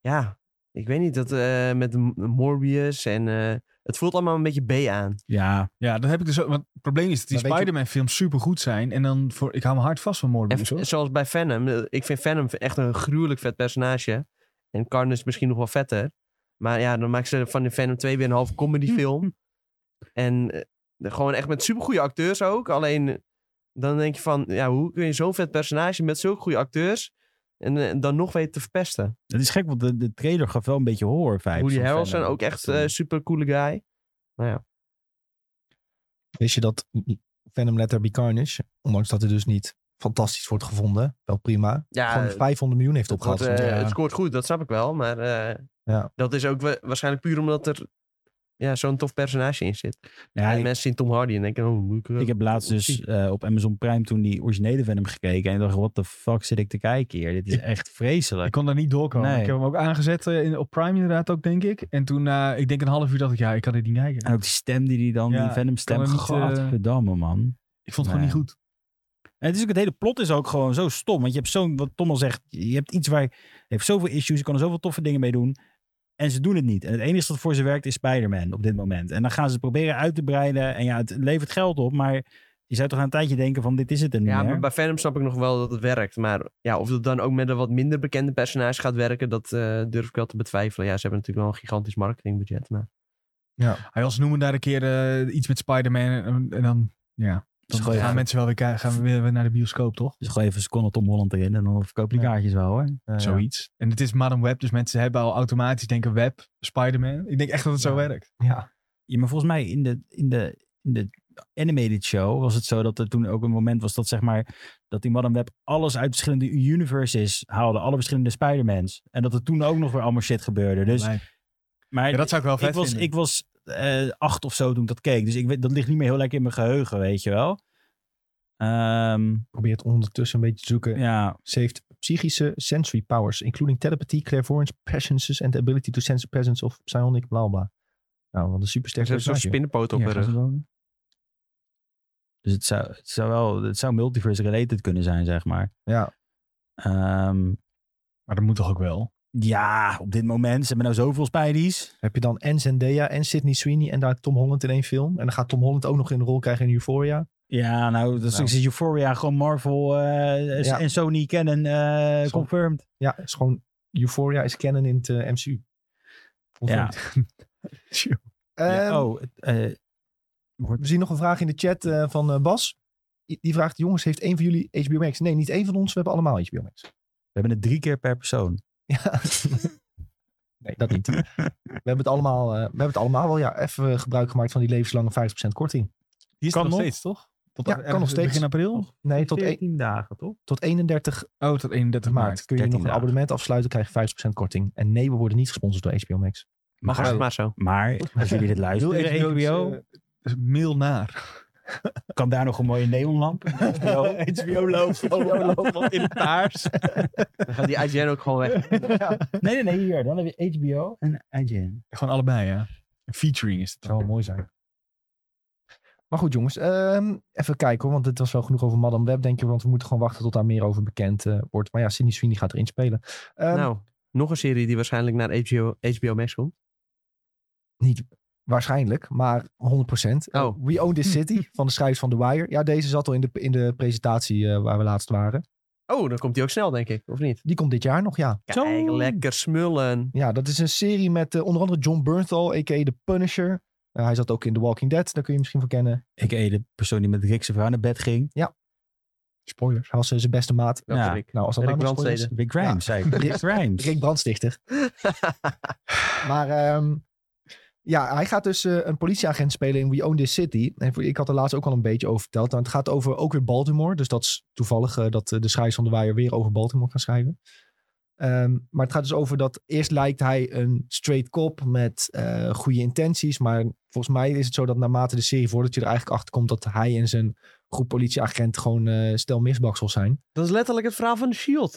Ja, ik weet niet. Dat eh, met M- Morbius en... eh, het voelt allemaal een beetje B aan. Ja, Ja, dat heb ik dus ook. Want het probleem is dat die Maar weet je- Spider-Man films supergoed zijn. En dan voor... Ik hou mijn hart vast van En Morbius, v- hoor. zoals bij Venom. eh, Ik vind Venom echt een gruwelijk vet personage. En Carnage misschien nog wel vetter. Maar ja, dan maken ze van de Venom 2 weer een half comedyfilm. en eh, gewoon echt met supergoeie acteurs ook. Alleen eh, dan denk je van, ja, hoe kun je zo'n vet personage met zulke goede acteurs... en eh, dan nog weten te verpesten. het is gek, want de, de trailer gaf wel een beetje horror vibes. Woody van Harrelson, Venom. ook echt Toen- eh super coole guy. Wist je dat Venom Letter Be Carnage, ondanks dat het dus niet fantastisch wordt gevonden, wel prima, Ja, gewoon eh, 500 miljoen heeft Het, opgehaald. wordt, eh, Ja. het scoort goed, dat snap ik wel. Maar eh, Ja. dat is ook wa- waarschijnlijk puur omdat er ja, zo'n tof personage in zit. Ja, en ik, mensen zien Tom Hardy en denken, oh, moet ik, ik heb laatst dus eh, op Amazon Prime toen die originele Venom gekeken. En dacht, what the fuck zit ik te kijken hier? Dit is Ik- echt vreselijk. Ik kon daar niet doorkomen. Nee. Ik heb hem ook aangezet eh, in, op Prime inderdaad ook, denk ik. En toen, eh, ik denk een half uur, dacht ik, ja, ik kan dit niet kijken. En ook die stem die die dan, Ja, die Venom stem. kan er niet, eh, Godverdamme, man. Ik vond het gewoon Nee. niet goed. En het, is ook, het hele plot is ook gewoon zo stom. Want je hebt zo'n, wat Tom al zegt, je hebt iets waar, je heeft zoveel issues, je kan er zoveel toffe dingen mee doen. En ze doen het niet. En het enige dat voor ze werkt is Spider-Man op dit moment. En dan gaan ze het proberen uit te breiden. En ja, het levert geld op, maar je zou toch aan een tijdje denken van dit is het en niet Ja, meer. maar bij Venom snap ik nog wel dat het werkt. Maar ja, of het dan ook met een wat minder bekende personage gaat werken, dat eh, durf ik wel te betwijfelen. Ja, ze hebben natuurlijk wel een gigantisch marketingbudget. Maar Hij was noemen daar een keer eh, iets met Spider-Man. En, en dan, ja, Dus dan gooi gaan even- mensen wel weer, kijken- gaan we weer weer naar de bioscoop, toch? Dus gooi even een seconde Tom Holland erin en dan verkoop je die Ja. kaartjes wel hoor. Eh, Zoiets. En het is Madame Web, dus mensen hebben al automatisch denken Web, Spider-Man. Ik denk echt dat het zo Ja. werkt. ja. Ja, maar volgens mij in de, in de, in de animated show was het zo dat er toen ook een moment was dat zeg maar dat die Madame Web alles uit verschillende universes haalde, alle verschillende Spider-Mans. En dat er toen ook nog weer allemaal shit gebeurde. Dus, Nee. maar Ja, dat zou ik wel vet ik was, vinden. ik was eh, acht of zo toen ik dat keek, dus ik weet, dat ligt niet meer heel lekker in mijn geheugen, weet je wel. Ehm, Probeert ondertussen een beetje te zoeken. ja, Ze heeft psychische sensory powers, including telepathy, clairvoyance, presences and the ability to sense the presence of psionic bla bla. Nou, wat een ze supersterke hebben zo'n personage. spinnenpoot op ja, haar gaan rug. ze wel. Dus het zou, het zou wel, het zou multiverse related kunnen zijn, zeg maar. Ja. Ehm, Maar dat moet toch ook wel? Ja, op dit moment. Ze hebben nou zoveel Spidey's. Heb je dan en Zendaya en Sydney Sweeney en daar Tom Holland in één film. En dan gaat Tom Holland ook nog een rol krijgen in Euphoria. Ja, nou, dat is Nou. is Euphoria. Gewoon Marvel eh, Ja. en Sony Canon eh, Zo. confirmed. Ja, het is gewoon Euphoria is canon in het eh, MCU. Ja. Ehm, oh, Ja, oh, eh, Wordt- We zien nog een vraag in de chat eh, van eh, Bas. Die die vraagt, jongens, heeft één van jullie HBO Max? Nee, niet één van ons. We hebben allemaal HBO Max. We hebben het drie keer per persoon. Ja. nee, dat niet. We hebben het allemaal, eh, we hebben het allemaal wel ja, even gebruik gemaakt van die levenslange 50% korting. Die is Kan er nog nog? steeds, toch? Tot Ja, ergens kan nog steeds. Begin Oh, april? Nee, tot, e- 14 dagen, toch? tot 31 Oh, tot 31 maart, maart. kun je nog 13 een dagen. abonnement afsluiten, krijg je 50% korting. En nee, we worden niet gesponsord door HBO Max. Mag Maar, het maar zo. maar als jullie dit Heel luisteren, HBO, HBO, eh, mail naar. kan daar nog een mooie neonlamp. HBO, loopt in paars. Dan gaat die IGN ook gewoon Ehm. weg. Nee, nee, nee, hier. Dan heb je HBO en IGN. Gewoon allebei, ja. Featuring is het zou dan. wel mooi zijn. Maar goed jongens, ehm, even kijken hoor, want dit was wel genoeg over Madame Web denk je. Want we moeten gewoon wachten tot daar meer over bekend eh, wordt. Maar ja, Sydney Sweeney gaat erin spelen. Ehm, nou, nog een serie die waarschijnlijk naar HBO, HBO Max komt. Niet waarschijnlijk, maar 100%. Oh. We Own This City van de schrijvers van The Wire. Ja, deze zat al in de, in de presentatie eh, waar we laatst waren. Oh, dan komt die ook snel, denk ik. Of niet? Die komt dit jaar nog, ja. Kijk, lekker smullen. Ja, dat is een serie met eh, onder andere John Bernthal, a.k.a. The Punisher. Eh, hij zat ook in The Walking Dead, daar kun je misschien van kennen. Ik eet de persoon die met Rick zijn vrouw naar bed ging. Spoilers. Hij was eh, zijn beste maat. Dat Ja. vind ik. Nou, als dat Rick nou nog spoilers Brandstede. Rick Grimes, zei ik. Rick Grimes. is. Rick Brandstichter. maar ehm, ja, hij gaat dus eh, een politieagent spelen in We Own This City. En voor- ik had er laatst ook al een beetje over verteld. Nou, het gaat over ook weer Baltimore. Dus dat is toevallig eh, dat eh, de schrijvers van de Wire weer over Baltimore gaan schrijven. Ehm, maar het gaat dus over dat eerst lijkt hij een straight cop met eh, goede intenties. Maar volgens mij is het zo dat naarmate de serie voordat je er eigenlijk achter komt dat hij en zijn groep politieagent gewoon eh, stel misbaksels zijn. Dat is letterlijk het verhaal van The Shield.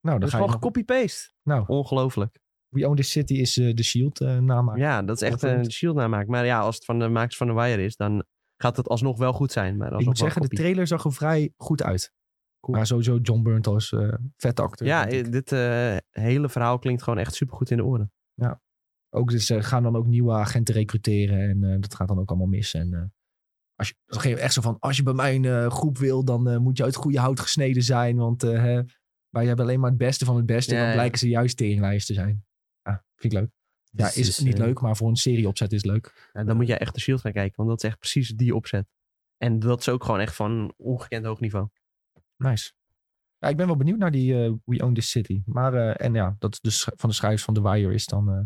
Nou, Dat dan is ga je gewoon gecopy-paste. Nou. Ongelooflijk. We Own This City is eh, de Shield eh namaak. Ja, dat is echt Wat een goed. Shield namaak. Maar ja, als het van de makers van The Wire is, dan gaat het alsnog wel goed zijn. Maar ik alsnog moet wel zeggen, de kopie. trailer zag er vrij goed uit. Cool. Maar sowieso John Bernthal is eh vet acteur. Ja, denk ik. eh, dit eh, hele verhaal klinkt gewoon echt supergoed in de oren. ook, dus ze gaan dan ook nieuwe agenten recruteren en eh, dat gaat dan ook allemaal mis. En eh, als je, op een gegeven moment echt zo van, als je bij mijn eh, groep wil, dan eh, moet je uit goede hout gesneden zijn. Want eh, hè, wij hebben alleen maar het beste van het beste. Ja, en dan ja. blijken ze juist teringlijst te zijn. Ja, vind ik leuk. Ja, Dus is het niet eh, leuk, maar voor een serie opzet is het leuk. En dan moet jij echt de Shield gaan kijken, want dat is echt precies die opzet. En dat is ook gewoon echt van ongekend hoog niveau. Nice. Ja, ik ben wel benieuwd naar die eh, We Own This City. Maar, eh, en ja, dat is dus van de schrijvers van The Wire is dan... eh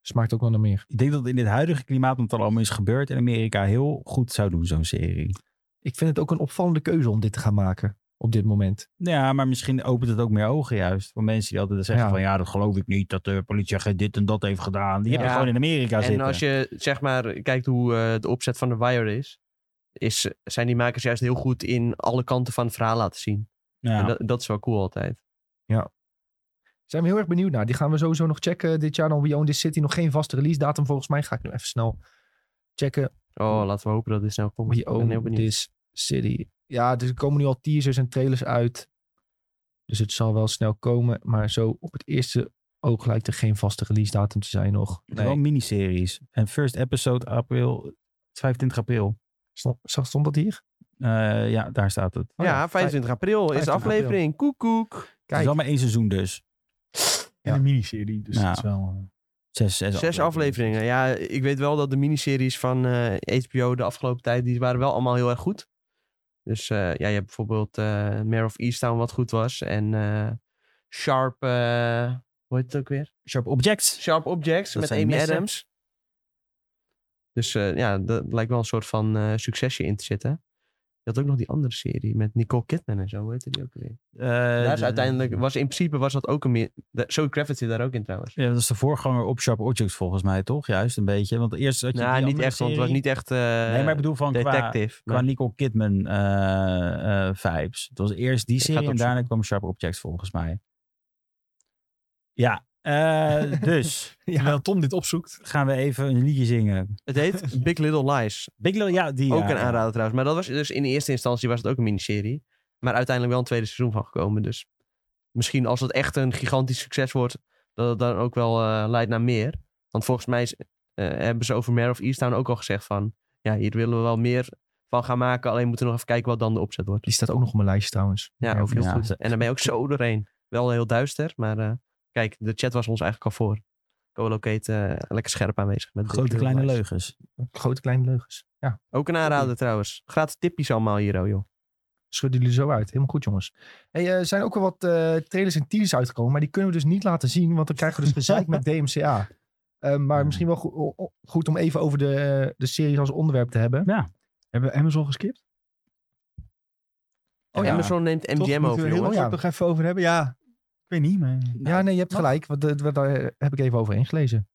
smaakt ook wel naar meer. Ik denk dat het in dit huidige klimaat, omdat het allemaal is gebeurd in Amerika, heel goed zou doen, zo'n serie. Ik vind het ook een opvallende keuze om dit te gaan maken op dit moment. Ja, maar misschien opent het ook meer ogen juist. Voor mensen die altijd zeggen Ja. van ja, dat geloof ik niet. Dat de politieagent dit en dat heeft gedaan. Die Ja. hebben gewoon in Amerika en zitten. als je zeg maar kijkt hoe eh, de opzet van The Wire is, is, zijn die makers juist heel goed in alle kanten van het verhaal laten zien. Ja. En dat, dat is wel cool altijd. Zijn we heel erg benieuwd naar. Die gaan we sowieso nog checken dit jaar. Dan We Own This City. Nog geen vaste release datum volgens mij. Ga ik nu even snel checken. Oh, laten we hopen dat dit snel komt. We Ik ben heel Own benieuwd. This City. Ja, dus er komen nu al teasers en trailers uit. Dus het zal wel snel komen. Maar zo op het eerste oog lijkt er geen vaste release datum te zijn nog. Het zijn Wel miniseries. En first episode april, 25 april. Stond, zag- stond dat hier? Eh, ja, daar staat het. Oh ja, 25 april is de 25 april. aflevering. Koek, koek. Het is Kijk, wel maar één seizoen dus. In een miniserie, dus Ja. dat is wel... eh, Zes, zes, Zes afleveringen. Ja, ik weet wel dat de miniseries van eh, HBO de afgelopen tijd, die waren wel allemaal heel erg goed. Dus eh, ja, je hebt bijvoorbeeld eh Mare of Easttown wat goed was. En eh, Sharp, eh, hoe heet het ook weer? Sharp Objects. Sharp Objects Dat met zijn Amy messen. Adams. Dus eh, ja, dat lijkt wel een soort van eh, succesje in te zitten. Je had ook nog die andere serie met Nicole Kidman en zo, hoe heette die ook weer? Eh, daar is de- uiteindelijk, was in principe was dat ook een meer... da- Zoe Kravitz zit daar ook in trouwens. Ja, dat is de voorganger op Sharp Objects volgens mij, toch? Juist, een beetje. Want eerst had je Nou, die niet andere echt, want het was serie. niet echt eh, Nee, maar ik bedoel van qua, detective. qua maar- Nicole Kidman eh, eh, vibes. Het was eerst die ga serie het en daarna kwam Sharp Objects volgens mij. Ja, eh, dus Terwijl Tom dit opzoekt. gaan we even een liedje zingen. Het heet Big Little Lies. Big Little, ja, die. Ook ja. een aanrader trouwens. Maar dat was dus in eerste instantie was het ook een miniserie. Maar uiteindelijk wel een tweede seizoen van gekomen. Dus misschien als het echt een gigantisch succes wordt, dat het dan ook wel eh, leidt naar meer. Want volgens mij is- eh, hebben ze over Mare of Easttown ook al gezegd van, ja, hier willen we wel meer van gaan maken. Alleen moeten we nog even kijken wat dan de opzet wordt. die staat ook nog op mijn lijstje trouwens. Ja, ook heel ja, goed. ze- En dan ben je ook zo doorheen. Wel heel duister, maar eh, kijk, de chat was ons eigenlijk al voor. Colocate eh lekker scherp aanwezig. Met Grote Big kleine Little Lies. leugens. Grote kleine leugens. Ja. Ook een aanrader trouwens. Gratis tippies allemaal hier, oh, joh. schudden jullie zo uit. Helemaal goed, jongens. Hey, eh, er zijn ook wel wat eh, trailers en teasers uitgekomen, maar die kunnen we dus niet laten zien, want dan krijgen we dus gezeik met DMCA. Eh, maar Hmm. misschien wel go- o- o- goed om even over de, eh, de series als onderwerp te hebben. Hebben we Amazon geskipt? Oh En ja. Oh Amazon neemt Oh Toch? MGM Moeten over, we Oh heel jongens. ja. kort nog even over hebben? Ja, ik weet niet, maar... Ja, nee, je hebt gelijk, want eh, daar heb ik even over ingelezen.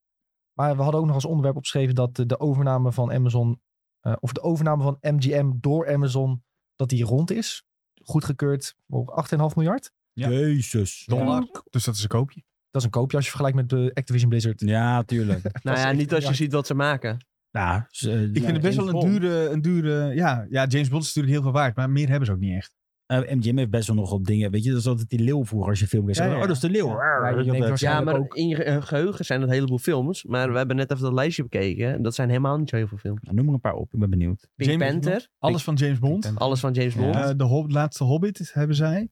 Maar we hadden ook nog als onderwerp opgeschreven dat eh, de overname van Amazon, eh, of de overname van MGM door Amazon, dat die rond is. Goedgekeurd voor 8,5 miljard. Ja. Jezus. Dollar. Dus dat is een koopje. Dat is een koopje als je vergelijkt met de Activision Blizzard. Ja, tuurlijk. Nou ja, echt een niet als je jaar. ziet wat ze maken. nou, ze- Ik vind het best wel een dure, een dure... Ja, ja, James Bond is natuurlijk heel veel waard, maar meer hebben ze ook niet echt. Eh, MGM heeft best wel nogal dingen. Weet je, dat is altijd die leeuw vroeger als je film kijkt. Ja, Zo, ja, ja. Oh, dat is de leeuw. Ja, je Weet je, denkt dat- waarschijnlijk- Ja, maar ook. in je eh, geheugen zijn dat een heleboel films. Maar we hebben net even dat lijstje bekeken. Dat zijn helemaal niet zo heel veel films. Nou, noem er een paar op. Ik ben benieuwd. Pink James Panther, Alles van James Bond. Panther. alles van James Ja. Bond. Eh, de hob- laatste Hobbit hebben zij.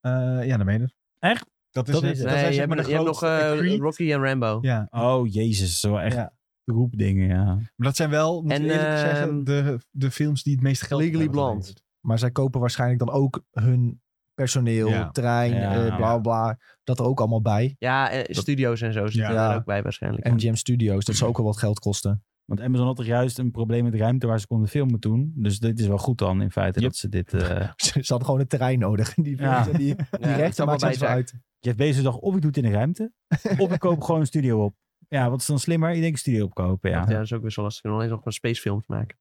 Eh ja, de mede. Echt? Dat is, Dat het. is het. Dat nee, zijn je zeg maar hebt, de je hebt nog grootste. eh, Creed. Rocky en Rambo. Ja, Oh, jezus. Zo echt Ja. roepdingen, ja. maar dat zijn wel, moet ik En, eerlijk ehm, zeggen, de, de films die het meeste geld Legally hebben Blonde. geleverd. Maar zij kopen waarschijnlijk dan ook hun personeel, Ja. trein, Ja. eh, bla bla. Dat er ook allemaal bij. Ja, eh, studio's en zo Ja. zitten daar ook bij waarschijnlijk. MGM Studios, dat zou ook al wat geld kosten. Want Amazon had toch juist een probleem met ruimte waar ze konden filmen toen. Dus dit is wel goed dan, in feite, Yep. dat ze dit... eh, Ze ze hadden gewoon een terrein nodig. Die, Ja. die, die Ja, dat is rechten allemaal maakt bij zelfs wel zaak. uit. Jeff Bezos dacht, of ik doe het in de ruimte, of ik koop gewoon een studio op. Ja, wat is dan slimmer? Ik denk een studio opkopen, ja. Ja, dat is ook best wel lastig. En alleen nog maar spacefilms maken.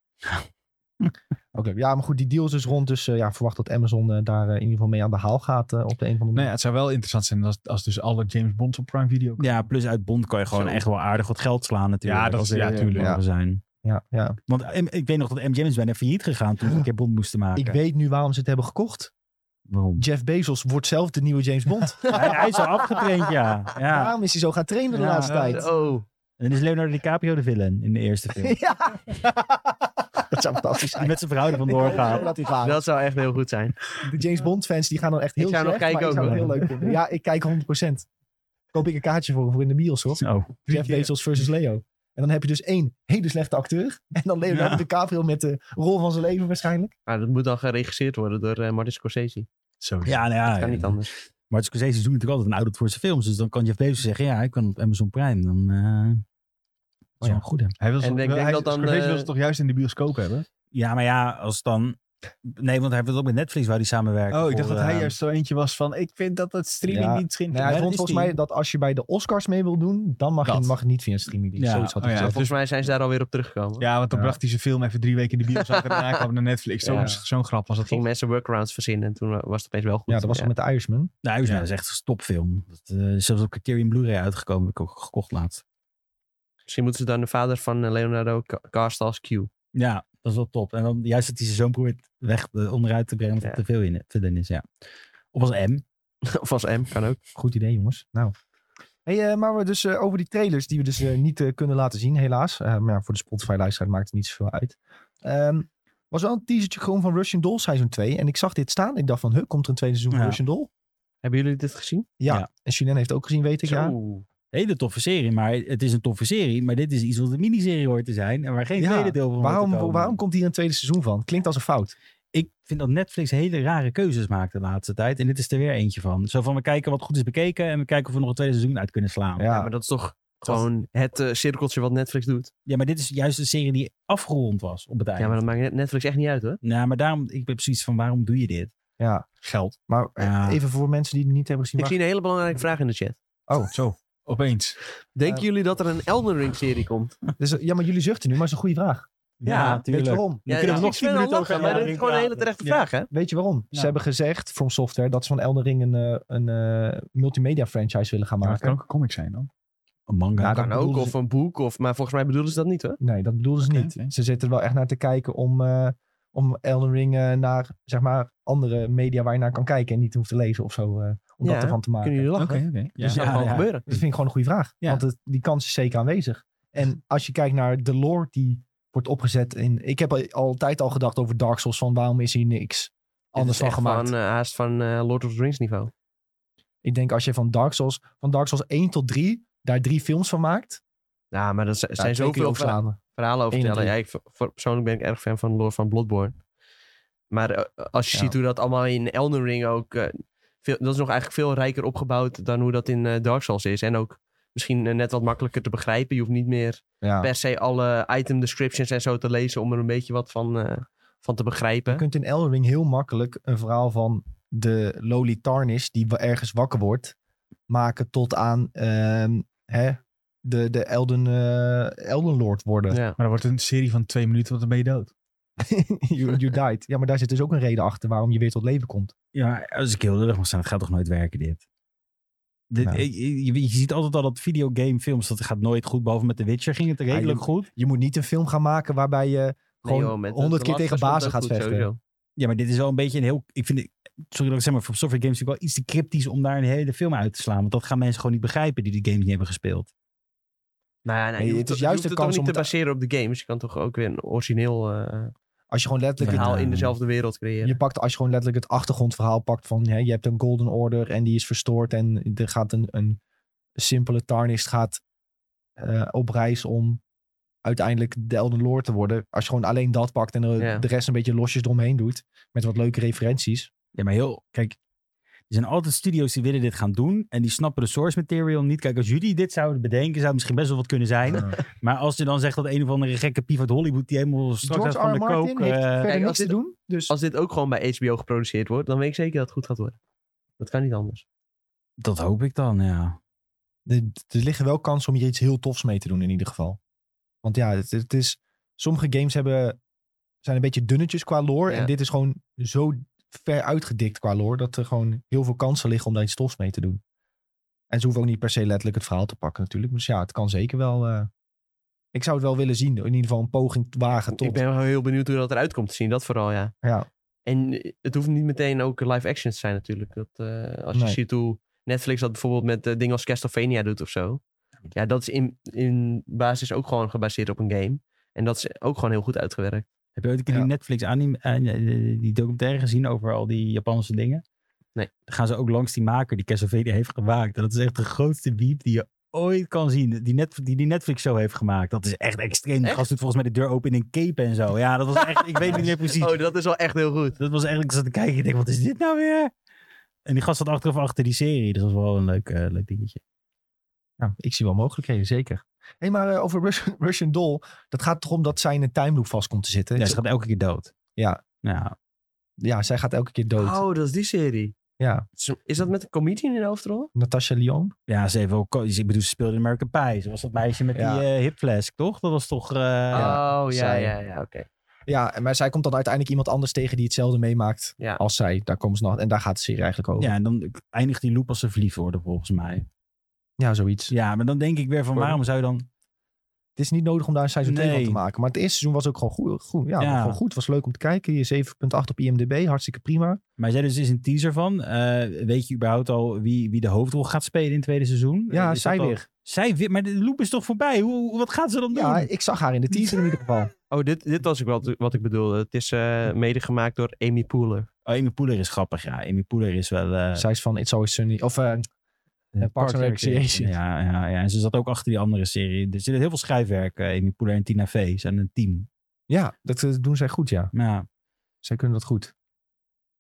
Ook leuk. Ja, maar goed, die deal is dus rond. Dus eh, ja, verwacht dat Amazon eh, daar eh, in ieder geval mee aan de haal gaat eh, op de een van de Nou ja, het zou wel interessant zijn als, als dus alle James Bonds op Prime Video komen. Ja, plus uit Bond kan je gewoon Zo. echt wel aardig wat geld slaan natuurlijk. Ja, dat als is- er, ja, eh, tuurlijk. plannen zijn. Ja, ja. Want eh, ik weet nog dat MGM is bijna failliet gegaan toen ze een keer Bond moesten maken. Ik weet nu waarom ze het hebben gekocht. Waarom? Jeff Bezos wordt zelf de nieuwe James Bond. hij, hij is al afgetraind, ja. ja. Waarom is hij zo gaan trainen de Ja. laatste Ja, tijd? Oh, En dan is Leonardo DiCaprio de villain in de eerste film. Ja. dat zou fantastisch Die zijn. met zijn vrouw ervan Ik hoop zo doorgaat. dat hij gaat. dat zou echt heel goed zijn. De James Bond fans die gaan dan echt heel zou nog slecht, maar kijken ik zou ook, het hoor. heel leuk vinden. Ja, ik kijk 100%. Koop ik een kaartje voor, voor in de bios hoor. Zo. Jeff keer. Bezos versus Leo. En dan heb je dus één hele slechte acteur. En dan Leonardo Ja. DiCaprio met de rol van zijn leven waarschijnlijk. Maar Ah, dat moet dan geregisseerd worden door eh, Martin Scorsese. Zo. Ja, nou ja. Kan niet ja. anders. Maar Scorsese doet natuurlijk altijd een audit voor zijn films. Dus dan kan Jeff Bezos zeggen, ja, ik kan op Amazon Prime. Dan eh is wel ja. een goede. Hij wil En ze- denk- denk hij- dat dan, Scorsese wil eh, ze toch juist in de bioscoop hebben? Ja, maar ja, als dan... Nee, want hij heeft het ook met Netflix waar hij samenwerkt. Oh, ik dacht voor, dat hij eh, juist zo eentje was van, ik vind dat het streaming Ja. niet schimt. Nou, hij dat vond is volgens die. mij dat als je bij de Oscars mee wil doen, dan mag, je, Dat. mag het niet via een streamingdienst. Ja. Zoiets had hij Oh ja, gezegd. dus- Volgens mij zijn ze daar alweer op teruggekomen. Ja, want dan Ja. bracht hij zijn film even drie weken in de bios uit en daarna kwam naar Netflix. Zo- Ja. Zo'n grap was dat Ging toch? mensen workarounds verzinnen en toen was het opeens wel goed. Ja, dat was Ja. al met de Irishman. Nou, Irishman Ja. is echt een topfilm. Dat, eh, is zelfs op Criterion Blu-ray uitgekomen. Heb ik ook gekocht laatst. Misschien moeten ze dan de vader van eh, Leonardo ca- casten als Q. Ja, dat is wel top. En dan juist dat hij zijn zoon probeert weg eh, onderuit te brengen. Omdat Ja. er te veel in villain is, ja. Of als M. of als M, kan ook. Goed idee, jongens. Nou. Hey, eh, maar we dus eh, over die trailers die we dus eh, niet eh, kunnen laten zien, helaas. Eh, maar ja, voor de Spotify-luisteraar maakt het niet zoveel uit. Ehm, was wel een teasertje gewoon van Russian Doll seizoen 2. En ik zag dit staan. Ik dacht van, huh, komt er een tweede seizoen van Ja. Russian Doll? Hebben jullie dit gezien? Ja. Ja. En Julien heeft ook gezien, weet ik. Ja. Zo. Hele toffe serie, maar het is een toffe serie. Maar dit is iets wat een miniserie hoort te zijn. En waar geen Ja, tweede deel van hoort te Waarom, komen. waarom komt hier een tweede seizoen van? Klinkt als een fout. Ik vind dat Netflix hele rare keuzes maakt de laatste tijd. En dit is er weer eentje van. Zo van, we kijken wat goed is bekeken. En we kijken of we nog een tweede seizoen uit kunnen slaan. Ja, maar dat is toch gewoon het eh, cirkeltje wat Netflix doet. Ja, maar dit is juist een serie die afgerond was op het eind. Ja, maar dat maakt net- Netflix echt niet uit hoor. Nou, maar daarom, ik ben precies van, waarom doe je dit? Ah, Ja, Geld. maar eh, Ja. even voor mensen die het niet hebben gezien. Ik zie een hele belangrijke vraag in de chat. Oh. Zo, opeens. Denken jullie dat er een Elden Ring serie komt? waar- Dus, eh, ja, maar jullie zuchten nu, maar het is een goede vraag. Ja, Weet je tuurlijk. waarom? Dan Ja, kunnen we ja, nog ik 10 ben al minuten lachen, over maar Elden dit is Ring gewoon een hele praten. terechte Ja. vraag hè. Weet je waarom? Ja. Nou. Ze hebben gezegd, From Software, dat ze van Elden Ring een, eh, een eh, multimedia franchise willen gaan Maar het maken. kan ook een comic zijn dan. Een manga. Ja, Ja, dat Kan ook, bedoelden of ze- een boek. Of, maar volgens mij bedoelen ze dat niet hoor. Nee, dat bedoelden ze Oké, niet. oké. Ze zitten er wel echt naar te kijken om, eh, om Elden Ring eh, naar, zeg maar, andere media waar je naar kan kijken en niet hoeft te lezen of zo, eh, om Ja, dat ervan te maken. Kunnen jullie lachen? oké. Dus dat Ja, kan gewoon ja. gebeuren. Dat vind ik gewoon een goede vraag. Ja. Want het- die kans is zeker aanwezig. En als je kijkt naar de lore die wordt opgezet in... Ik heb al- altijd al gedacht over Dark Souls, van waarom is hier niks anders Dit van is echt gemaakt. Van, eh, haast van eh, Lord of the Rings niveau. Ik denk als je van Dark Souls, van Dark Souls 1 tot 3, daar drie films van maakt. Ja, maar dat zi- zijn twee keer zoveel overslaan. verhalen over Eén en vertellen. Ja, drie. ik, voor- voor- persoonlijk ben ik erg fan van de lore van Bloodborne. Maar eh, als je Ja. ziet hoe dat allemaal in Elden Ring ook... eh, veel, dat is nog eigenlijk veel rijker opgebouwd dan hoe dat in eh, Dark Souls is. En ook misschien eh, net wat makkelijker te begrijpen. Je hoeft niet meer Ja. per se alle item descriptions en zo te lezen... om er een beetje wat van, eh, van te begrijpen. Je kunt in Elden Ring heel makkelijk een verhaal van de Loli Tarnish, die wa- ergens wakker wordt, maken tot aan ehm, hè, de, de Elden, eh, Elden Lord worden. Ja. Maar dat wordt een serie van twee minuten, want dan ben je dood. you, you died. Ja, maar daar zit dus ook een reden achter waarom je weer tot leven komt. Ja, als ik heel lullig mag zijn, het gaat toch nooit werken dit. Dit- Nou. je, je- je ziet altijd al dat videogamefilms, dat gaat nooit goed. Behalve met The Witcher ging het redelijk je- goed. Je moet niet een film gaan maken waarbij je gewoon joh, met de- 100 de keer tegen Last of Us bazen komt ook gaat goed vechten. sowieso. Ja, maar dit is wel een beetje een heel... Ik vind, het- sorry dat ik zeg, maar voor software games is natuurlijk wel iets te cryptisch om daar een hele film uit te slaan. Want dat gaan mensen gewoon niet begrijpen die die games niet hebben gespeeld. Nou ja, nee, Nee, je het hoeft is het- je juist hoeft de het kans toch om niet te te- baseren op de games. Je kan toch ook weer een origineel eh, Als je gewoon letterlijk Ja. het- verhaal in dezelfde wereld creëren. je pakt, als je gewoon letterlijk het achtergrondverhaal pakt van hè, je hebt een Golden Order en die is verstoord en er gaat een, een simpele tarnished gaat eh, op reis om uiteindelijk de Elden Lord te worden. Als je gewoon alleen dat pakt en er- Ja. de rest een beetje losjes eromheen doet met wat leuke referenties. Ja, maar heel... Kijk, er zijn altijd studio's die willen dit gaan doen. En die snappen de source material niet. Kijk, als jullie dit zouden bedenken, zou het misschien best wel wat kunnen zijn. Maar als je dan zegt dat een of andere gekke pief uit Hollywood die helemaal straks uit George van R. de R. Martin kook... heeft eh, verder Kijk, als niks te dit- doen. Dus Als dit ook gewoon bij HBO geproduceerd wordt, dan weet ik zeker dat het goed gaat worden. Dat kan niet anders. dat hoop ik dan, ja. er, er liggen wel kansen om hier iets heel tofs mee te doen in ieder geval. Want ja, het, het is, sommige games hebben, zijn een beetje dunnetjes qua lore. Ja. En dit is gewoon zo ver uitgedikt qua lore dat er gewoon heel veel kansen liggen om daar iets tofs mee te doen. En ze hoeven ook niet per se letterlijk het verhaal te pakken natuurlijk. Dus ja, het kan zeker wel. eh, ik zou het wel willen zien. In ieder geval een poging te wagen tot. Ik ben wel heel benieuwd hoe dat eruit komt te zien. Dat vooral, ja. Ja. En eh, het hoeft niet meteen ook live action te zijn natuurlijk. Dat, eh, als je Nee. ziet hoe Netflix dat bijvoorbeeld met eh, dingen als Castlevania doet of zo. Ja, dat is in, in basis ook gewoon gebaseerd op een game. En dat is ook gewoon heel goed uitgewerkt. Heb je ooit een keer Ja. die Netflix anime, eh, die documentaire gezien over al die Japanse dingen? Nee. Dan gaan ze ook langs die maker die Castlevania heeft gemaakt. En dat is echt de grootste biep die je ooit kan zien. Die, net, die die Netflix show heeft gemaakt. Dat is echt extreem. De Echt? gast doet volgens mij de deur open in een cape en zo. Ja, dat was echt, ik weet niet meer precies. Oh, dat is wel echt heel goed. Dat was echt, ik zat te kijken, ik denk, wat is dit nou weer? En die gast zat achteraf achter die serie. Dus dat was wel een leuk, eh, leuk dingetje. Ja, ik zie wel mogelijkheden, zeker. Hé, hey, maar eh, over Russian, Russian Doll. Dat gaat erom dat zij in een time loop vast komt te zitten. Ja, Ja, ze gaat elke keer dood. Ja. Nou, zij gaat elke keer dood. Oh, dat is die serie. Ja, Is- Is dat met een comedian in de hoofdrol? Natasha Lyon. Ja, ze heeft wel. ko- Ik bedoel, ze speelde in American Pie. Ze was dat meisje met Ja. die eh hipflask, toch? Dat was toch. eh, oh, ja, zij. ja, ja, oké. Ja, maar zij komt dan uiteindelijk iemand anders tegen die hetzelfde meemaakt Ja. als zij. Daar komen ze nog. En daar gaat de serie eigenlijk over. Ja, Ja, en dan eindigt die loop als ze verliefd worden, volgens mij. zoiets. Ja, maar dan denk ik weer van Sorry. waarom zou je dan. Het is niet nodig om daar een seizoen 2 Nee. van te maken. Maar het eerste seizoen was ook gewoon goed. goed ja, Ja. gewoon goed. Was leuk om te kijken. Hier 7.8 op IMDb. Hartstikke prima. Maar jij dus is een teaser van. eh, weet je überhaupt al wie, wie de hoofdrol gaat spelen in het tweede seizoen? Ja, Eh, is zij dat al- weer. Zij weer. Maar de loop is toch voorbij? Hoe, hoe- wat gaat ze dan Ja, doen? ik zag haar in de teaser in ieder geval. Oh, dit, dit was ook wat, wat ik bedoelde. Het is eh medegemaakt door Amy Poehler. Oh, Amy Poeler is grappig, ja. Amy Poeler is wel. eh, Zij is van It's Always Sunny. Of eh, Parks and Recreation. Ja, ja, ja, en ze zat ook achter die andere serie. Er zit heel veel schrijfwerk. eh, Amy Poeler en Tina Fey zijn een team. ja, dat eh, doen zij goed, ja. Maar ja, Zij kunnen dat goed.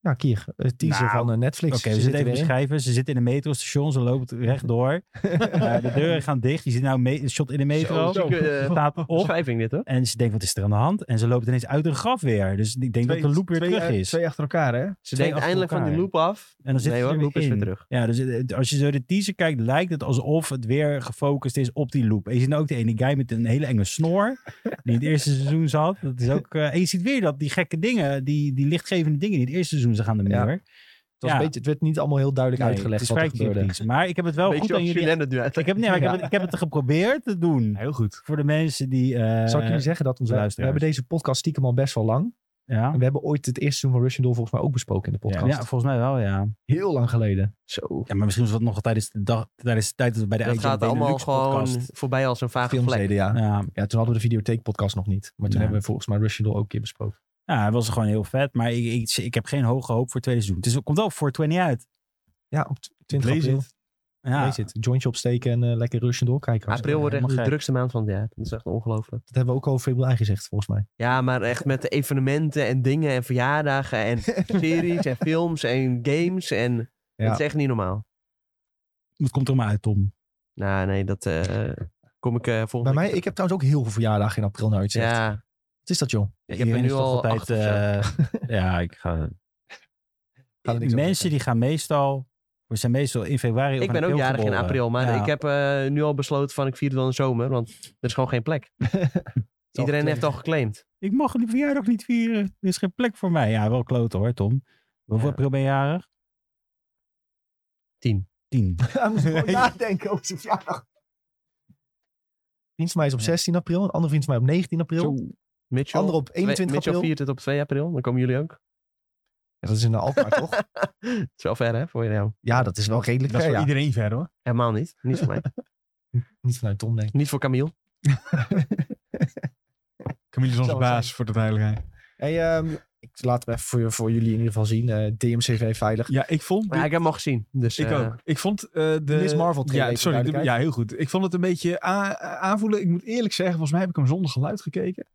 Ja, Kier. eh, teaser Nou, van eh, Netflix. Oké, we Ze zitten even zitten erin. beschrijven. Ze zitten in een metrostation, ze loopt rechtdoor. Eh, de deuren gaan dicht. Je ziet nou een me- een shot in de metro. Zo, zieke, eh, Staat op. Omschrijving dit hoor. En ze denkt, wat is er aan de hand? En ze loopt ineens uit een graf weer. Dus ik denk dat de loop weer twee, terug eh, is. Twee achter elkaar, hè? Ze Twee denkt achter eindelijk van die elkaar. loop af. En dan zit nee ze hoor, er weer loop is weer in. terug. Ja, dus het- als je zo de teaser kijkt, lijkt het alsof het weer gefocust is op die loop. En je ziet nou ook de ene guy met een hele enge snor, die in het eerste seizoen zat. Dat is ook, eh, en je ziet weer dat die gekke dingen, die, die lichtgevende dingen die in het eerste seizoen zagen aan de Ja. muur. Het, was Ja. een beetje, het werd niet allemaal heel duidelijk Nee, uitgelegd het is wat er vrij gebeurde. cryptisch. Maar ik heb het wel Beetje goed aan als jullie... Julianne het nu uit. Ik heb, nee, maar ik, heb het, ik heb het geprobeerd te doen. Heel goed. Voor de mensen die... eh, Zal ik jullie zeggen dat onze luisteraars. luisteraars... We hebben deze podcast stiekem al best wel lang. Ja. En we hebben ooit het eerste seizoen van Russian Doll volgens mij ook besproken in de Ja, podcast. ja, volgens mij wel, ja. Heel lang geleden. Zo. ja maar misschien was dat nog tijdens de, dag, tijdens de tijd dat we bij de Het Agent gaat allemaal Benelux gewoon podcast- voorbij als een vage Filmzeden, vlek. ja. Ja, Ja, toen hadden we de videotheekpodcast nog niet. Maar toen Nee. hebben we volgens mij Russian Doll ook een keer besproken. ja, het was gewoon heel vet. Maar ik, ik, ik heb geen hoge hoop voor het tweede seizoen. Dus het komt wel voor 20 uit. Ja, op t- 20 Lees april. het. Ja. Weet je het, jointje opsteken en eh, lekker Russian doorkijken. April wordt echt helemaal de gek. drukste maand van het jaar. Dat is echt ongelooflijk. Dat hebben we ook al veel bij gezegd, volgens mij. Ja, maar echt met de evenementen en dingen en verjaardagen en series en films en games. En Ja. dat is echt niet normaal. Het komt er maar uit, Tom. Nou, nee, dat eh, kom ik eh volgende Bij mij, keer- ik heb trouwens ook heel veel verjaardagen in april nou uitzicht. Ja, Wat is dat, joh? ik heb er Iedereen nu is toch al acht of zo. eh, ja, ik ga... Ga er niks over Mensen die gaan meestal... We zijn meestal in februari of Ik ben ook april jarig in geboren. april, maar Ja. ik heb eh, nu al besloten van ik vier het wel in de zomer, want er is gewoon geen plek. Iedereen heeft al geclaimd. Ik mag die verjaardag niet vieren. Er is geen plek voor mij. Ja, wel kloten hoor, Tom. Hoeveel Ja. april ben je jarig? Tien. Tien. Hij moest gewoon nadenken over zijn verjaardag. Een vriend van mij is op Ja. 16 april. Een andere vriend van mij op 19 april. Mitchell, Andere op 21 Mitchell april. viert het op 2 april, dan komen jullie ook. Ja, dat is in de Alkmaar, toch? Het is wel ver hè, voor jou. Ja, dat is wel redelijk Dat is ver, voor ja. iedereen ver hoor. Helemaal niet. Niet voor mij. Niet vanuit Tom, denk ik. niet voor Camille. Camille is onze Zou het baas voor de duidelijkheid. Hey, ehm, ik laat hem even voor, voor jullie in ieder geval zien. Eh, DMCV veilig. Ja, ik vond... Maar ik heb hem al gezien. Dus, Ik eh, ook. Ik vond eh, de... Miss Marvel trailer, Ja, even sorry. de- ja, duidelijkheid. heel goed. Ik vond het een beetje a- aanvoelen. Ik moet eerlijk zeggen, volgens mij heb ik hem zonder geluid gekeken.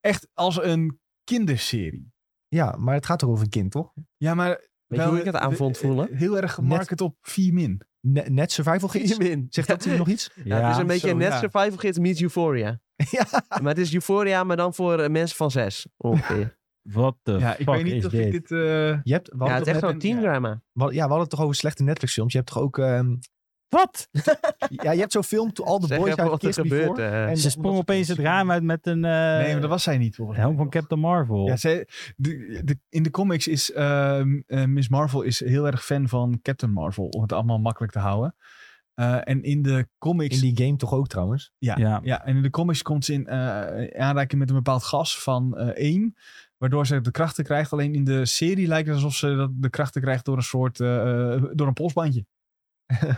Echt als een kinderserie. Ja, maar het gaat toch over een kind, toch? Ja, maar... Weet je hoe ik het eh, aan vond voelen? Heel erg gemarket op 4 min. Ne- net survival gids. Win. Zegt dat u nog iets? Ja, het is een beetje zo, net ja. Survival Kids meets Euphoria. Ja. Maar het is Euphoria, maar dan voor eh, mensen van zes ongeveer. Wat de Ja, ik fuck weet niet is of dit? ik dit... eh, Je hebt, we, ja, hadden het het is echt toch hebben- zo'n teamdrama. we hadden- ja, we hadden het toch over slechte Netflix-films. Je hebt toch ook... ehm, Wat? ja, je hebt zo'n film, To All The Zeg Boys even I've wat er Kissed gebeurt. Before. eh. En Ze sprong omdat- opeens het raam uit met een eh, nee, maar dat was zij niet volgens mij. helm van Captain Marvel. Ja, zij, de, de- in de comics is ehm, eh, Miss Marvel is heel erg fan van Captain Marvel. Om het allemaal makkelijk te houden. Eh, en in de comics In die game toch ook, trouwens. Ja, Ja. ja. en in de comics komt ze in eh, aanraking met een bepaald gas van eh één. Waardoor ze de krachten krijgt. Alleen in de serie lijkt het alsof ze dat de krachten krijgt door een soort. eh, eh, door een polsbandje.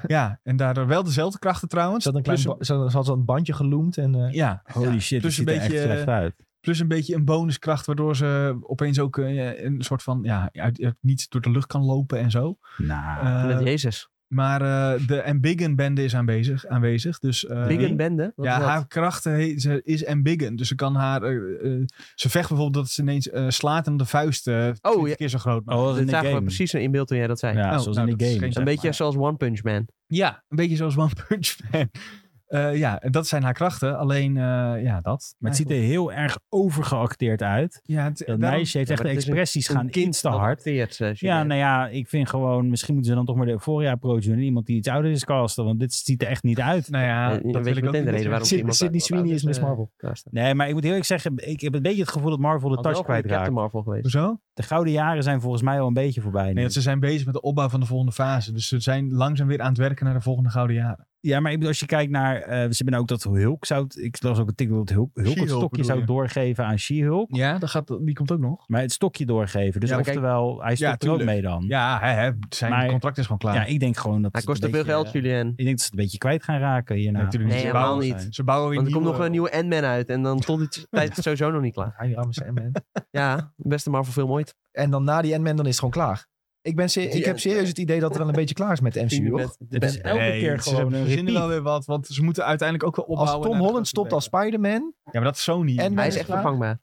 ja, en daardoor wel dezelfde krachten trouwens. Ze had, een klein plus, ba- ze, ze had zo'n bandje geloemd en... eh, ja, Holy ja. shit, plus het ziet een er echt beetje, slecht uit. plus een beetje een bonuskracht. Waardoor ze opeens ook eh, een soort van. Ja, uit, uit niets door de lucht kan lopen en zo. Nou, Eh, Met Jezus. maar eh, de Ambiggen-bende is aanwezig. aanwezig dus, eh, Big en Bende. Wat ja, is dat? haar krachten he- ze is ambiggen. Dus ze kan haar. eh, eh, ze vecht bijvoorbeeld dat ze ineens eh, slaat en de vuist eh 20 Oh, ja. keer zo groot maakt. oh, dat is Dit in de eh, zagen we game. precies in beeld toen jij dat zei. Ja, Oh, zoals nou, in dat de is game. geen- zeg een beetje maar. zoals One Punch Man. Ja, een beetje zoals One Punch Man. Eh, ja, en dat zijn haar krachten. Alleen, eh, ja, dat. Maar het ziet er heel erg overgeacteerd uit. Ja, het, Dat daarom- meisje heeft Ja, echt maar het de is een- eh, expressies gaan iets te hard. Ja, ja, nou ja, ik vind gewoon... Misschien moeten ze dan toch maar de Euphoria-approach doen. en Iemand die iets ouder is casten, want dit ziet er echt niet uit. Nou ja, Eh, dat je weet wil ik ook meteen de niet reden waarom- Sid- iemand Sydney uit- Sweeney uit- is Miss eh, Marvel. Nee, maar ik moet heel eerlijk zeggen... Ik heb een beetje het gevoel dat Marvel de touch kwijtraakt. Captain Marvel geweest. Hoezo? De gouden jaren zijn volgens mij al een beetje voorbij nu. Nee, want ze zijn bezig met de opbouw van de volgende fase. Dus ze zijn langzaam weer aan het werken naar de volgende gouden jaren. Ja, maar ik bedoel, als je kijkt naar... eh, ze hebben ook dat Hulk zou... het- Ik las ook een TikTok dat Hulk, Hulk het She-Hulk stokje bedoel zou je? doorgeven aan She-Hulk. Ja, dat gaat, die komt ook nog. Maar het stokje doorgeven. Dus Ja, maar kijk- oftewel, hij stopt er ook tuurlijk. mee Hm. dan. Ja, hè, hè, zijn Maar- contract is gewoon klaar. Ja, ik denk gewoon dat... Hij het een kost te veel beetje, geld, eh, Julian. Ik denk dat ze het een beetje kwijt gaan raken hierna. Natuurlijk niet. Nee, Ze helemaal bouwen- niet. Ze bouwen weer Want er komt nog nieuwe- een nieuwe Ant-Man uit. En dan tot die tijd is het sowieso nog niet klaar. Hij ramt zijn man. Ja, beste Marvel film ooit. En dan na die Ant-Man, dan is het gewoon klaar. Ik, ben se- ik heb Ant-Man. serieus het idee dat het wel een beetje klaar is met de Team MCU. hoor. met de Het is beste. elke Nee, keer ze gewoon hebben- een verzinnen repeat. wel weer wat, want ze moeten uiteindelijk ook wel Als opbouwen. Tom naar de Holland grote stopt als wereld. Spider-Man, Ja, maar dat is Sony. En- Hij Hij is is echt klaar. vervangbaar.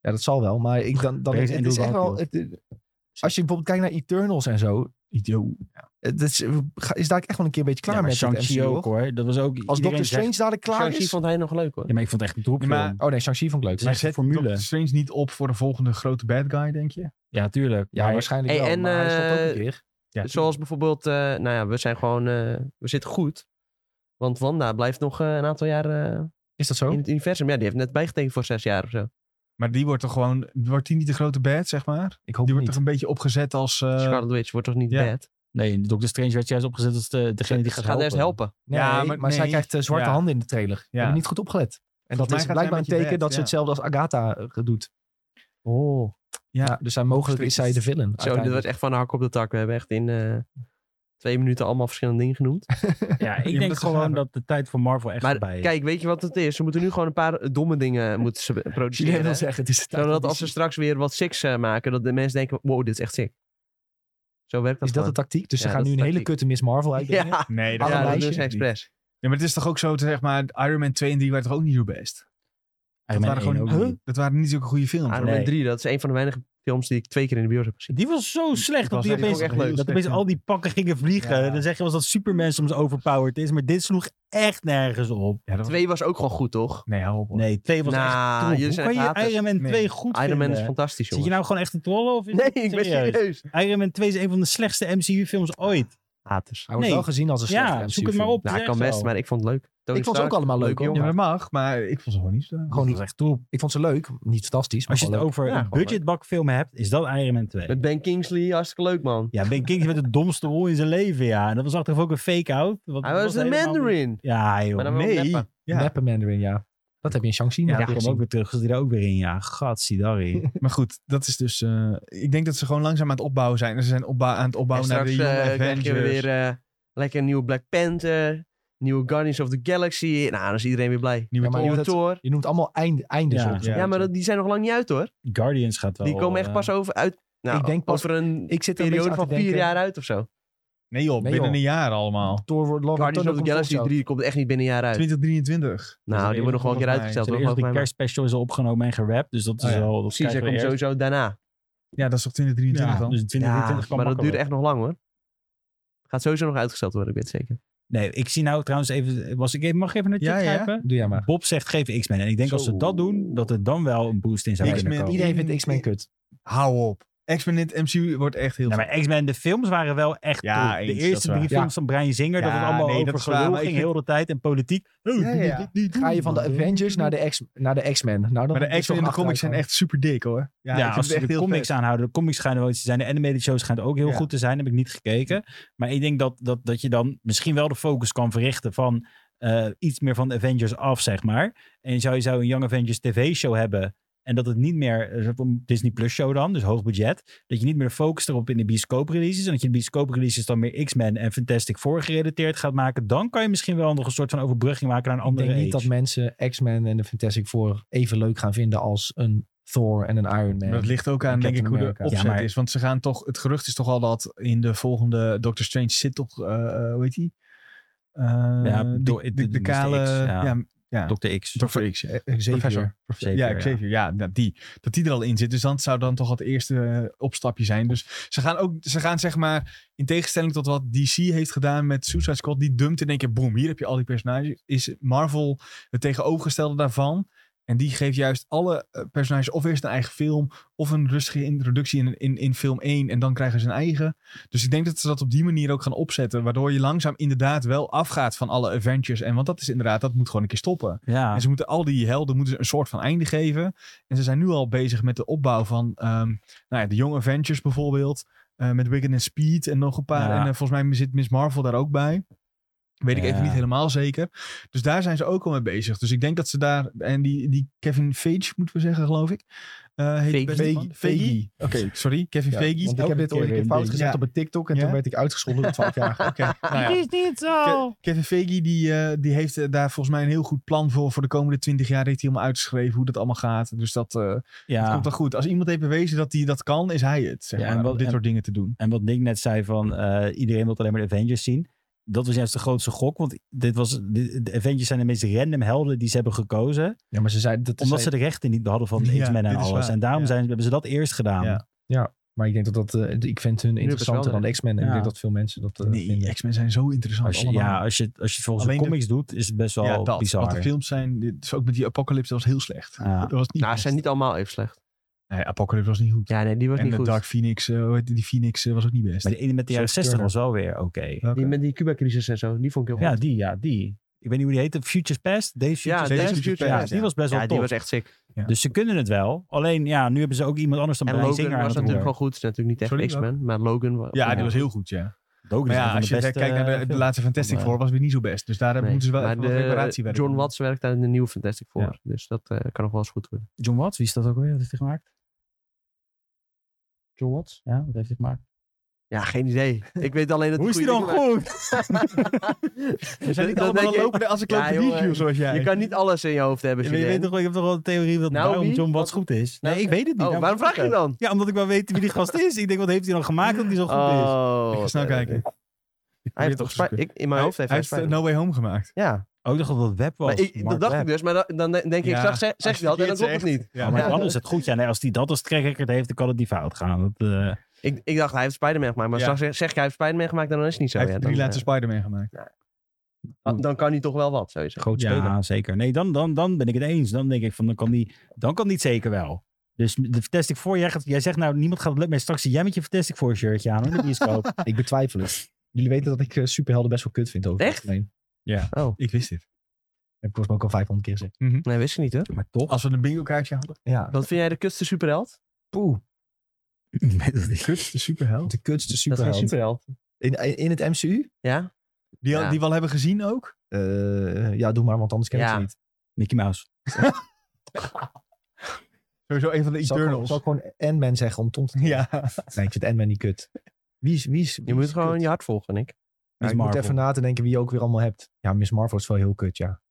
ja, dat zal wel. Maar ik dan, dan Deze het Andrew is echt wel. Garfield. het- als je bijvoorbeeld kijkt naar Eternals en zo, Idioot. het is, is daar echt wel een keer een beetje klaar ja, maar met het Shang-Chi MCU, ook hoor. hoor. Dat was ook... Als iedereen Doctor Strange zegt- dadelijk klaar Shang-Chi is. vond hij nog leuk hoor. Ja, maar ik vond het echt een Ja, troepfilm. maar- Oh nee, Shang-Chi vond ik leuk. Het is echt een formule. Doctor Strange niet op voor de volgende grote bad guy, denk je? Ja, tuurlijk. Ja, Maar- waarschijnlijk Hey, wel. en, maar hij stopt ook eh, een keer. Ja, Zoals bijvoorbeeld, eh, nou ja, we zijn gewoon, eh, we zitten goed. Want Wanda blijft nog eh, een aantal jaar eh, Is dat zo? in het universum. Ja, die heeft net bijgetekend voor zes jaar of zo. Maar die wordt toch gewoon, wordt die niet de grote bad, zeg maar? ik hoop Die het wordt niet. toch een beetje opgezet als... eh, Scarlet Witch wordt toch niet ja. bad? Nee, Doctor Strange werd juist opgezet als de, degene die Ze gaat gaat helpen. eerst helpen. Nee, Ja, maar, maar zij nee. krijgt eh, zwarte Ja. handen in de trailer. Ja. Heb ik niet goed opgelet. En Volgens dat mij is gaat zij blijkbaar een met je teken bed, dat ze ja. hetzelfde als Agatha eh, doet. Oh. Ja. Ja. dus zij mogelijk is zij de villain. Zo, dit was echt van de hak op de tak. We hebben echt in eh, twee minuten allemaal verschillende dingen genoemd. Ja, Je ik moet denk het gewoon gaan. dat de tijd voor Marvel echt maar voorbij is. kijk, weet je wat het is? Ze moeten nu gewoon een paar domme dingen moeten ze Jullie wil produceren. zeggen, het is de tijd Zodat van als ze DC. straks weer wat six eh, maken, dat de mensen denken, wow, dit is echt sick. Zo werkt dat Is dat de tactiek? Dus Ja, ze gaan dat nu is een hele tactiek. kutte Miss Marvel uitbrengen. Ja, Nee, Alle ja dat lijstje. doen ze expres. Ja, maar het is toch ook zo, te zeg maar, Iron Man 2 en 3 waren toch ook niet zo best? Dat Iron Man waren, 1 gewoon, ook Huh? niet. dat waren niet Ah, zulke goede films. Iron hoor. Man 3, dat is een van de weinige films die ik twee keer in de bios heb gezien. Die was zo slecht dat was die echt- opeens, die was echt leuk. dat Heel opeens slecht, al die pakken gingen vliegen. Ja. Dan zeg je wel eens dat Superman soms overpowered is, maar dit sloeg echt nergens op. Ja, dat was- Twee was ook gewoon goed, toch? Nee, hou op. hoor. Nee, 2 was Nou, echt troep. jullie Hoe zijn kan je haters. Iron Man Nee. 2 goed Iron Man vinden? is fantastisch, Zit je jongen. nou gewoon echt te trollen? Of is Nee, het ik ben serieus? serieus. Iron Man 2 is een van de slechtste MCU-films ooit. Haters. Hij wordt Nee. wel gezien als een Ja, slechte zoek het MCU-film. maar op. Nou, Zeg kan zo. best, maar ik vond het leuk. Tony Ik vond ze ook Stark, allemaal leuk, hoor. Ja, dat jongen. mag, maar ik vond ze gewoon niet zo. Gewoon Dat was echt troep. Ik vond ze leuk. Niet fantastisch. Maar Als je het wel over Ja, een gewoon budgetbakfilm hebt, is dat Iron Man 2. Met Ben Kingsley, hartstikke leuk, man. Ja, Ben Kingsley met de domste rol in zijn leven, ja. En dat was achteraf ook een fake-out. want Hij dat was een helemaal niet- Mandarin. Ja, joh. Maar dan wel nee. neppen. leuk. Ja. Neppe Mandarin, ja. Dat heb je in Shang-Chi Ja, nog die gezien. kwam ook weer terug. Zat hij er ook weer in, ja. Gatsidari. Maar goed, dat is dus... eh, ik denk dat ze gewoon langzaam aan het opbouwen zijn. En ze zijn opbou- aan het en opbouwen naar straks de eh, Young krijg Avengers. je weer eh, lekker een nieuwe Black Panther, nieuwe Guardians of the Galaxy. Nou, dan is iedereen weer blij. Nieuwe Ja, maar Thor. Nieuwe dat- Thor. Je noemt allemaal eind, eindes. Ja. op. Ja. Ja, maar dat- die zijn nog lang niet uit, hoor. Guardians gaat wel... Die komen echt eh, pas over uit. Nou, Ik denk pas- over een Ik zit er een beetje periode aan van te vier denken. jaar uit of zo. Nee joh, Nee, binnen joh. een jaar allemaal. Thor wordt Love Guardians of Thunder the komt Galaxy volgens jou. 3 komt echt niet binnen een jaar uit. 2023. Dus nou, die eerst worden gewoon een keer volgens mij- uitgesteld. Zijn hoor, eerst volgens die mij maar. kerstspecial is al opgenomen en gerapt. Dus dat is Oh ja. al... Dat Precies, hij krijgen we komt eerst. sowieso daarna. Ja, dat is toch 2023 Ja, dan? dus 2023 ja, kwam maar dat duurt makkelijk. echt nog lang, hoor. Gaat sowieso nog uitgesteld worden, ik weet het zeker. Nee, ik zie nou trouwens even... Was ik even mag ik even naar het Ja, chat ja. grijpen? Doe jij maar. Bob zegt geef X-Men. En ik denk Zo. als ze dat doen, dat er dan wel een boost in zou X-Men. kunnen komen. Iedereen vindt X-Men kut. Hou op. X-Men in het MCU wordt echt heel... Ja, maar X-Men, de films waren wel echt Ja, troep. eens, De dat is eerste waar. drie Ja. films van Brian Zinger, dat Ja, het allemaal nee, dat over is waar, gelul maar ik ging vind- heel de tijd en politiek. Oh, Ja, ja, ja. dit, dit, dit, Ga Hmm. je dit, van de man. Avengers naar de X- naar de X-Men. Nou, dan Maar de X-Men en de comics zijn echt super dik hoor. Ja, ik vind als het ze de comics aanhouden, de comics schijnen wel iets te zijn. De animated shows schijnt ook heel Ja. goed te zijn, heb ik niet gekeken. Maar ik denk dat, dat, dat je dan misschien wel de focus kan verrichten van eh, iets meer van de Avengers af, zeg maar. En zou je zou een Young Avengers tv-show hebben en dat het niet meer, eh, een Disney Plus show dan, dus hoog budget, dat je niet meer de focus erop in de bioscoop releases en dat je de bioscoop releases dan meer X-Men en Fantastic Four gerelateerd gaat maken, dan kan je misschien wel nog een soort van overbrugging maken naar een Ik andere denk niet age. dat mensen X-Men en de Fantastic Four even leuk gaan vinden als een Thor en een Iron Man. Maar dat ligt ook aan, denk ik, hoe de Captain opzet America. Ja, maar- is. Want ze gaan toch, het gerucht is toch al dat in de volgende Doctor Strange zit toch, eh, eh, hoe heet die? Eh, Ja, die- door- de, de- de Mr. kale, X, ja. ja, ja. Dr. X. Dr. X, eh, eh, Xavier. professor. Xavier, ja, Xavier, ja, nou, die. Dat die er al in zit. Dus dat zou dan toch het eerste eh, opstapje zijn. Dus ze gaan ook, ze gaan zeg maar, in tegenstelling tot wat DC heeft gedaan met Suicide Squad, die dumpt in één keer, boom, hier heb je al die personages. Is Marvel het tegenovergestelde daarvan? En die geeft juist alle eh, personages of eerst een eigen film, of een rustige introductie in, in, in film 1 en dan krijgen ze een eigen. Dus ik denk dat ze dat op die manier ook gaan opzetten, waardoor je langzaam inderdaad wel afgaat van alle Avengers. En want dat is inderdaad, dat moet gewoon een keer stoppen. Ja. En ze moeten al die helden moeten ze een soort van einde geven. En ze zijn nu al bezig met de opbouw van ehm, nou ja, de Young Avengers bijvoorbeeld. eh, met Wicked en Speed en nog een paar. Ja. En eh, volgens mij zit Miss Marvel daar ook bij. Weet ik Ja. even niet helemaal zeker. Dus daar zijn ze ook al mee bezig. Dus ik denk dat ze daar... En die, die Kevin Feige, moeten we zeggen, geloof ik. eh, heet die Feige. beste man? Feige. Feige. Oké, sorry. Kevin Ja, Feige. want ik heb dit ooit een keer fout gezet op een TikTok en Ja? toen werd ik uitgescholden door 12 jaar. Oké, nou ja. is niet zo. Ke- Kevin Feige die, eh, die heeft eh, daar volgens mij een heel goed plan voor. Voor de komende 20 jaar heeft hij helemaal uitgeschreven hoe dat allemaal gaat. Dus dat, eh, Ja. Het komt wel goed. Als iemand heeft bewezen dat hij dat kan, is hij het. Zeg Ja, en maar, wat- om dit en- soort dingen te doen. En wat Nick net zei van eh, iedereen wil alleen maar de Avengers zien. Dat was juist de grootste gok. Want dit was, de, de Avengers zijn de meest random helden die ze hebben gekozen. Ja, maar ze zeiden dat omdat zei- ze de rechten niet hadden van Ja, X-Men en dit is alles. waar. En daarom Ja. zijn, hebben ze dat eerst gedaan. Ja. Maar ik denk dat dat, eh, ik vind hun het interessanter wel dan de X-Men. En Ja. ik denk dat veel mensen dat eh, vinden. Nee, X-Men zijn zo interessant Als je, allemaal. ja, als je, als je het volgens Alleen de de- comics doet, is het best wel Ja, dat. Wat bizar. de films zijn, dit- dus ook met die Apocalypse, dat was heel slecht. Ja. Dat was niet Nou, ze best. zijn niet allemaal even slecht. Nee, Apocalypse was niet goed. Ja, nee, die was en niet de goed. Dark Phoenix, eh, hoe heet die, die Phoenix eh, was ook niet best. Maar die ene met de jaren Sophie 60 was Turner. wel weer oké. Welke? Die met die Cuba-crisis en zo, die vond ik heel Ja, goed. die, ja, die. Ik weet niet hoe die heette. Futures Past? Days Futures Ja, Days Past? deze of Future Future Ja, Past, die was best Ja, wel die tof. was echt sick. Ja. Dus ze kunnen het wel. Alleen, ja, nu hebben ze ook iemand anders dan En Brian Logan Singer aan was het natuurlijk roer. wel goed. Het is natuurlijk niet echt Sorry, X-Men, maar Logan was... ja, die was heel goed, ja. Logan Maar is een ja, van als je de beste, eh, kijkt naar de, de films. laatste Fantastic Ja. Four, was weer niet zo best. Dus daar hebben- Nee, moeten ze wel maar even wat de- reparatie werken. John Watts werkt daar nieuw Fantastic Four. Ja. Dus dat eh, kan nog wel eens goed worden. John Watts, wie is dat ook alweer? Wat heeft hij gemaakt? John Watts? Ja, wat heeft hij gemaakt? Ja, geen idee. Ik weet alleen dat Hoe is die goede dan dingen waren. goed? We zijn niet Dan allemaal denk een je- lopende Ja, encyclopedie jongen, Q, zoals jij. Je kan niet alles in je hoofd hebben. Je weet Julien. toch, wel, ik heb toch wel een theorie dat Nou, daarom wie? John Watts Wat- goed is? Nee, Nou, ik weet het niet. Oh, Daarom waarom zeg vraag je ik het. dan? Ja, omdat ik wel weet wie die gast is. Ik denk, wat heeft hij dan gemaakt dat hij zo goed is? Oh, Ik ga snel oké, kijken. oké. Ik Hij probeer het heeft toch op te Spy- ik, in mijn hoofd heeft hij hij heeft eh, Spider-Man. No Way Home gemaakt. Ja, Oh, ik dacht dat dat web was. maar ik, Oh, Mark dat dacht Webb. ik dus. Maar dan, dan denk ik, Ja, ik zag, zeg, zeg als je dat en dan verkeerd klopt het zegt. niet. Ja, Ja, maar Ja. dan is het goed. Ja, nee, als hij dat als trackrecord heeft, dan kan het niet fout gaan. Dat, eh, Ik, ik dacht, hij heeft Spider-Man gemaakt. Maar Ja. straks zeg, zeg ik, hij heeft Spider-Man gemaakt en dan is het niet zo. Hij ja, heeft dan, drie laatste eh, Spider-Man gemaakt. dan, dan kan hij toch wel wat, sowieso. groot Ja. speler. zeker. Nee, dan, dan, dan ben ik het eens. Dan denk ik van, dan kan die, dan kan die het zeker wel. Dus de Fantastic Four, jij, gaat- jij zegt nou, niemand gaat het lukken. Maar straks zie jij met je Fantastic Four shirtje aan in de bioscoop. Ik betwijfel het. Jullie weten dat ik eh, superhelden best wel kut vind. Over Echt? Nee, Oh, Ik wist dit. heb ik volgens mij ook al 500 keer gezegd. nee, wist ik niet hoor. maar toch. Als we een bingo kaartje hadden. Ja. Wat vind jij de kutste superheld? Poeh. Ik weet het niet. Kut, de superheld. De kutste Dat is geen superheld. superheld. In, in, in het MCU? Ja? Die, al- Ja. die we al hebben gezien ook. Eh, ja, doe maar, want anders ken ik Ja. ze niet. Mickey Mouse. Sowieso een van Zal de ik, gewoon- Eternals. zal ik gewoon Ant-Man zeggen om Tom te... Ja. Nee, ik vind Ant-Man niet kut. Wie is, wie is, Je wie moet is gewoon kut? je hart volgen, Nick. Ja, Miss ik moet Marvel. even na te denken wie je ook weer allemaal hebt. Ja, Miss Marvel is wel heel kut, ja. Ja, maar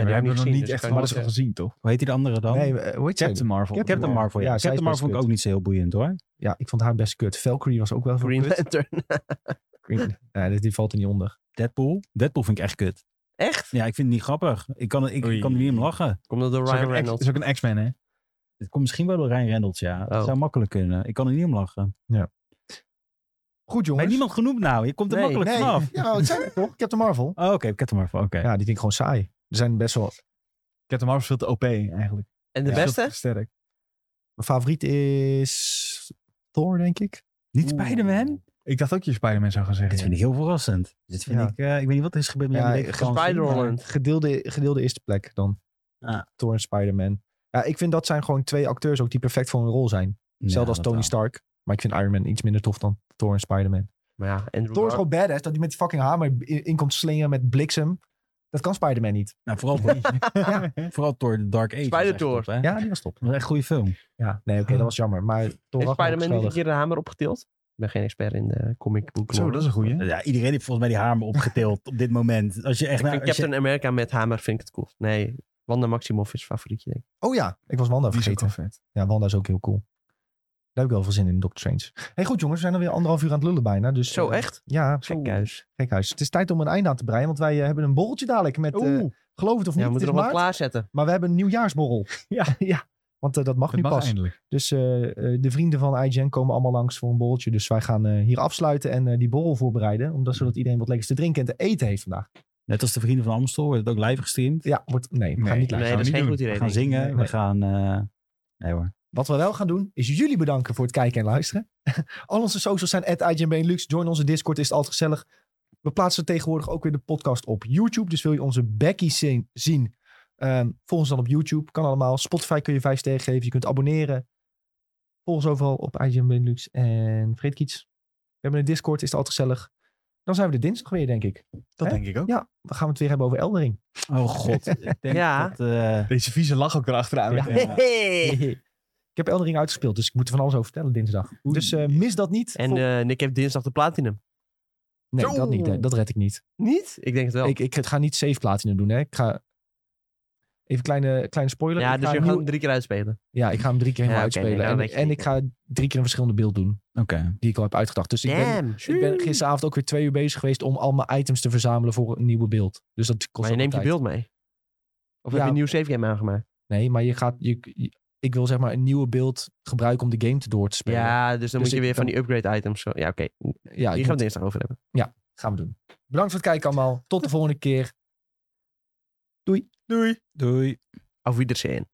jij heb hebt ik er nog gezien, niet dus echt kan van alles ik van niet gezien, toch? Hoe heet die de andere dan? Nee, eh, hoe heet ze? Captain Marvel. Captain Captain Marvel, ja. Ja, zij is best Captain Marvel vond ik kut. ook niet zo heel boeiend hoor. Ja, ik vond haar best kut. Valkyrie was ook wel zeggen. veel Green kut. Lantern. Green- Nee, dit- die valt er niet onder. Deadpool. Deadpool vind ik echt kut. Echt? Ja, ik vind het niet grappig. Ik kan, ik, Oei. ik kan er niet om lachen. Komt dat door Is ook Ryan een ex- Reynolds? Is ook een X-Men, hè? Het komt misschien wel door Ryan Reynolds, ja. Het Oh. zou makkelijk kunnen. Ik kan er niet om lachen. Goed, Maar jongens. niemand genoemd nou. Je komt er Nee, makkelijk Nee, vanaf. ja, het zijn er toch? Captain Marvel. Oh, oké. Ik heb hem maar van. Oké. Ja, die vind ik gewoon saai. Er zijn best wel... Captain Marvel is veel te OP eigenlijk. En de Ja. Veel beste? te Sterk. Mijn favoriet is Thor, denk ik. Niet Spider-Man? Ik dacht ook dat je Spider-Man zou gaan Dit zeggen. vind ik heel verrassend. Dit vind Ja. ik, eh, ik weet niet wat er is gebeurd met Ja, mijn leven. geen vakantie, maar- Spider-Holland. Gedeelde, gedeelde eerste plek dan. Ah. Thor en Spider-Man. Ja, ik vind dat zijn gewoon twee acteurs ook die perfect voor hun rol zijn. Ja, Hetzelfde als dat Tony wel. Stark. Maar ik vind Iron Man iets minder tof dan Thor en Spider-Man. Maar ja, Andrew Thor is Gar- gewoon badass. Dat hij met die fucking hamer in, in komt slingen met bliksem. Dat kan Spider-Man niet. Nou, vooral, vooral Thor The Dark Age. was echt Spider-Thor. top, hè? Ja, die was top. Dat was echt een goede film. Ja, nee, oké, dat was jammer. Maar Thor Heeft Ragnarok Spider-Man is niet een geweldig. keer de hamer opgetild? Ik ben geen expert in de comic book Zo, lore. dat is een goeie. Ja, iedereen heeft volgens mij die hamer opgetild op dit moment. Als je echt Ik vind naar, als je- Captain America met hamer vind ik het cool. Nee, Wanda Maximoff is favorietje denk ik. Oh ja, ik was Wanda Die is ook vergeten. wel vet. Ja, Wanda is ook heel cool. Daar heb ik wel veel zin in, Doctor Strange. hey, goed jongens, we zijn alweer anderhalf uur aan het lullen bijna. Dus, Zo, eh, echt? Ja, Gekhuis. gekhuis. Het is tijd om een einde aan te breien, want wij eh, hebben een borreltje dadelijk met, eh, Oeh, geloof het of niet, Ja, we het moeten is nog wat maart, klaarzetten. maar we hebben een nieuwjaarsborrel. Ja. ja. Want eh, dat mag dat nu mag pas. eindelijk. Dus eh, eh, de vrienden van IGN komen allemaal langs voor een borreltje. Dus wij gaan eh, hier afsluiten en eh, die borrel voorbereiden. Omdat, zodat iedereen wat lekkers te drinken en te eten heeft vandaag. net als de vrienden van Amstel wordt het ook live gestreamd. Ja, wordt, nee, we gaan Nee. niet Nee, live. gaan we dat is niet geen doen. goed idee. We gaan denk ik. zingen, nee, we nee. gaan... eh, nee hoor. Wat we wel gaan doen, is jullie bedanken voor het kijken en luisteren. Al onze socials zijn at Join onze Discord, is het altijd gezellig. We plaatsen tegenwoordig ook weer de podcast op YouTube. Dus wil je onze Becky zien, zien ehm, volg ons dan op YouTube. Kan allemaal. Spotify kun je vijf sterren geven. Je kunt abonneren. Volg ons overal op IGN Benelux. En vergeet ik iets. We hebben een Discord, is het altijd gezellig. Dan zijn we de dinsdag weer, denk ik. Dat Hè? denk ik ook. Ja, dan gaan we het weer hebben over Eldering. Oh god. Ik denk Ja. dat... eh, Deze vieze lach ook erachteraan. Ja. Ja. Hey. Ik heb Eldering uitgespeeld, dus ik moet er van alles over vertellen dinsdag. Dus eh, mis dat niet. En Vol- eh, Nick heeft dinsdag de platinum. nee, Zo. dat niet. hè. Dat red ik niet. Niet? Ik denk het wel. Ik, ik ga niet safe platinum doen, hè. Ik ga... Even kleine, kleine spoiler. ja, ik dus ga je een gaat hem nieuw- drie keer uitspelen. ja, ik ga hem drie keer helemaal Ja, oké, nee, uitspelen. dan en weet je en niet. ik ga drie keer een verschillende beeld doen, Oké. die ik al heb uitgedacht. Dus ik ben, Damn. ik ben gisteravond ook weer twee uur bezig geweest om al mijn items te verzamelen voor een nieuwe beeld. Dus dat kost Maar je ook neemt je tijd. beeld mee. Of Ja. heb je een nieuw save game aangemaakt? Nee, maar je gaat... Je, je- ik wil zeg maar een nieuwe beeld gebruiken om de game te door te spelen. Ja, dus Dus dan moet je ik- weer van dan- die upgrade items. zo- Ja, oké. ja ik Hier moet- gaan we dinsdag over hebben. gaan we doen. Bedankt voor het kijken allemaal. Tot de volgende keer. Doei. Auf Wiedersehen.